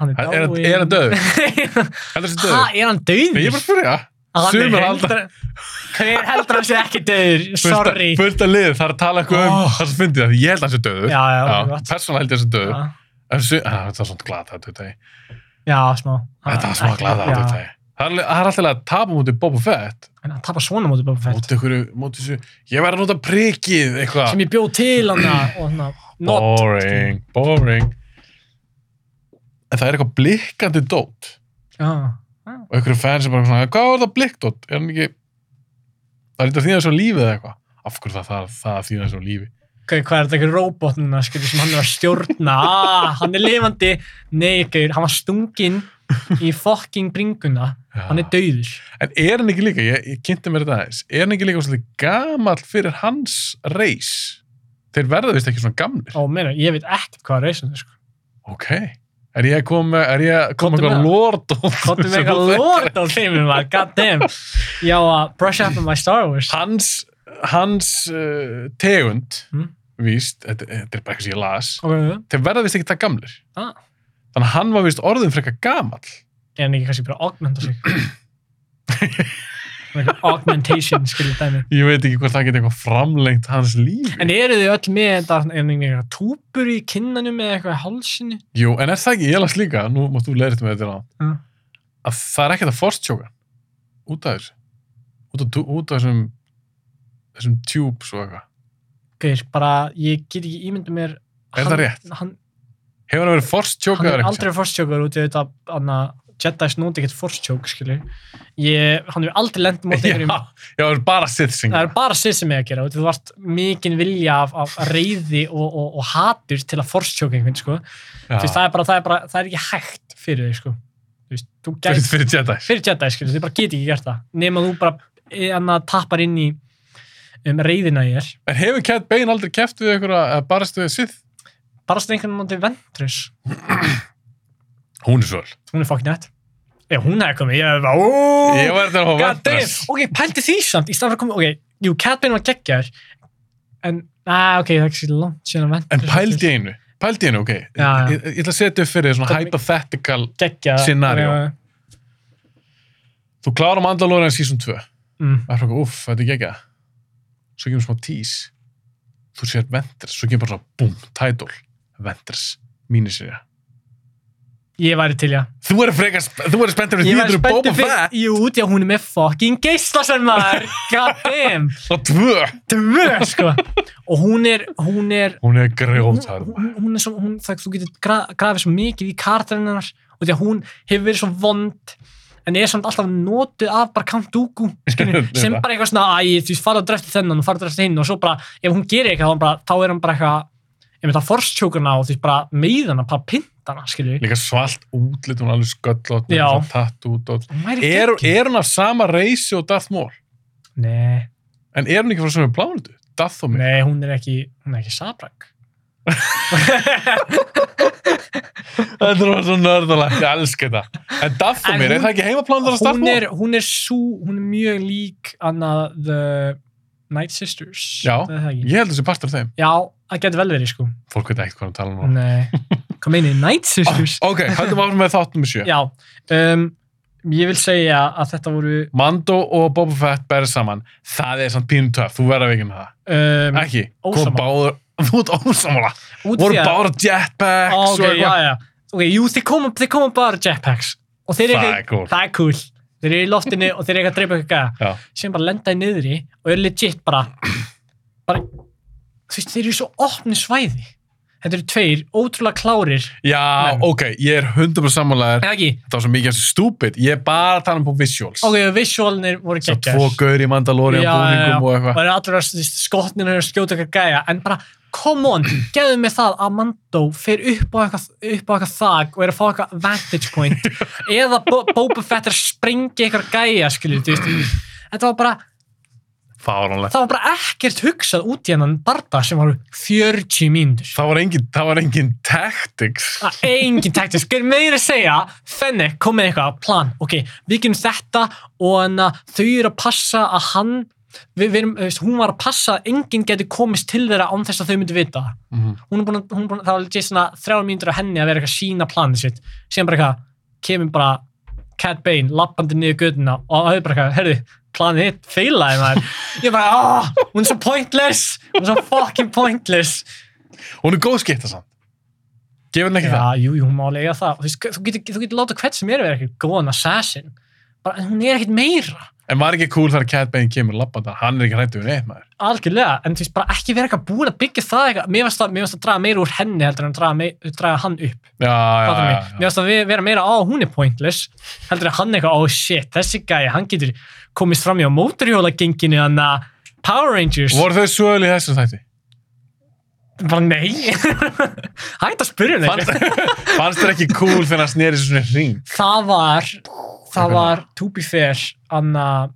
B: hann
A: Er
B: er
A: er
B: dáinn.
A: hann döður? Heldur þessi
B: ha,
A: döður?
B: er hann
A: Ég er
B: döður?
A: bara að spyrja. Sumir halda-
B: hver heldur hann sé ekki döður?
A: Fullt að-
B: sorry
A: Fullt að lið, þar tala eitthvað um
B: Oh.
A: það sem fyndið það. Ég held að þessi döður.
B: já, já,
A: Já,
B: gott.
A: persónulega held ég þessi döður.
B: já,
A: En sum- Ah, Þetta var svona glata þetta þetta.
B: já, smá
A: Þetta var smá
B: Ekki-
A: glata
B: Ah, já.
A: þetta þetta. Það er alveg- það er alltaf að tapa mútið Boba Fett.
B: en hann tapar svona mótið Boba Fett
A: Mótið ykkur, mótið þessu. Ég verði að nota prikið eitthvað.
B: sem ég bjóð til hann að- og hann að- not
A: Boring, boring. En það er eitthvað blikkandi dót.
B: já,
A: og einhverju fans er bara svona, hvað var það blikkdótt? Er hann ekki, það er eitthvað þýðað svo lífið eða eitthvað? Af hverju það það, það þýðað svo lífi?
B: Gau, hvað er þetta ekki robot núna, skilur, sem hann er að stjórna, ah, hann er lifandi, nei, gaur, hann var stunginn í fucking bringuna,
A: Ja.
B: hann er döður.
A: En er hann ekki líka, ég, ég kynnti mér þetta aðeins, er hann ekki líka svolítið gamall fyrir hans reis? Þeir verða vist ekki svona gamlir.
B: Ó, meina, ég veit ekkert hvað er reysan, sko.
A: Ok, er ég að koma með, er ég að koma
B: Komdu
A: með
B: með
A: eitthvað lordótt?
B: Kottum við
A: sem þú
B: eitthvað
A: þekkir?
B: lort á þeimum, maður, god damn. Já, uh, brush up on my Star Wars.
A: Hans, hans uh, tegund,
B: Mm.
A: víst, þetta, þetta er bara eitthvað sem ég las,
B: Ok, ok.
A: þeir verða vist ekki það gamlir.
B: Ah.
A: Þannig að hann var vist orðin frekar gamall.
B: Er hann ekki kannski bara að augmenta sig? Hann er eitthvað augmentation, skilur, dæmi.
A: Ég veit ekki hvort það geti eitthvað framlengt hans lífi.
B: En eru þið öll með þetta, er hann eitthvað túpur í kinnanum eða eitthvað í hálsinu?
A: Jú, en er það ekki, ég las líka, nú mátt þú leirið með þetta á,
B: Mm.
A: að það er ekkert að forstjóka út af þessu. Út af, tú- út af þessum, þessum tubes og eitthvað.
B: Gaur, bara, ég get ekki ímynda mér
A: Er það
B: hann-
A: rétt?
B: Hann,
A: Hefur hann verið
B: hann
A: forstjókaður
B: er
A: eitthvað?
B: aldrei forstjókur út í þetta anna, Jedi's nóti ekkert forstjók skilur ég, hann hefur aldrei lent mót einhverjum
A: Já, já, það er bara
B: það
A: sittsingar.
B: er bara sér sem ég að gera út í þú vart mikinn vilja af, af reyði og, og, og hatur til að forstjóka einhvern sko. Þú veist, það, er bara, það, er bara, það er ekki hægt fyrir þig sko. Þú veist, þú
A: Fyrir,
B: gæst,
A: fyrir Jedi.
B: fyrir Jedi skilur, þið bara get ekki gert það nema þú bara eh, annað, tappar inn í um, reyðina í þér
A: En hefur Cat Bane aldrei keft við einhverja að barast við Sith?
B: bara stið einhvern móti ventrus
A: Hún er svol.
B: hún er fokkin hætt ef hún hefði komið, ég hefði bara "Ó!"
A: Ég var þetta að
B: God damn,
A: vandrast.
B: ok, pældi því samt í staðan fyrir að koma, ok, jú, Catbane var geggjar en, að, ok, það er ekki sér langt síðan að venda
A: En pældi í einu, pældi í einu, ok. Ég,
B: Já, já.
A: ég, ég ætla að setja upp fyrir þér svona
B: Hvernig-
A: hypothetical
B: geggja
A: Scenario.
B: Eh,
A: Þú klárar Mandalorian season 2.
B: mm,
A: Það er svona, uff, þetta er gegga. Svo kemur smá tís. Þú sér Ventress, svo kemur bara svona, búm, title. Ventress, míniserja.
B: ég væri til, já
A: Þú eru frekar, sp- þú eru spenntur
B: ég
A: fyrir því
B: væri
A: þú eru Boba
B: spenntur
A: Fett.
B: fyrir, jú, því að hún er með fucking geislasvenn maður, god damn
A: Það tvö.
B: tvö, sko og hún er, hún er
A: Hún er
B: hún,
A: grjótarð.
B: hún, hún er svo, hún, það, þú getur gra, grafið svo mikið í karakterinn hennar og því að hún hefur verið svo vond en er samt alltaf notuð af bara Count Dooku skilur,
A: Þetta.
B: sem bara eitthvað svona æ, þú veist, fara og drefti þennan og fara og drefti hinn og svo bara, ef hún gerir eitthvað, þá er hann bara, þá er hann bara eitthvað ég veit að forstjókana og þú veist, bara meiðana, bara pintana, skilur
A: Líka svalt útlit, hún er alveg sköllótt.
B: Já.
A: Tatt út og...
B: hún væri
A: Er,
B: geggjuð.
A: er hún af sama reysi og Darth Maul?
B: nei,
A: En er hún ekki frá svona plánutu? Darth og mig?
B: nei, hún er ekki hún er ekki sabrak
A: Þetta var svo nörðalegt, ég elska þetta. En Darth og
B: En
A: mig, er
B: hún-
A: það ekki heimaplánutu að Darth
B: hún
A: Maul?
B: er, hún er svo, hún er mjög lík annað The Night Sisters
A: Já.
B: það er það ekki
A: Ég held þessi partur af þeim.
B: Já, það getur vel verið sko
A: Fólk veit ekkert hvað hann tala um. Ah, núna. Oh,
B: Nei, kom inn í Night Sisters
A: Ok, hættum áfram með þáttum með sjö.
B: Já, um, ég vil segja að þetta voru
A: Mando og Boba Fett berð saman það er samt pínu töff, þú verður að vikið með það
B: um,
A: ekki,
B: ósammála.
A: kom báður þú ert ósamála,
B: út
A: voru
B: því að-
A: báður jetpacks
B: Ó,
A: og
B: ok, já, já. ok, jú, þeir koma, þeir koma bara jetpacks og þeir
A: það
B: eru
A: er cool
B: það er cool þeir eru í loftinu og þeir eru eitthvað að dreipa eitthvað
A: Já.
B: gæja. sem bara lenda í niðri og eru legit bara, bara þú veist, þeir eru svo opni svæði þetta eru tveir ótrúlega klárir
A: já,
B: Menn.
A: ok, ég er 100% sammálaður
B: en ekki,
A: það var svo mikið stúpid, ég er bara að tala um på visuals
B: ok, visualnir voru
A: svo
B: geggjars
A: tvo gaur í Mandalorian
B: Já, já, já.
A: búningum og
B: og
A: eitthvað
B: eru allir að skotnir eru að skjóta eitthvað gæja en bara, come on, gefðu mig það að Mando fer upp á eitthvað, upp á eitthvað þag og er að fá eitthvað vantage point eða Bo Boba Fett er að springi eitthvað gæja, skilju, þú veist þetta var bara,
A: fáránlegt
B: það var bara ekkert hugsað út í hennan barda sem var 40 mínútur
A: það var engin, það var engin tactics
B: Það er engin taktis, hver meira að segja Fenni, kom með eitthvað plan ok, við gerum þetta og en að þau eru að passa að hann við, við erum, þú veist, hún var að passa að enginn geti komist til þeirra án þess að þau myndi vita það.
A: Mhm.
B: hún er búin, að- hún er búin það var legit svona þrjár mínútur á henni að vera eitthvað sína planið sitt sem bara eitthvað, kemur bara Cat Bane, lappandi niður göduna og það er bara eitthvað, herðu, planið hitt feilaði maður, ég bara, ah, hún er svo pointless, hún er svo fucking pointless
A: hún er góð skipta samt gefur henni ekki það
B: Já, jú, jú, hún má lega það. Og Þú, veist, þú getur þú getur láta hvern sem er að vera eitthvað góðan assassin. Bara, en hún er ekkert meira.
A: en var ekki cool þegar Cat Bane kemur labbanda hann er ekki hrættu við neitt maður
B: Algjörlega. En þú veist, bara ekki vera eitthvað búin að byggja það eitthvað. Mér varst að, mér varst að draga meira úr henni heldur en að draga, mei, draga hann upp.
A: já, já,
B: Fattar mig?
A: já,
B: Mér varst að ve- vera meira á, hún er pointless. Heldur en hann eitthvað, oh shit, þessi gæi, hann getur komist fram í á móturhjólagenginu hann að Power Rangers.
A: já. voru þau sögul í þessum þætti
B: Bara nei. Hætt að spyrja mig.
A: fannst, fannst þér ekki cool þegar hann sneri svona ring
B: Það var, það var, to be fair, hann að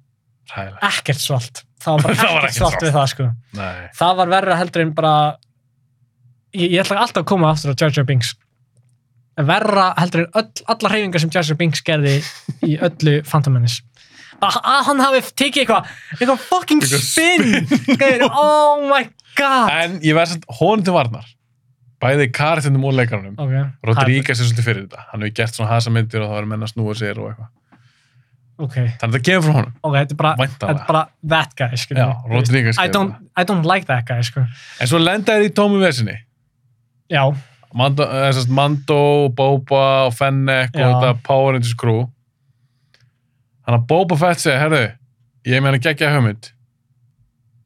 A: Hræðilegt.
B: ekkert svolt það var
A: Það
B: bara
A: var
B: ekkert
A: ekkert
B: svolt
A: svolt.
B: við það sko
A: Nei.
B: það var verra heldur en bara ég, ég ætla alltaf að koma aftur á Jar Jar Binks En verra heldur en öll, alla hreyfingar sem Jar Jar Binks gerði í öllu Phantom Menace að að hann hafi tekið eitthvað eitthvað fucking
A: Eitthvað
B: spinn Gauður, oh my god
A: en ég verð samt honum til varnar bæði karatindum og leikarunum
B: ok
A: Rodríguez er svolítið fyrir þetta hann hefur gert svona hasamindir og það var menn að snúa sér og eitthvað
B: ok,
A: þannig að það kemur frá honum
B: ok, þetta er bara þetta er
A: væntanlega
B: bara that guy
A: já,
B: skilur við.
A: Rodríguez
B: I
A: gerir
B: don't, I don't like that guy sko
A: það. en svo lenda þér í tómu vesinni
B: já
A: Mando, eh, sem sagt, Mando, Boba og Fennec
B: Já.
A: og þetta Power Rangers crew þannig að Boba Fett segir herru, ég er með hann að gegja hugmynd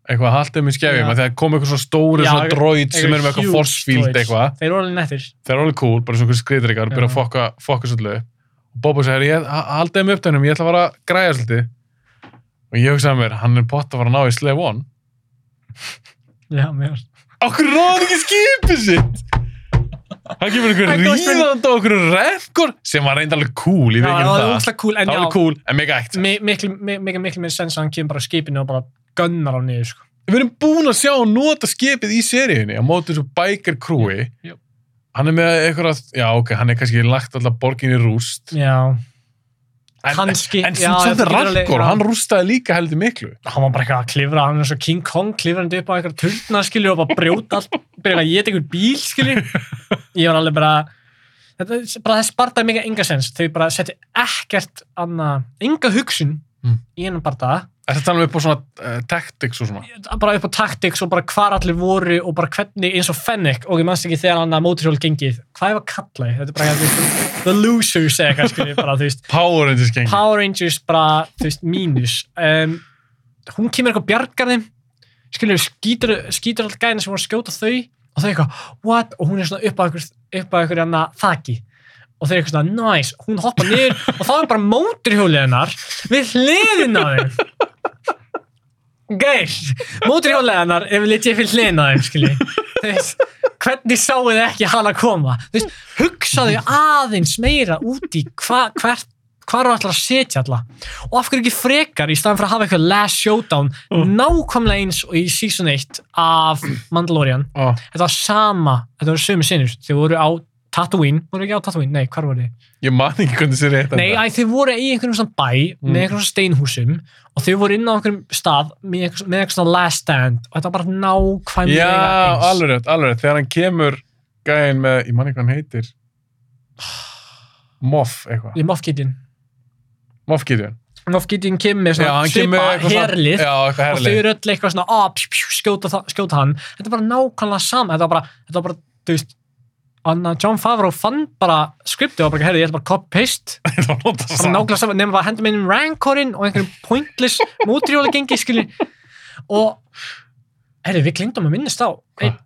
A: eitthvað haldið mér
B: Já.
A: skefjum þegar kom eitthvað svona stóri
B: Já,
A: svona
B: eitthvað-
A: droid sem er með eitthvað
B: huge
A: force field
B: droids.
A: eitthvað
B: þeir eru alveg nettir
A: þeir eru alveg cool, bara svona hversu skriðdreikar
B: Já.
A: byrja að fokka, fokka svolítið og Boba segir, ég ha- haldið um uppdænum, ég ætla að fara að græja svolítið og ég hugsaði mér, hann er pott að fara að ná í Slave One
B: já, mér varst
A: okkur ráði ekki skipið sitt hann kemur
B: Hann
A: einhver
B: komst með-
A: ríðand og okkur rengur sem var reynda alveg cool, ég veit
B: Já,
A: ekki
B: það var
A: um það
B: ógslag cool, en
A: það var
B: já,
A: alveg cool, en mega eitt
B: mi- miklu, mi- miklu, miklu mér sens að hann kemur bara á skipinu og bara gunnar á niður, sko.
A: við erum búin að sjá hann nota skipið í seríunni á móti þessu biker crewi
B: Jú.
A: hann er með eitthvað, já ok, hann er kannski lagt alltaf borgin í rúst
B: Já,
A: en,
B: kannski,
A: En
B: já,
A: já, samt
B: þetta
A: er
B: getur alveg-
A: Rakkor,
B: já.
A: hann rústaði líka heldur miklu.
B: hann var bara eitthvað að klifra, hann er svo King Kong klifrandi upp á eitthvað turnar, skilju, og bara brjóta allt, byrja að geta einhver bíl, skilju. Ég var alveg bara, þetta, er bara þess bardaði mikið enga sens, þau bara setti ekkert annað, enga hugsun
A: Mm.
B: í hennan bardaða,
A: Er það talað um upp á svona uh, tactics og svona?
B: bara upp á taktiks og bara hvar allir voru og bara hvernig eins og Fennec og ég manst ekki þegar hann að móturhjól gengið hvað er að kalla þið? Þetta er bara eitthvað, the losers eða eitthvað skilur bara þú veist
A: Power Rangers gengi.
B: Power Rangers bara þú veist mínus um, hún kemur eitthvað bjargarði skilur skýtur, skýtur alltaf gæðina sem voru að skjóta þau og þau eitthvað what og hún er svona upp á ykkur, upp á ykkur hana þaki og þau eru eitthvað svona nice hún hoppa niður og þá er bara móturhjólið hennar við hliðin á þeim Geir, móturhjólaðarnar ef við litið fyrir hliðina á þeim, skilji. Þú veist, hvernig sáu þið ekki hana koma? Þú veist, hugsaðu aðeins meira út í hva, hvert, hvar þú ætlar að setja alla. Og af hverju ekki frekar, í staðan fyrir að hafa eitthvað last showdown,
A: Mm.
B: nákvæmlega eins og í season 1 af Mandalorian.
A: Ó,
B: Þetta var sama, þetta voru sömu sinnur, þau voru á Tatooine, voru ekki á Tatooine, nei, hvar voru þið?
A: ég man ekki hvernig sér eitt
B: Nei, æ, þeir voru í einhverjum svona bæ
A: Mm.
B: með einhverjum svona steinhúsum og þeir voru inn á einhverjum stað með einhverjum, með einhverjum svona last stand og þetta var bara nákvæmlega
A: Já,
B: eins.
A: alveg rétt, alveg rétt. Þegar hann kemur gæðin með, ég man ekki hvað hann heitir, Moff eitthvað.
B: Ég má fkitin.
A: Moff Gideon.
B: Moff Gideon kemur með
A: Já,
B: svona
A: hann kemur
B: svipa
A: með eitthvað svona-
B: herlið
A: Já, eitthvað
B: og þau
A: herlið.
B: eru öll eitthvað svona ah, pjú, pjú, skjóta, þa- skjóta hann þetta er bara nákvæmlega sama þetta var bara, þetta var bara þú veist Anna John Favreau fann bara skriptið og bara, herri, ég ætla bara að copy-paste
A: Það er náttúrulega
B: bara
A: saman.
B: nákvæmlega saman, nefnum að henda með einum rancorinn og einhverjum pointless mótrjóla gengi, skilji og, herri, við glindum að minnast á einn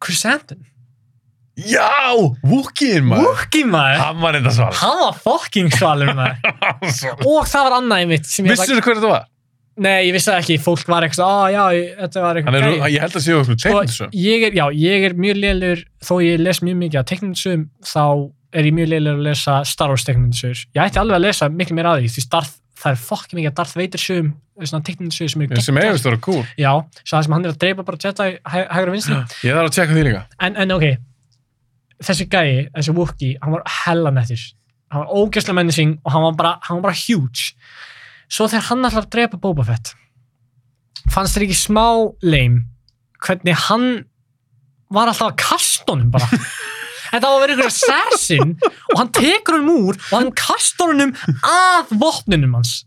B: Chris Anton
A: Já, Wookieeinn maður.
B: Wookie maður,
A: Hann var þetta svar.
B: hann var fucking svalur maður og það var annað einmitt sem ég
A: Vissur þú hver þetta var?
B: nei, ég vissi það ekki, fólk var eitthvað svona, ah, já, þetta var
A: Hann
B: eitthvað
A: er,
B: gæi."
A: ég held að séu okkur
B: sko,
A: tegnd þessu.
B: ég er, já, ég er mjög leilur þó ég les mjög mikið að teknindisum þá er ég mjög leilur að lesa Star Wars teknindisur ég ætti alveg að lesa miklu meira að því því Darth, það er fokki mikið að Darth Vader sum svona teknindisur sem eru
A: Sem
B: geggjaðar.
A: eigast að vera cool.
B: já, svo það sem hann er að dreipa bara Jedi hæ- hægra og vinstri
A: Ég þarf að tjekka því líka.
B: en, en ok, þessi gæi þessi Wookiee, hann var hella nettir hann var ógæslega mennising og hann var bara, hann var bara huge svo þegar hann ætlar að drepa Boba Fett fannst þér ekki smá leim hvernig hann var alltaf að kasta honum bara þetta var að vera ykkur assassin og hann tekur honum úr og hann kastar honum að vopnunum hans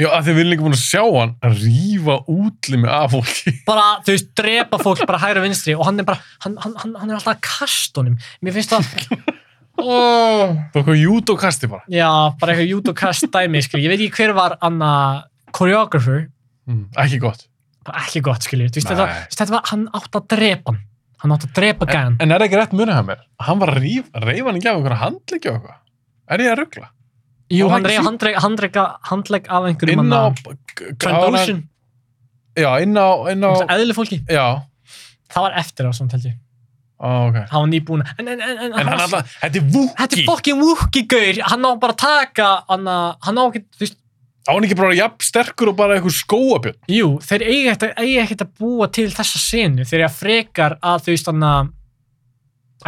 A: Já, af því við erum líka búin að sjá hann að rífa útlimi af fólki.
B: bara, þú veist, drepa fólk bara hægra og vinstri og hann er bara, hann, hann, hann, hann er alltaf að kasta honum mér finnst það oh.
A: Það er eitthvað júdokasti bara.
B: Já, bara eitthvað judokast dæmi, skilji. Ég veit ekki hver var Anna choreographer,
A: Mm, ekki gott.
B: bara ekki gott, skilji. Þú veist, þetta,
A: Nei.
B: þú veist, þetta var, hann átt að drepa hann. Hann átt að drepa gæðan.
A: En er ekki rétt munið hann mér? Hann var að rífa, reyfa hann ekki af einhverja handleggja og eitthvað. Er ég að ruggla?
B: Jú,
A: var
B: hann
A: ekki
B: reyði
A: sýnt.
B: handreg, handreg, handleg af einhverjum
A: Inn á...
B: manna. Trend Ocean,
A: Já, inn á, inn á...
B: eðli fólki.
A: Já,
B: Það var eftir á svona, telti.
A: Ó, ok.
B: Það var nýbúna. En, en, en, en,
A: En hann alltaf, þetta er vúki.
B: Þetta er fucking Wookie-gaur. Hann á bara að taka, hann, hann á ekki, þú veist,
A: Á hann ekki bara jafn sterkur og bara eitthvað skóabjörn.
B: Jú, þeir eiga ekkert að, eiga ekkert að búa til þessa senu. Þeir eiga frekar að, þú veist, hann að,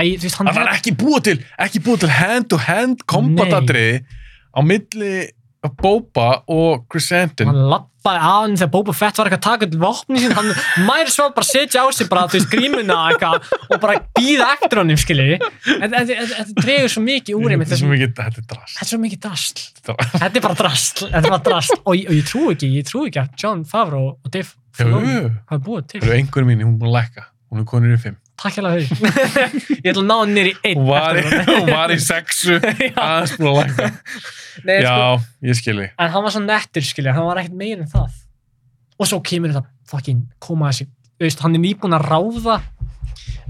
B: Æ, þú veist, hann
A: Það var ekki búið til, ekki búið til hand-to-hand kombatadriði á milli Boba og Chrysantin.
B: hann lappaði að hann þegar Boba Fett var eitthvað að taka til vopni sín hann mæri svo bara setja á sig bara þú veist grímuna eitthvað og bara býða eftir honum skilji þetta þetta dregur svo mikið úr einmitt
A: Þetta er svo
B: þessum
A: mikið, þetta er drast.
B: Þetta er svo mikið drasl.
A: Þetta var-
B: Þetta er bara drasl. Þetta er bara drasl. Og, ég- og ég trú ekki, ég trú ekki að John Favreau og Dave Filoni
A: Jú,
B: hafa búið til.
A: það eru einhverjum mín, hún er búin að lækka. Hún er konur í fimm.
B: Takk hérna þau. Ég ætla að ná hann niður í einn.
A: Hún var, í-
B: eftir
A: hún var í sexu,
B: Já,
A: aðeins búin að lækka.
B: nei, sko,
A: Já, ég skilji.
B: en hann var svo nettur skilja, hann var ekkert meir en það og svo kemur þetta fucking koma þessi, þú veist, hann er nýbúin að ráða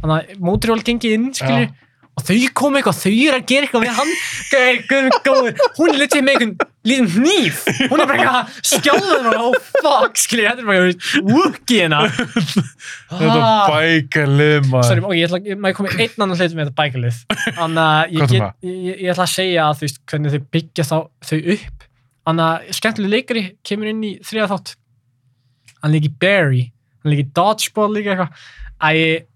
B: hann að mótrjól gengi inn skilja, og þau koma eitthvað þau eru að gera eitthvað við hann Gæ, guð minn góður, hún er litið með einhvern lítinn hníf, hún er bara eitthvað að skjáða hann og fuck skilja, þetta er bara eitthvað wookie hérna
A: Þetta
B: Ah,
A: bækalið
B: Sorry,
A: maður.
B: ok, ég ætla að, maður komið einn annan hlut með þetta bækalið Þannig að ég,
A: Hvað er
B: get- ég, ég ætla að segja að þú veist hvernig þau byggja þá, þau upp Þannig að skemmtileg leikari kemur inn í þriða þátt Hann leikir Barry, hann leikir Dodgeball líka eitthvað Æ,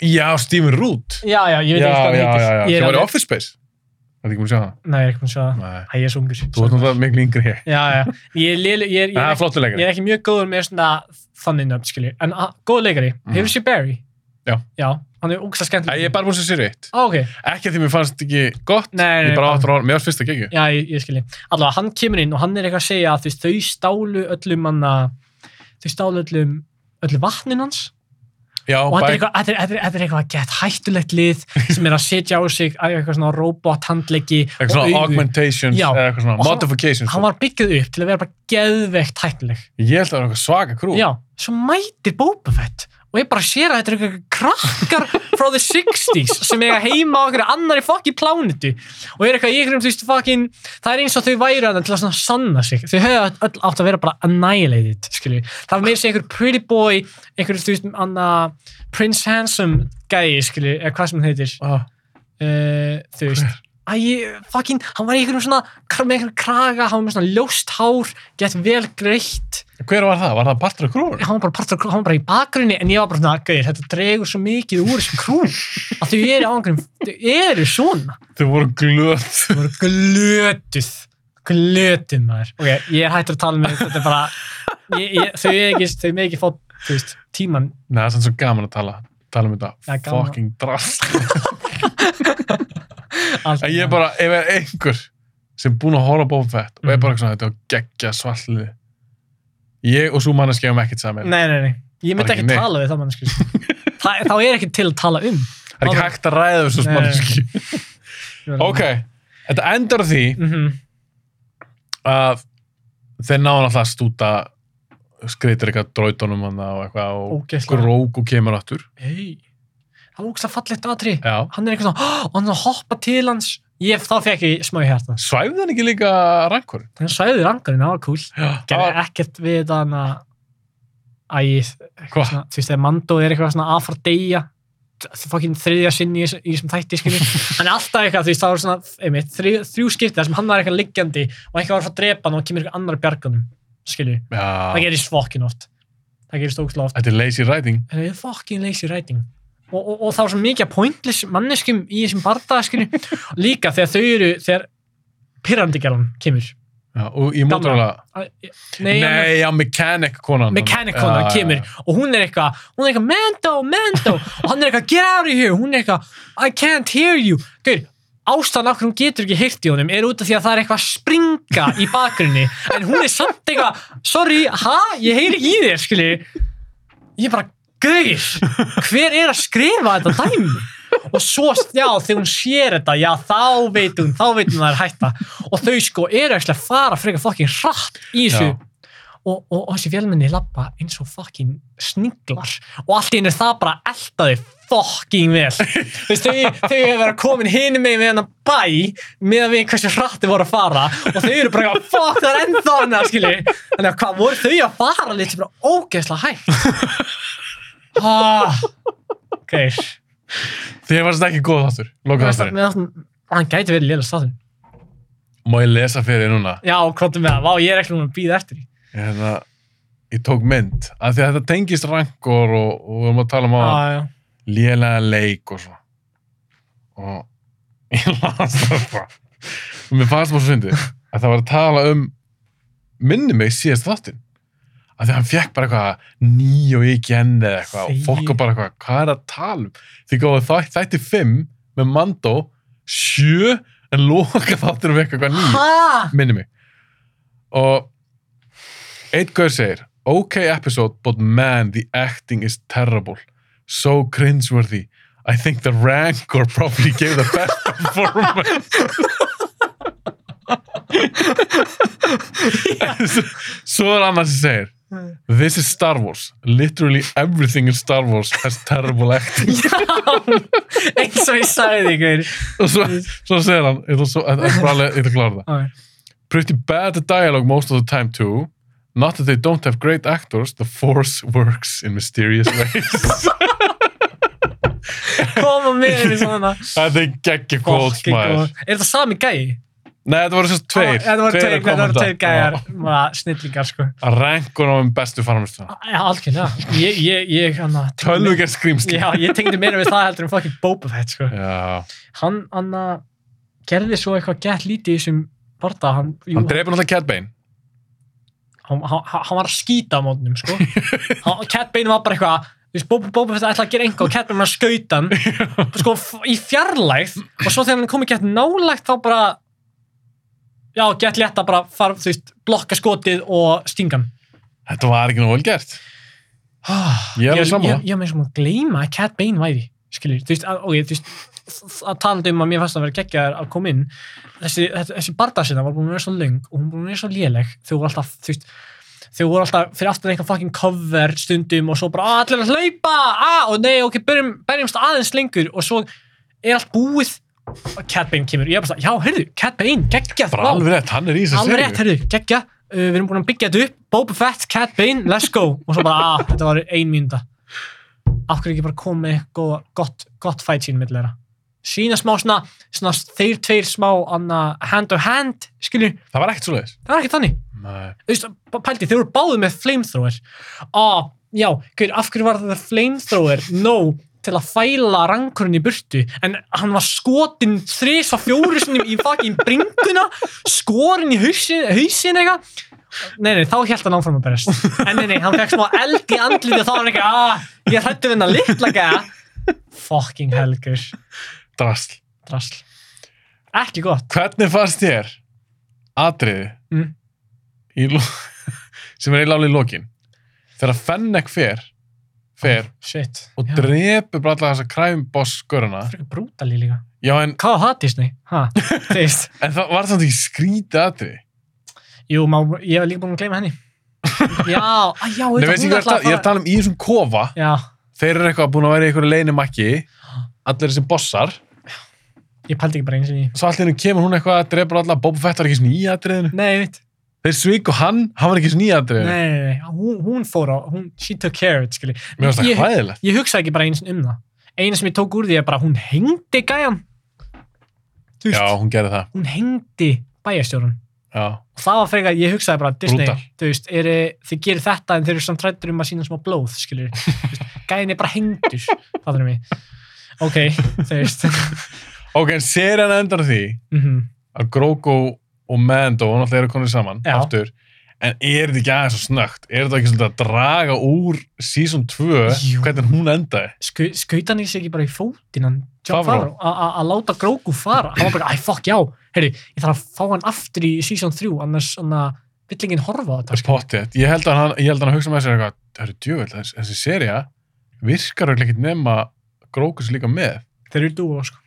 A: Já, Steven Root.
B: já, já,
A: Já,
B: ég veit
A: já,
B: ekki hvað hann
A: já,
B: heitir
A: já.
B: Ég
A: Sem
B: er
A: var í
B: alveg-
A: Office Space. Það er ekki múin að sjá það.
B: Nei, ég er ekki búin að sjá það
A: Nei.
B: Æ, ég er svo ungur
A: Þú ert
B: sorry.
A: náttúrulega miklu yngri hér.
B: Já, já, ég er, léleg- ég er, ég
A: Það
B: er,
A: er
B: ekki,
A: flottu
B: ég
A: leikari.
B: er ekki mjög góður með svona þannig nöfn, skilji En a- góður leikari,
A: Mhm.
B: hefur sér Barry
A: Já.
B: Já, hann er úksta
A: Æ,
B: skemmtileg
A: Ég er bara búin að sjá sér eitt.
B: Á, ok,
A: Ekki að því mér fannst ekki gott.
B: Nei, nei,
A: Ég bara
B: bara-
A: áttur á hann. Mér varst fyrst að gegju.
B: Já, ég, ég skilji. Allavega, hann kemur inn og hann er eitthvað að segja að þú veist, þau stálu öllum hann þau stálu öllum öllu vatnin hans
A: Já,
B: og þetta er
A: bæ-
B: eitthvað, þetta er, þetta er, þetta er eitthvað að geta hættulegt lið sem er að setja á sig eitthvað svona robot handleggi
A: eitthvað svona augmentations,
B: Já.
A: eða eitthvað
B: Og
A: svona
B: hann-
A: modifications.
B: hann var byggðið upp til að vera bara geðveikt hættuleg
A: Ég held að það var eitthvað svaka krú.
B: Já, Sko. svo mætir Boba Fett og ég bara sér að þetta eru eitthvað krakkar frá the 60s sem eiga heima á einhverju annari fokki plánutu og er eitthvað í einhverjum, þú veist, fokkin það er eins og þau væri að til að svona sanna sig þau höfðu öll átt að vera bara annihilated skilju, það var meira sér einhver pretty boy einhver, þú veist, anna Prince Handsome gæi, skilju eða hvað sem hann heitir
A: Ah,
B: uh, þú veist Æ, fucking, hann var í einhverjum svona með einhverjum kraga, hann var með svona ljóst hár gett vel greitt
A: Hver var það? Var það partur af krúinu?
B: hann var bara partur af krú- hann var bara í bakgrunni en ég var bara svona, gauðir, þetta dregur svo mikið úr þessum krún að þau eru á einhverjum, þau eru svona
A: Þau voru glöð.
B: þau voru glötuð glötuð maður ok, ég er hættur að tala með þetta er bara ég, ég, þau er ekki, þau með ekki fá þú veist, tíman
A: Nei, það er sann svo gaman að tala. Tala um
B: Já,
A: þetta
B: gaman.
A: fucking drast.
B: allt
A: Að ég bara, ef er einhver sem er búin að horfa á Boba Fett og er
B: Mhm.
A: bara svona þetta og geggja svallið ég og svo manneski hefum ekkert saman
B: Nei, nei, nei. Ég myndi
A: Bara ekki
B: ekki
A: neitt.
B: tala við það mannsku. Þa, þá er ekki til að tala um.
A: það er ekki hægt að ræða þessu
B: Nei.
A: manneski ok, þetta endar á því
B: Mm
A: að þeir náðan alltaf að stúta skreitir eitthvað dróitunum hann og eitthvað og
B: Ógeðslega.
A: gróku kemur áttur
B: Hei. Það var ógst að fallegt aðri.
A: já
B: Hann er eitthvað svona, "Hó!" og hann er að hoppa til hans. Ég, þá fekk ég smá í hérta.
A: svæfði hann ekki líka rankur
B: Þannig sæði rangarinn, það var cool. Gerði ekkert við þann að ægið,
A: hvað,
B: þú veist, þegar Mando er eitthvað svona að fara að deyja það er fokkin þriðja sinni í þessu- í þessum þætti skilur, hann er alltaf eitthvað, þú veist, það var svona einmitt, þrjú, þrjú skipti þar sem hann var eitthvað liggjandi og eitthvað var að fara að drepa hann og kemur eitthvað annar bjarganum, skilur, það
A: já,
B: gerist fokkin oft það gerist ógstlega oft
A: þetta er lazy writing
B: það er fokkin lazy writing og, og, og það var svo mikið pointless manneskum í þessum bardaða, skilur líka þegar þau eru, þegar pyrrandigerðan kemur
A: já, og í
B: Gamla.
A: mótorlega
B: Æ,
A: Nei,
B: hann er-
A: já, mechanic konan.
B: mechanic konar kemur og hún er eitthvað, hún er eitthvað Mendo, Mendo og hann er eitthvað, get out of here, hún er eitthvað I can't hear you, gaur ástæðan af hverju hún getur ekki heyrt í honum er út af því að það er eitthvað að springa í bakgrunni en hún er samt eitthvað sorry, ha, ég heyri ekki í þér skilji, ég er bara gaur, hver er að skrifa þetta dæmi og svo, já, þegar hún sér þetta, já, þá veit hún þá veit hún að það er hætta og þau sko eru ekki að fara frekar fokkin hratt í þessu
A: Já.
B: og, og, og þessi fjálminni lappa eins og fokkin sniglar og allt í einu er það bara eldaði fokkin vel Þú veist, þau, þau hefur verið komin hinum megin við hennar bæ með að við hversu hratt þau voru að fara og þau eru bara, eitthvað, fokk, það er ennþá hennar skilji, þannig að hvað voru þau að fara lítið bara ógeðslega hægt ah, Geir
A: Þér varst ekki góð þáttur, lokað þátturinn.
B: Mér fannst hann- hann gæti verið lélega státtur
A: Má ég lesa fyrir þér núna?
B: já, komdu með það, vá, ég er ekki núna að býða eftir því
A: Hérna, ég tók mynd. Af því að þetta tengist rankor og, og við erum að tala um að
B: ah, já.
A: lélega leik og svo. Og ég las það bara. Og mér fannst bara svo fyndið að það var að tala um minni mig síðast þáttinn. Af því að hann fekk bara eitthvað nýju og ekki henni eða eitthvað og
B: Þegi.
A: fólk var bara eitthvað, hvað er að tala um? Því góðu þætt- þætti fimm með Mandó, sjö en loka þáttir um eitthvað nýju
B: ha,
A: minni mig og einn gaur segir ok episode but man the acting is terrible so cringeworthy I think the Rancor probably gave the best performance svo er annars sem segir This is Star Wars. Literally everything in Star Wars has terrible acting.
B: já eins og ég sagði því, Geir
A: Og svo, svo segir hann, ég ætla svo- ég ætla bara að- ég ætla að klára það.
B: ah,
A: pretty bad dialogue most of the time too. Not that they don't have great actors, the force works in mysterious ways.
B: koma með henni svona
A: Þetta er geggi quotes
B: Fokkin góð.
A: maður.
B: er þetta sami gæi?
A: Nei, þetta voru sérst
B: Ah,
A: tveir.
B: þetta voru tveir,
A: að
B: þetta voru
A: kommenta.
B: tveir gæjar ah. snillingar sko
A: Já, Að renkun á um bestu farmistuna.
B: já, algjörlega ég, ég, ég, hann að-
A: Tölvuger skrýmsli.
B: já, ég tengdi meira við það heldur en fucking Boba Fett sko
A: Já.
B: hann, hann að gerði svo eitthvað gett lítið í þessum barða hann, jú,
A: Hann dreipur náttúrulega Cat Bane.
B: hann, hann, hann var að skýta á mótnum sko. Hann- Cat Bane var bara eitthvað þú veist, Boba, Boba Fett ætlaði að gera einhvað og Cat Bane var að skauta hann sko, f- í fjarlægð og svo þegar hann kom ekki hægt nálægt þá bara já, gett létt að bara fara, þú veist, blokka skotið og stinga hann
A: Þetta var ekki nóg vel gert. Ég er alveg
B: ég,
A: sammála.
B: ég, ég með svona að gleyma að Cat Bane væri skilur, þú veist, að, ok, þú veist að tala um að mér fannst að vera geggjaðar að koma inn þessi, þessi, þessi bardagsina var búin að vera svo löng og hún búin að vera svo léleg þau voru alltaf, þú veist þau voru alltaf fyrir aftan eitthvað fucking cover stundum og svo bara, að allir að hlaupa að, og nei, ok, berjum, berjumst aðeins lengur og svo er allt búið og Cat Bane kemur, ég er bara svona, já, heyrðu Cat Bane, geggjað,
A: Bara
B: vá,
A: alveg rétt, hann er í þessu
B: alveg
A: serið.
B: rétt, herru, geggja uh, við erum búin að byggja þetta upp, Boba Fett, Cat Bane let's go, og svo bara, að, þetta var ein mínúta af hverju ekki bara komið góð, gott, gott fight sín millir þeirra sína smá svona, svona þeir tveir smá anna, hand to hand skilju,
A: Það var ekkert svo leiðis.
B: það var ekki þannig
A: Nei.
B: Þú veist, b- pældi, þeir voru báðu með flamethrower ah, já, hver, af hverju var þetta flamethrower, no til að fæla rankurinn í burtu en hann var skotin þris og fjórusunum í fucking bringuna skorin í hausin, hausin eitthvað nei, nei, þá held hann áfram að berjast en nei, nei, hann fekk smá eld í andliti og þá var hann ekki, ah, ég hrættu við hennar litla gæða fucking helgur
A: Drasl.
B: drasl, ekki gott
A: Hvernig fannst þér atriði
B: Mm.
A: í lo- sem er eiginlega alveg í lokin þegar Fennec fer fer
B: Shit.
A: og drepur bara alla þessa crime boss göruna
B: Fyrir brútali líka.
A: já en,
B: Hvað á það Disney? Ha, þú veist.
A: en það var samt ekki skrítið atriði
B: Jú, má, ég hef líka búin að gleyma henni. Já, að
A: Nei,
B: já, auðvitað,
A: veistu hvað ég, er að tala- ég er að tala um í þessum kofa
B: Já,
A: þeir eru eitthvað búin að vera í einhverju leinimakki allir þessi bossar
B: ég pældi ekki bara eins og í.
A: svo allir hennu kemur hún eitthvað að drepur alla Boba Fett var ekki svona í atriðinu
B: Nei, veit.
A: þeir sviku hann, hann var ekki svona í
B: Nei,
A: atriðinu
B: nei, nei, hún, hún fór á, hún, she took care of it, skilji.
A: mér finnst það
B: Ég-
A: hræðilegt
B: Ég hugsaði ekki bara eins um það. Einu sem ég tók úr því er bara, hún hengdi gæjan. Þú
A: já,
B: veist,
A: hún gerði það
B: hún hengdi bæjarstjórun.
A: já,
B: Og það var frekar, ég hugsaði bara, Disney,
A: Brútal.
B: þú veist, er, þið gerir þetta en þeir eru samt rættur um að sína smá blóð, skilur. Gæðin er bara hengdur, það er mig. Ok, þú veist.
A: ok, en serían endar á því
B: Mhm.
A: að Grogu og Mando og náttúrulega eru konur saman
B: Já.
A: aftur, en er þetta ekki aðeins svo snögt er þetta ekki svolítið að draga úr season 2,
B: Jú.
A: hvernig hún endaði
B: Skau, skautan ég sig ekki bara í fótinn hann John
A: Favreau.
B: Favreau a- a- að láta Grogu fara hann var bara, æ, fuck, já, heyrðu, ég þarf að fá hann aftur í season 3 annars svona villingin horfa á þetta sko.
A: potið, ég held að hann, ég held að hann hugsa með sér eitthvað, það eru djövel, þessi, þessi seria virkar auðvitað ekkert nema Grogu sér líka með,
B: þeir eru dúo, sko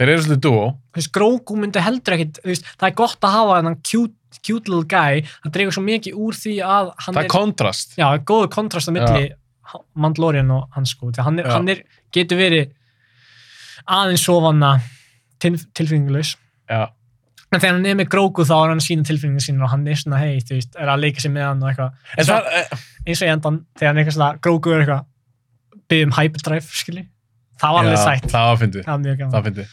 A: þeir eru svolítið dúo
B: Þú veist, Grogu myndi heldur ekkit þú veist, það er gott að hafa hann cute, cute little guy hann dreigur svo mikið úr því að hann
A: það er kontrast,
B: já, góður kontrast á milli Mandalorian og hann sko því að hann, er,
A: Já.
B: hann er, getur verið aðeins sofanna til, tilfinningulegs
A: já,
B: En þegar hann er með Grogu þá er hann sína tilfinningu sína og hann er svona hei, þú veist, er að leika sér með hann og eitthvað.
A: en
B: Eins og,
A: það er
B: eins og ég endan, þegar hann er eitthvað svona, Grogu er eitthvað, byggði um hyperdrive, skilji. Það var alveg sætt.
A: það var fyndið
B: Það var mjög gaman.
A: það fyndi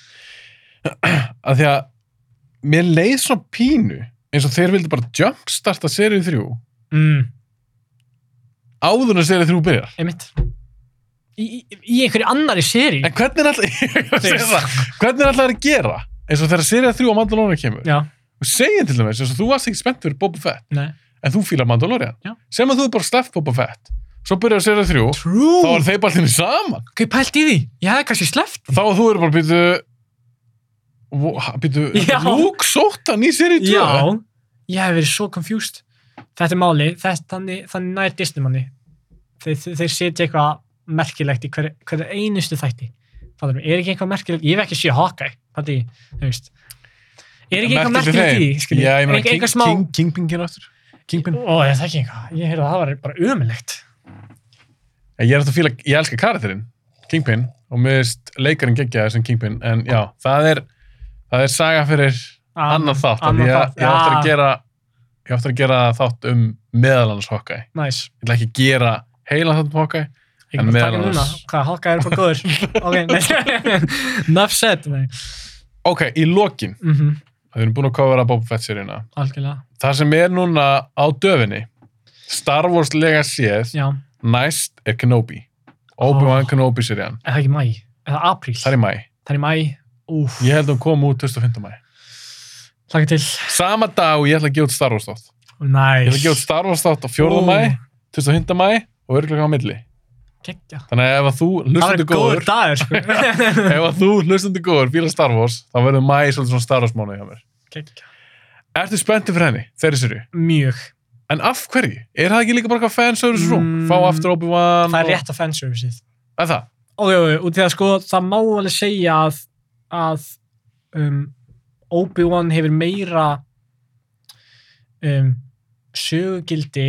A: að því að mér leið svona pínu eins og þeir vildi bara jumpstarta serið þrjú
B: Mm,
A: áður en serið þrjú byrjar
B: einmitt. Í, í, í einhverju annari séri.
A: En hvernig er alltaf, ég var að segja það, hvernig er alltaf að gera eins og þegar serið þrjú á Mandalorian kemur?
B: Já,
A: Og segjum til dæmis, eins og þú varst ekki spennt fyrir Boba Fett,
B: nei.
A: en þú fílar Mandalorian.
B: Já.
A: Sem að þú er bara sleppt Boba Fett, svo byrjar serið þrjú,
B: True.
A: þá er þeir bara allir saman.
B: Ok, pælt í því. Ég hefði kannski sleppt.
A: Þá er þú eru bara býtu, býtu,
B: Já.
A: Luke sótt hann í serið
B: Já,
A: tvö.
B: ég hefði verið svo confused. Þetta er máli, þess, þannig, þannig nær Disney manni. Þeir, þeir, þeir setja eitthvað merkilegt í hverju hver einustu þætti. Það er, er ekki eitthvað merkilegt, ég hef ekki séð Hawkeye, það er, þú veist. Er ekki eitthvað
A: Merkilegt í
B: merkilegt í
A: þeim.
B: því, skilji?
A: Já, ég meina,
B: Einhver-
A: King,
B: einhver smá...
A: King, Kingpin kemur aftur. Kingpin.
B: Ó, ég þekki eitthvað, ég heyrði að það var bara ömulegt.
A: En Ég er alltaf að fíla, ég elska karakterinn, Kingpin, og mér veist leikarinn geggjaði sem Kingpin, en já, það er, það er saga fyrir annan þátt, af því
B: Annan
A: ég,
B: þátt, Ah,
A: ég átti
B: já.
A: að gera, ég átti að gera þátt um meðalans Hawkeye.
B: Næs.
A: Ég ætla ekki að gera heilan þátt um Hawkeye.
B: Ég
A: En
B: kan bara taka
A: meðal
B: núna,
A: annars-
B: hvað Hawkeye er bara góður. ok, nei. Nuff said, nei.
A: Ok, í lokin,
B: Mm
A: það erum búin að kofara Boba Fett seríuna.
B: Algjörlega,
A: Það sem er núna á döfinni, Star Wars lega séð,
B: já.
A: næst er Kenobi. Obi-Wan Kenobi serían.
B: Er það ekki mæ? Er það apríl?
A: Það er í mæ.
B: Það er í mæ, úf,
A: Ég held að hún kom út 25. mæ.
B: hlaka til.
A: Sama dag og ég ætla að gefa út Star Wars þátt. Ég ætla að gefa út
B: Næs.
A: Star Wars þátt á 4.
B: Ú.
A: mæ, 25. mæ og örgulega á milli.
B: Gekkja.
A: Þannig að ef að þú
B: Það verður
A: hlustandi
B: góður
A: góður,
B: dagur, sko.
A: ef að þú hlustandi góður fílar Star Wars, þá verður mæ svolítið svona Star Wars mánuði hjá mér.
B: Gekkja.
A: Ertu spenntið fyrir henni, þeirri serju?
B: Mjög.
A: En af hverju? Er það ekki líka bara eitthvað fanservice rung?
B: Mm.
A: Fá aftur Obi-Wan?
B: Það er
A: og-
B: rétt að fanserviceið.
A: Er það?
B: Ójó, út í það sko, það má alveg segja að, að um, Obi-Wan hefur meira um, sögugildi,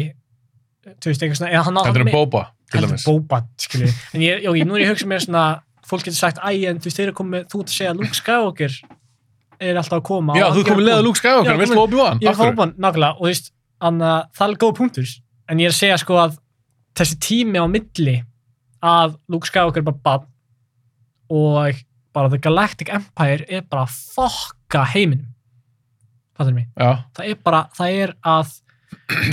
B: þú veist, eitthvað svona, eða hann á
A: Þetta er Boba, til
B: heldur
A: dæmis.
B: bóba, skilji en ég, ok, nú er ég að hugsa mér svona fólk getur sagt, æ, en þú veist, þeir eru komið þú ert að segja að Luke Skywalker er alltaf að koma
A: Já,
B: og
A: þú
B: hann
A: komið
B: gerir
A: leða
B: búnt.
A: Luke Skywalker,
B: Já,
A: viltu
B: komin-
A: Obi-Wan?
B: ég
A: Af
B: er
A: hverju?
B: hópan, nákvæmlega, og þú veist anna, það er góð punktur, en ég er að segja sko að þessi tími á milli að Luke Skywalker er bara bann og bara The Galactic Empire er bara að fokka heiminum fattur mig
A: Já,
B: það er bara, það er að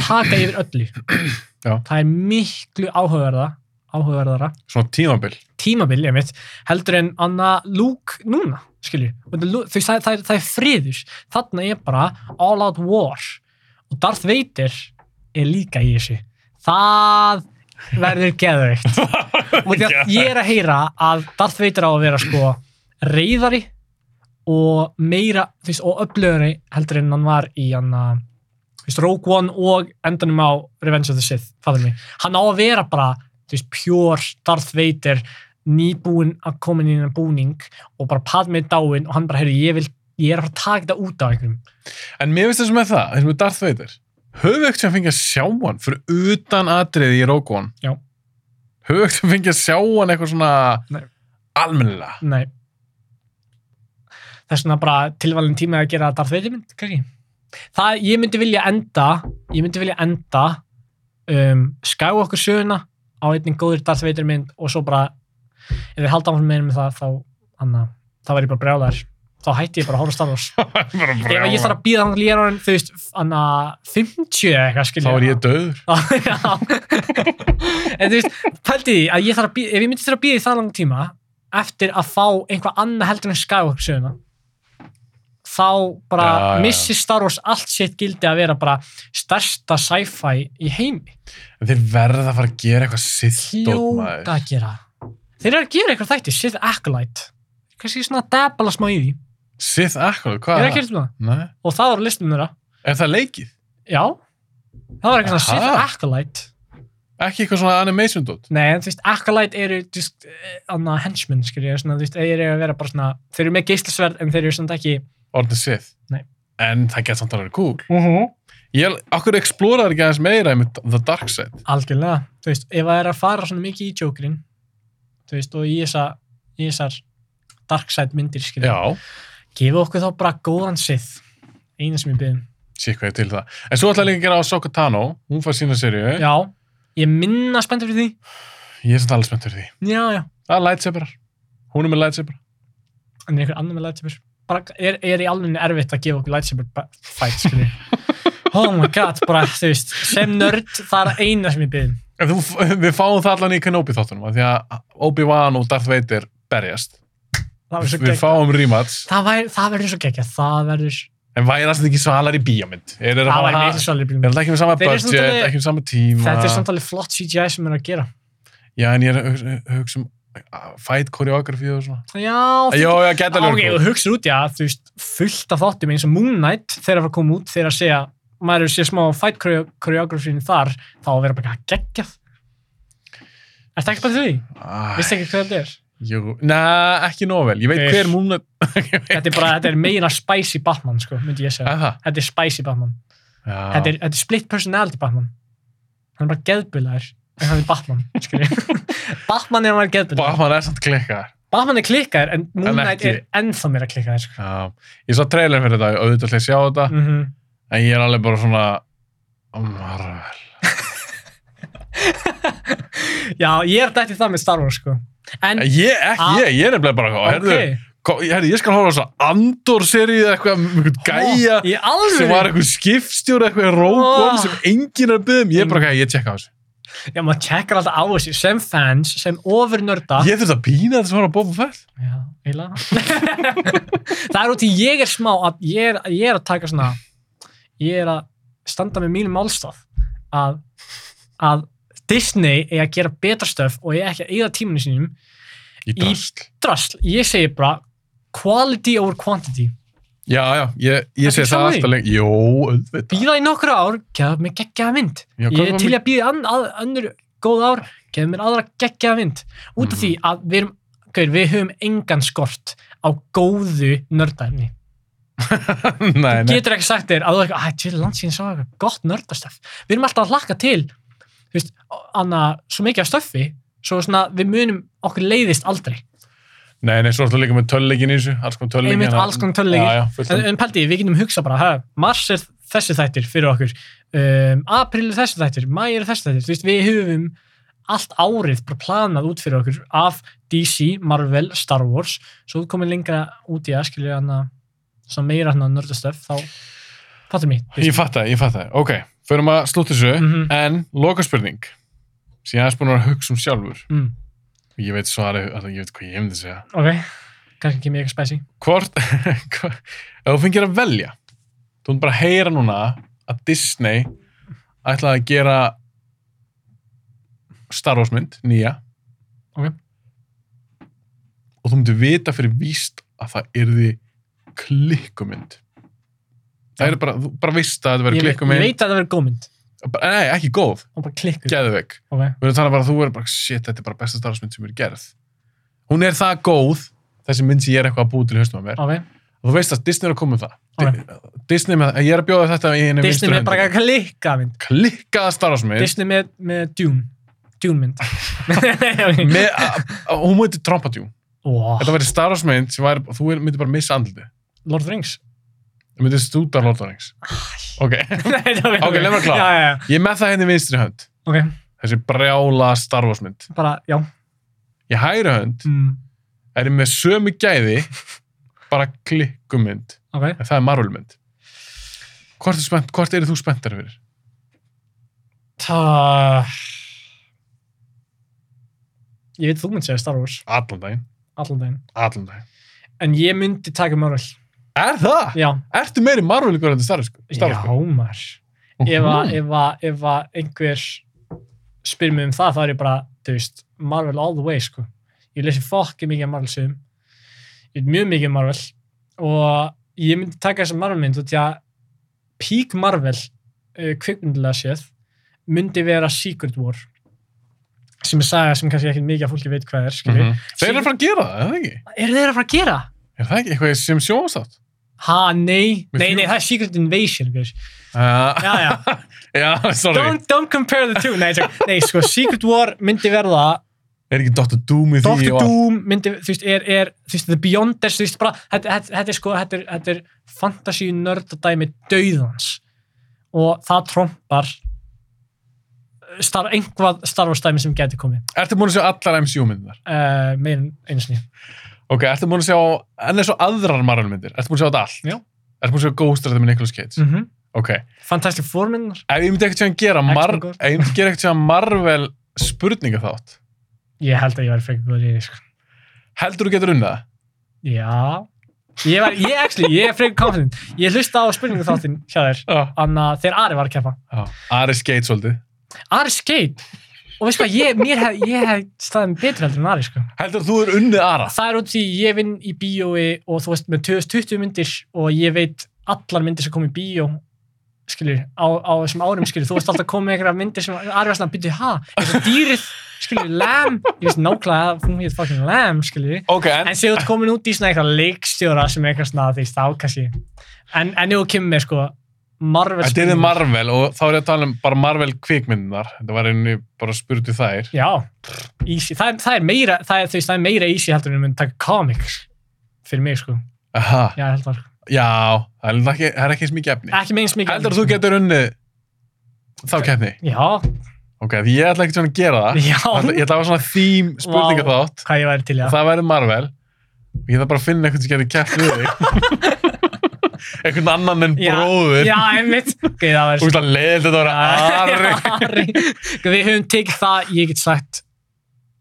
B: taka yfir öllu
A: Já.
B: það er miklu áhugaverða áhugaverðara,
A: svona tímabil.
B: tímabil ég mitt, heldur en anna Luke núna, skilju það, það, það, er- það er friður, þarna er bara all out war og Darth Vader er líka í þessu það verður geðveikt og því að ég er að heyra að Darth Vader á að vera sko reyðari og meira, þú veist, og upplöðunni heldur en hann var í hann að þú veist, Rogue One og endanum á Revenge of the Sith, fattur mig hann á að vera bara, þú veist, pjór Darth Vader, nýbúin að koma inn í hann búning og bara Padme með dáin og hann bara, heyrðu, ég vil ég er að fara að taka þetta út af einhverjum
A: En mér finnst þessum með það, þessum með Darth Vader höfum við ekkert sem fengið að sjá hann fyrir utan atriði í Rogue One
B: Já.
A: höfum við ekkert sem fengið að sjá hann eitthvað svona
B: Nei.
A: almennilega
B: Nei. Þess vegna bara tilvalin tíma að gera Darth Vader mynd, kannski. Það, ég myndi vilja enda, ég myndi vilja enda um, Skywalker söguna á einnig góður Darth Vader mynd og svo bara, ef við halda áfram meira með það, þá, anna, þá verð ég bara brjálæður. Þá hætti ég bara að horfa á Star Wars.
A: Bara
B: Ef ég
A: brjálæður.
B: þarf að býða hann líra hann, þú veist, anna, 50 eða
A: þá
B: eitthvað, skilja.
A: er ég döður
B: Já, já. en þú veist, pældi því að ég þarf að býða, ef ég myndi þurfa að býða í það langt tíma eftir að fá einhvað annað heldur en Skywalker söguna þá bara
A: Já, já, já.
B: missir Star Wars allt sitt gildi að vera bara stærsta sci-fi í heimi
A: en þeir verða að fara að gera eitthvað sittótt
B: hljóta
A: maður
B: að gera þeir eru að gera eitthvað þætti, Sith Acolyte kannski svona að dabala smá í því
A: sitt akkurat,
B: ég
A: hvað
B: er að gera þetta
A: það? Nei.
B: og það var á listum þeirra,
A: er það leikið?
B: já það var eitthvað svona Sith
A: Aha.
B: Acolyte
A: ekki eitthvað svona animation dot
B: Nei, en þú veist, Acolyte eru just, eh, annað henchmen, skiljið, svona, þú veist, þeir eru að vera bara svona, þeir eru með geislasverð en þeir eru svona ekki
A: orðin sith
B: Nei.
A: en það getur samt alveg cool
B: uh -huh.
A: ég, okkur explorar ekki aðeins meira með the dark side
B: algjörlega, þú veist, ef það er að fara svona mikið í Jokerinn, þú veist, og í þessa, í þessar dark side myndir, skiljið,
A: já,
B: gefa okkur þá bara góðan sið, eina sem ég um. byrðum.
A: sé hvað ég til það en svo ætlaði líka að gera á Sokotano hún fær sína serju
B: Já, ég er minna spenntur fyrir því,
A: Ég er samt alveg spenntur fyrir því.
B: já, já,
A: Það er lightsaberar. Hún er með lightsaberar.
B: en er einhver annar með lightsaber? Bara, er, er í alveg erfitt að gefa okkur lightsaber ba- fight, skiljið? oh my god, bara, þú veist, sem nörd, það er eina sem ég um. byrðum.
A: En Þú, við fáum það allan í Kenobi þáttunum, af því að Obi-Wan og Darth Vader berjast.
B: Það verður svo
A: Við
B: geggjað.
A: fáum rematch,
B: Það, væri- það verður svo geggjað. Það verður... Ah,
A: en væri það ekki svalar í bíjamynd? Er
B: Það
A: það
B: væri mikil svolítið
A: Er
B: bílum.
A: það ekki með sama
B: Þeir eru samt
A: budget,
B: alveg-
A: ekki með sama tíma?
B: Þetta er samt alveg flott CGI sem er að gera.
A: Já, en ég er að hugsa- hugsa um að fight choreografí og svona.
B: Já,
A: Jó, já, geta
B: ok,
A: alveg.
B: og hugsa út í að þú veist, fullt af þáttum eins og Moon Knight þegar það var að koma út þegar að segja, maður er að segja smá fight choreo- choreography-inu þar, þá að vera bara geggjað. Er það ekki bara því? Vistu
A: Æ,
B: ekki hvað þetta er?
A: jú, Nei, ekki nóg vel. Ég veit
B: Þeir-
A: hver múna...
B: Þetta er bara, þetta er meira spicy Batman, sko, myndi ég segja.
A: Er það?
B: Þetta er spicy Batman.
A: Já.
B: Þetta er, þetta er split personality Batman. Hann er bara geðbulaður, en hann er Batman, skiljið. Batman er hann geðbulaður.
A: Batman er samt klikkar.
B: Batman er klikkaður en Moon
A: En
B: Knight
A: ekki.
B: er ennþá meira klikkaður sko.
A: Já. Ég sá trailer fyrir þetta, auðvitað ætla ég að sjá þetta.
B: mm
A: En ég er alveg bara svona oh Marvel
B: já, ég er dætt í það með Star Wars sko. en,
A: Ég, ekki
B: Ah.
A: ég, ég er nefnilega bara okay. herðu,
B: ok
A: ko- herðu, ég skal horfa á þess að Andor-serið eða eitthvað, um einhvern gæja
B: Ó, Ah, í alvöru? Ah.
A: sem var eitthvað skipstjóri eitthvað rókon
B: Ó.
A: sem enginn er að byggja um ég er bara eitthvað, ég tjekka á þessu
B: já, maður tekkar alltaf á þessu sem fans, sem ofurnörda
A: Ég þurfti að pína þetta sem var að Boba Fett
B: já, eiginlega. það er út í ég er smá að ég er, ég er að taka svona ég er að standa með mínum málstað að, að Disney er að gera betra stöf og ég er ekki að eyða tíminu sínum
A: Í drasl
B: drasl, ég segi bara quality over quantity
A: Já, já, ég,
B: Ertu
A: ég sé það
B: sammála því?
A: alltaf lengi Jó, auðvitað
B: býða í nokkra ár, gefa mér geggjaða mynd
A: Já, hvað
B: ég er
A: var
B: til
A: mér-
B: að býða ann, að, önnur góð ár gefa mér aðra geggjaða mynd út af
A: Mhm.
B: því að við erum gaur, við höfum engan skort á góðu nördæfni
A: Nei, nei,
B: getur ekki sagt þér að þú eitthvað, að til landsíðin sá eitthvað gott nördastöf við erum alltaf að hlakka til þú veist, anna, svo mikið af stöffi svo svona, við munum okkur leiðist aldrei
A: nei, nei, svo er það líka með tölleikin í þessu Alls konar tölleikin
B: Einmitt, alls konar tölleikir.
A: Já, já, fullt
B: en,
A: af-
B: en pældi, við getum hugsað bara, hæ, mars er þessi þættir fyrir okkur um, april er þessi þættir, mæ er þessi þættir þú veist, við höfum allt árið bara planað út fyrir okkur af DC, Marvel, Star Wars svo þú komið lengra út í að skilja hana, svona meira hana nördastöf þá fattum ég
A: Ég fatt það, ég fatt það Ok, förum að slúta þessu
B: Mhm.
A: En, lokaspurning sem ég aðeins búin að vera að hugsa um sjálfur
B: mm,
A: Ég veit svarið, alltaf ég veit hvað ég myndi segja.
B: ok, kannski kemur ég eitthvað spæsi
A: Hvort, hva- ef þú fengir að velja, þú erum bara að heyra núna að Disney ætlaði að gera Star Wars mynd, nýja.
B: Ok.
A: Og þú myndir vita fyrir víst að það yrði klikkumynd það er bara, þú bara veist að þetta verður
B: Ég veit
A: klikkumynd
B: veit að það verður gómynd.
A: bara, nei, ekki góð,
B: Hún bara klikkur.
A: geðveik
B: Ok.
A: við erum þannig bara að þú verður bara, shit, þetta er bara besta starfsmynd sem er gerð hún er það góð þessi mynd sem ég er eitthvað að búi til í höstum að mér
B: Ok.
A: og þú veist að Disney er að koma með það Di- Disney með, ég er að bjóða þetta í einu
B: Disney með bara klikka mynd.
A: klikkaða starfsmynd
B: Disney með, með Dune. Dune mynd. okay.
A: með, a, a, hún múti Trompadjú
B: wow.
A: þetta verður starfsmynd sem væri, þú er- myndir bara missa andliti
B: Lord of the Rings.
A: þú myndir stúta Lord of the Rings ok,
B: Nei, það verður-
A: Ok, leið mér að klára.
B: Já, já, já.
A: ég er með það henni vinstri hönd
B: Ok,
A: þessi brjála starfsmynd
B: bara, já.
A: í hægri hönd
B: Mm.
A: er ég með sömu gæði bara klikkumynd
B: Ok.
A: en það er marvulmynd hvort, er spennt, hvort eru þú spenntar fyrir?
B: Það... Ég veit að þú mynd segja Star Wars
A: allan daginn,
B: allan daginn.
A: allan daginn
B: En ég myndi taka Marvel.
A: er það?
B: Já.
A: ertu meiri marvulíkur en þetta
B: Já,
A: starfsmynd?
B: maður. Ef að-
A: Mhm.
B: ef að- ef að einhver spyr mig um það, þá er ég bara, þú veist, Marvel all the way, sko. Ég lesi fokkið mikið af Marvel sögum. Ég veit mjög mikið um Marvel. Og ég myndi taka þessa Marvel mynd út í að peak Marvel, uh, kvikmyndilega séð, myndi vera Secret War. Sem er saga sem kannski ekki mikið af fólki veit hvað er, skiljið.
A: Mhm. þeir eru að fara að gera það, er það ekki?
B: eru þeir að fara að gera?
A: er það ekki eitthvað sem sjóðastátt?
B: Ha, nei,
A: Með
B: nei,
A: þrjú-
B: nei, það er Secret Invasion guys.
A: Uh,
B: Já, já,
A: já, sorry
B: don't, don't compare the two Nei, tjá, nei, sko, Secret War myndi verða
A: er ekki Dr. Doom í því
B: Doctor
A: og allt?
B: Doom myndi, þú veist, er, er þú veist, The Beyonders, þú veist, bara þetta, þetta, þetta er sko, þetta er, þetta er fantasy nördadæmi döðans og það trompar uh, star, einhvað starfastæmi sem geti komið
A: Ertu múin að sjá allar MCU-myndir?
B: uh, meir einu sinni
A: Ok, ertu múin að sjá ennlega svo aðrar Marvel-myndir? Ertu múin að sjá þetta allt?
B: Já.
A: Ertu múin að sjá Ghost Rider með Nicolas Cage?
B: mm -hmm.
A: Ok,
B: Fantastic Four minnar
A: ef ég myndi ekkert sjá að gera, mar
B: Ghost.
A: ef ég myndi gera ekkert sjá Marvel spurninga þátt,
B: Ég held að ég væri frekar góður í því, sko
A: heldur þú getur unnið það?
B: Já Ég var, ég actually, ég er frekar confident Ég hlusta á spurningu þáttinn hjá þér
A: Já.
B: Anna, þegar Ari var að keppa
A: Ari Skate svolítið.
B: Ari skeit Og veist hvað, ég, mér hef, ég hef staðið mig betur heldur en Ari sko
A: Heldur þú er unnið Ara?
B: Það er út því ég vinn í bíói og þú veist með 2020 myndir og ég veit allar myndir sem kom í bíó skilur, á, á þessum árum skilur þú veist alltaf komið einhverja myndir sem Ari var svona að byrja, ha, eins og dýrið skilur, lamb, ég veist nákvæmlega að hún hétt fucking lamb skilur
A: Ok, en,
B: En séu þú ert komin út í svona eitthvað leikstjóra sem er eitthvað svona því þá kannski En, en ef þú kemur með sko Marvel
A: þetta er þið Marvel og þá er ég að tala um bara Marvel kvikmyndinar. Þetta var einu bara spurt í þær.
B: Já, easy Það er, það er meira, það er, þú veist, það er meira easy heldur en við myndum taka comics Fyrir mig sko,
A: Aha,
B: já heldur var
A: já, það er ekki, það er ekki eins mikið efni.
B: Ekki meins mikið
A: Heldur þú getur unnið þá keppni?
B: Já,
A: Ok, því ég ætla ekkert svona að gera það.
B: já,
A: Ég ætla- ég ætla að hafa svona þým spurninga þátt.
B: hvað ég væri til já
A: Það væri Marvel. Ég ætla bara að finna einhvern sem getur keppt við þig. einhvern annan en
B: Já,
A: bróður.
B: Já, einmitt okay, Það
A: Þú
B: væri
A: veist að leiðið þetta að vera Ari.
B: Ari Við höfum tekið það, ég get sagt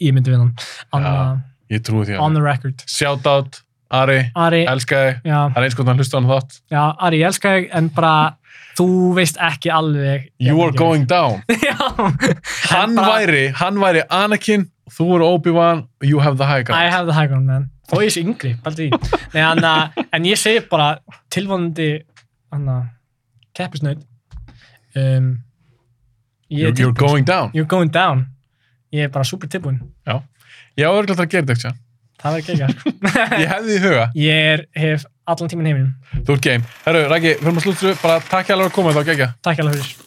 B: Ég myndi við hann
A: Já.
B: on,
A: Ég trúi því
B: the-
A: að
B: on
A: það.
B: the record
A: Shout out, Ari.
B: Ari,
A: Elska þig.
B: já
A: Það er eins konar hlusta hann þátt.
B: Já, Ari, ég elska þig, en bara þú veist ekki alveg
A: You are going down.
B: Já
A: Hann væri, hann væri Anakin, þú eru Obi-Wan, you have the high
B: I
A: ground.
B: have the high ground, man Þó ég sé yngri, baldi því Nei, hann að, en ég segi bara tilvonandi hann að keppisnaut um, ég
A: You're,
B: er
A: you're
B: tilbúinn.
A: going down.
B: You're going down Ég er bara super tilbúin
A: Já, örglætt að gera þetta ekki.
B: Það verður geggar sko.
A: Ég hefði í huga.
B: Ég er, hef allan tíminn heiminn
A: Þú ert game. Herru, Rækki, við erum að slúta þessu. Bara takk hérlega fyrir að koma þá, gegja.
B: Takk alveg fyrir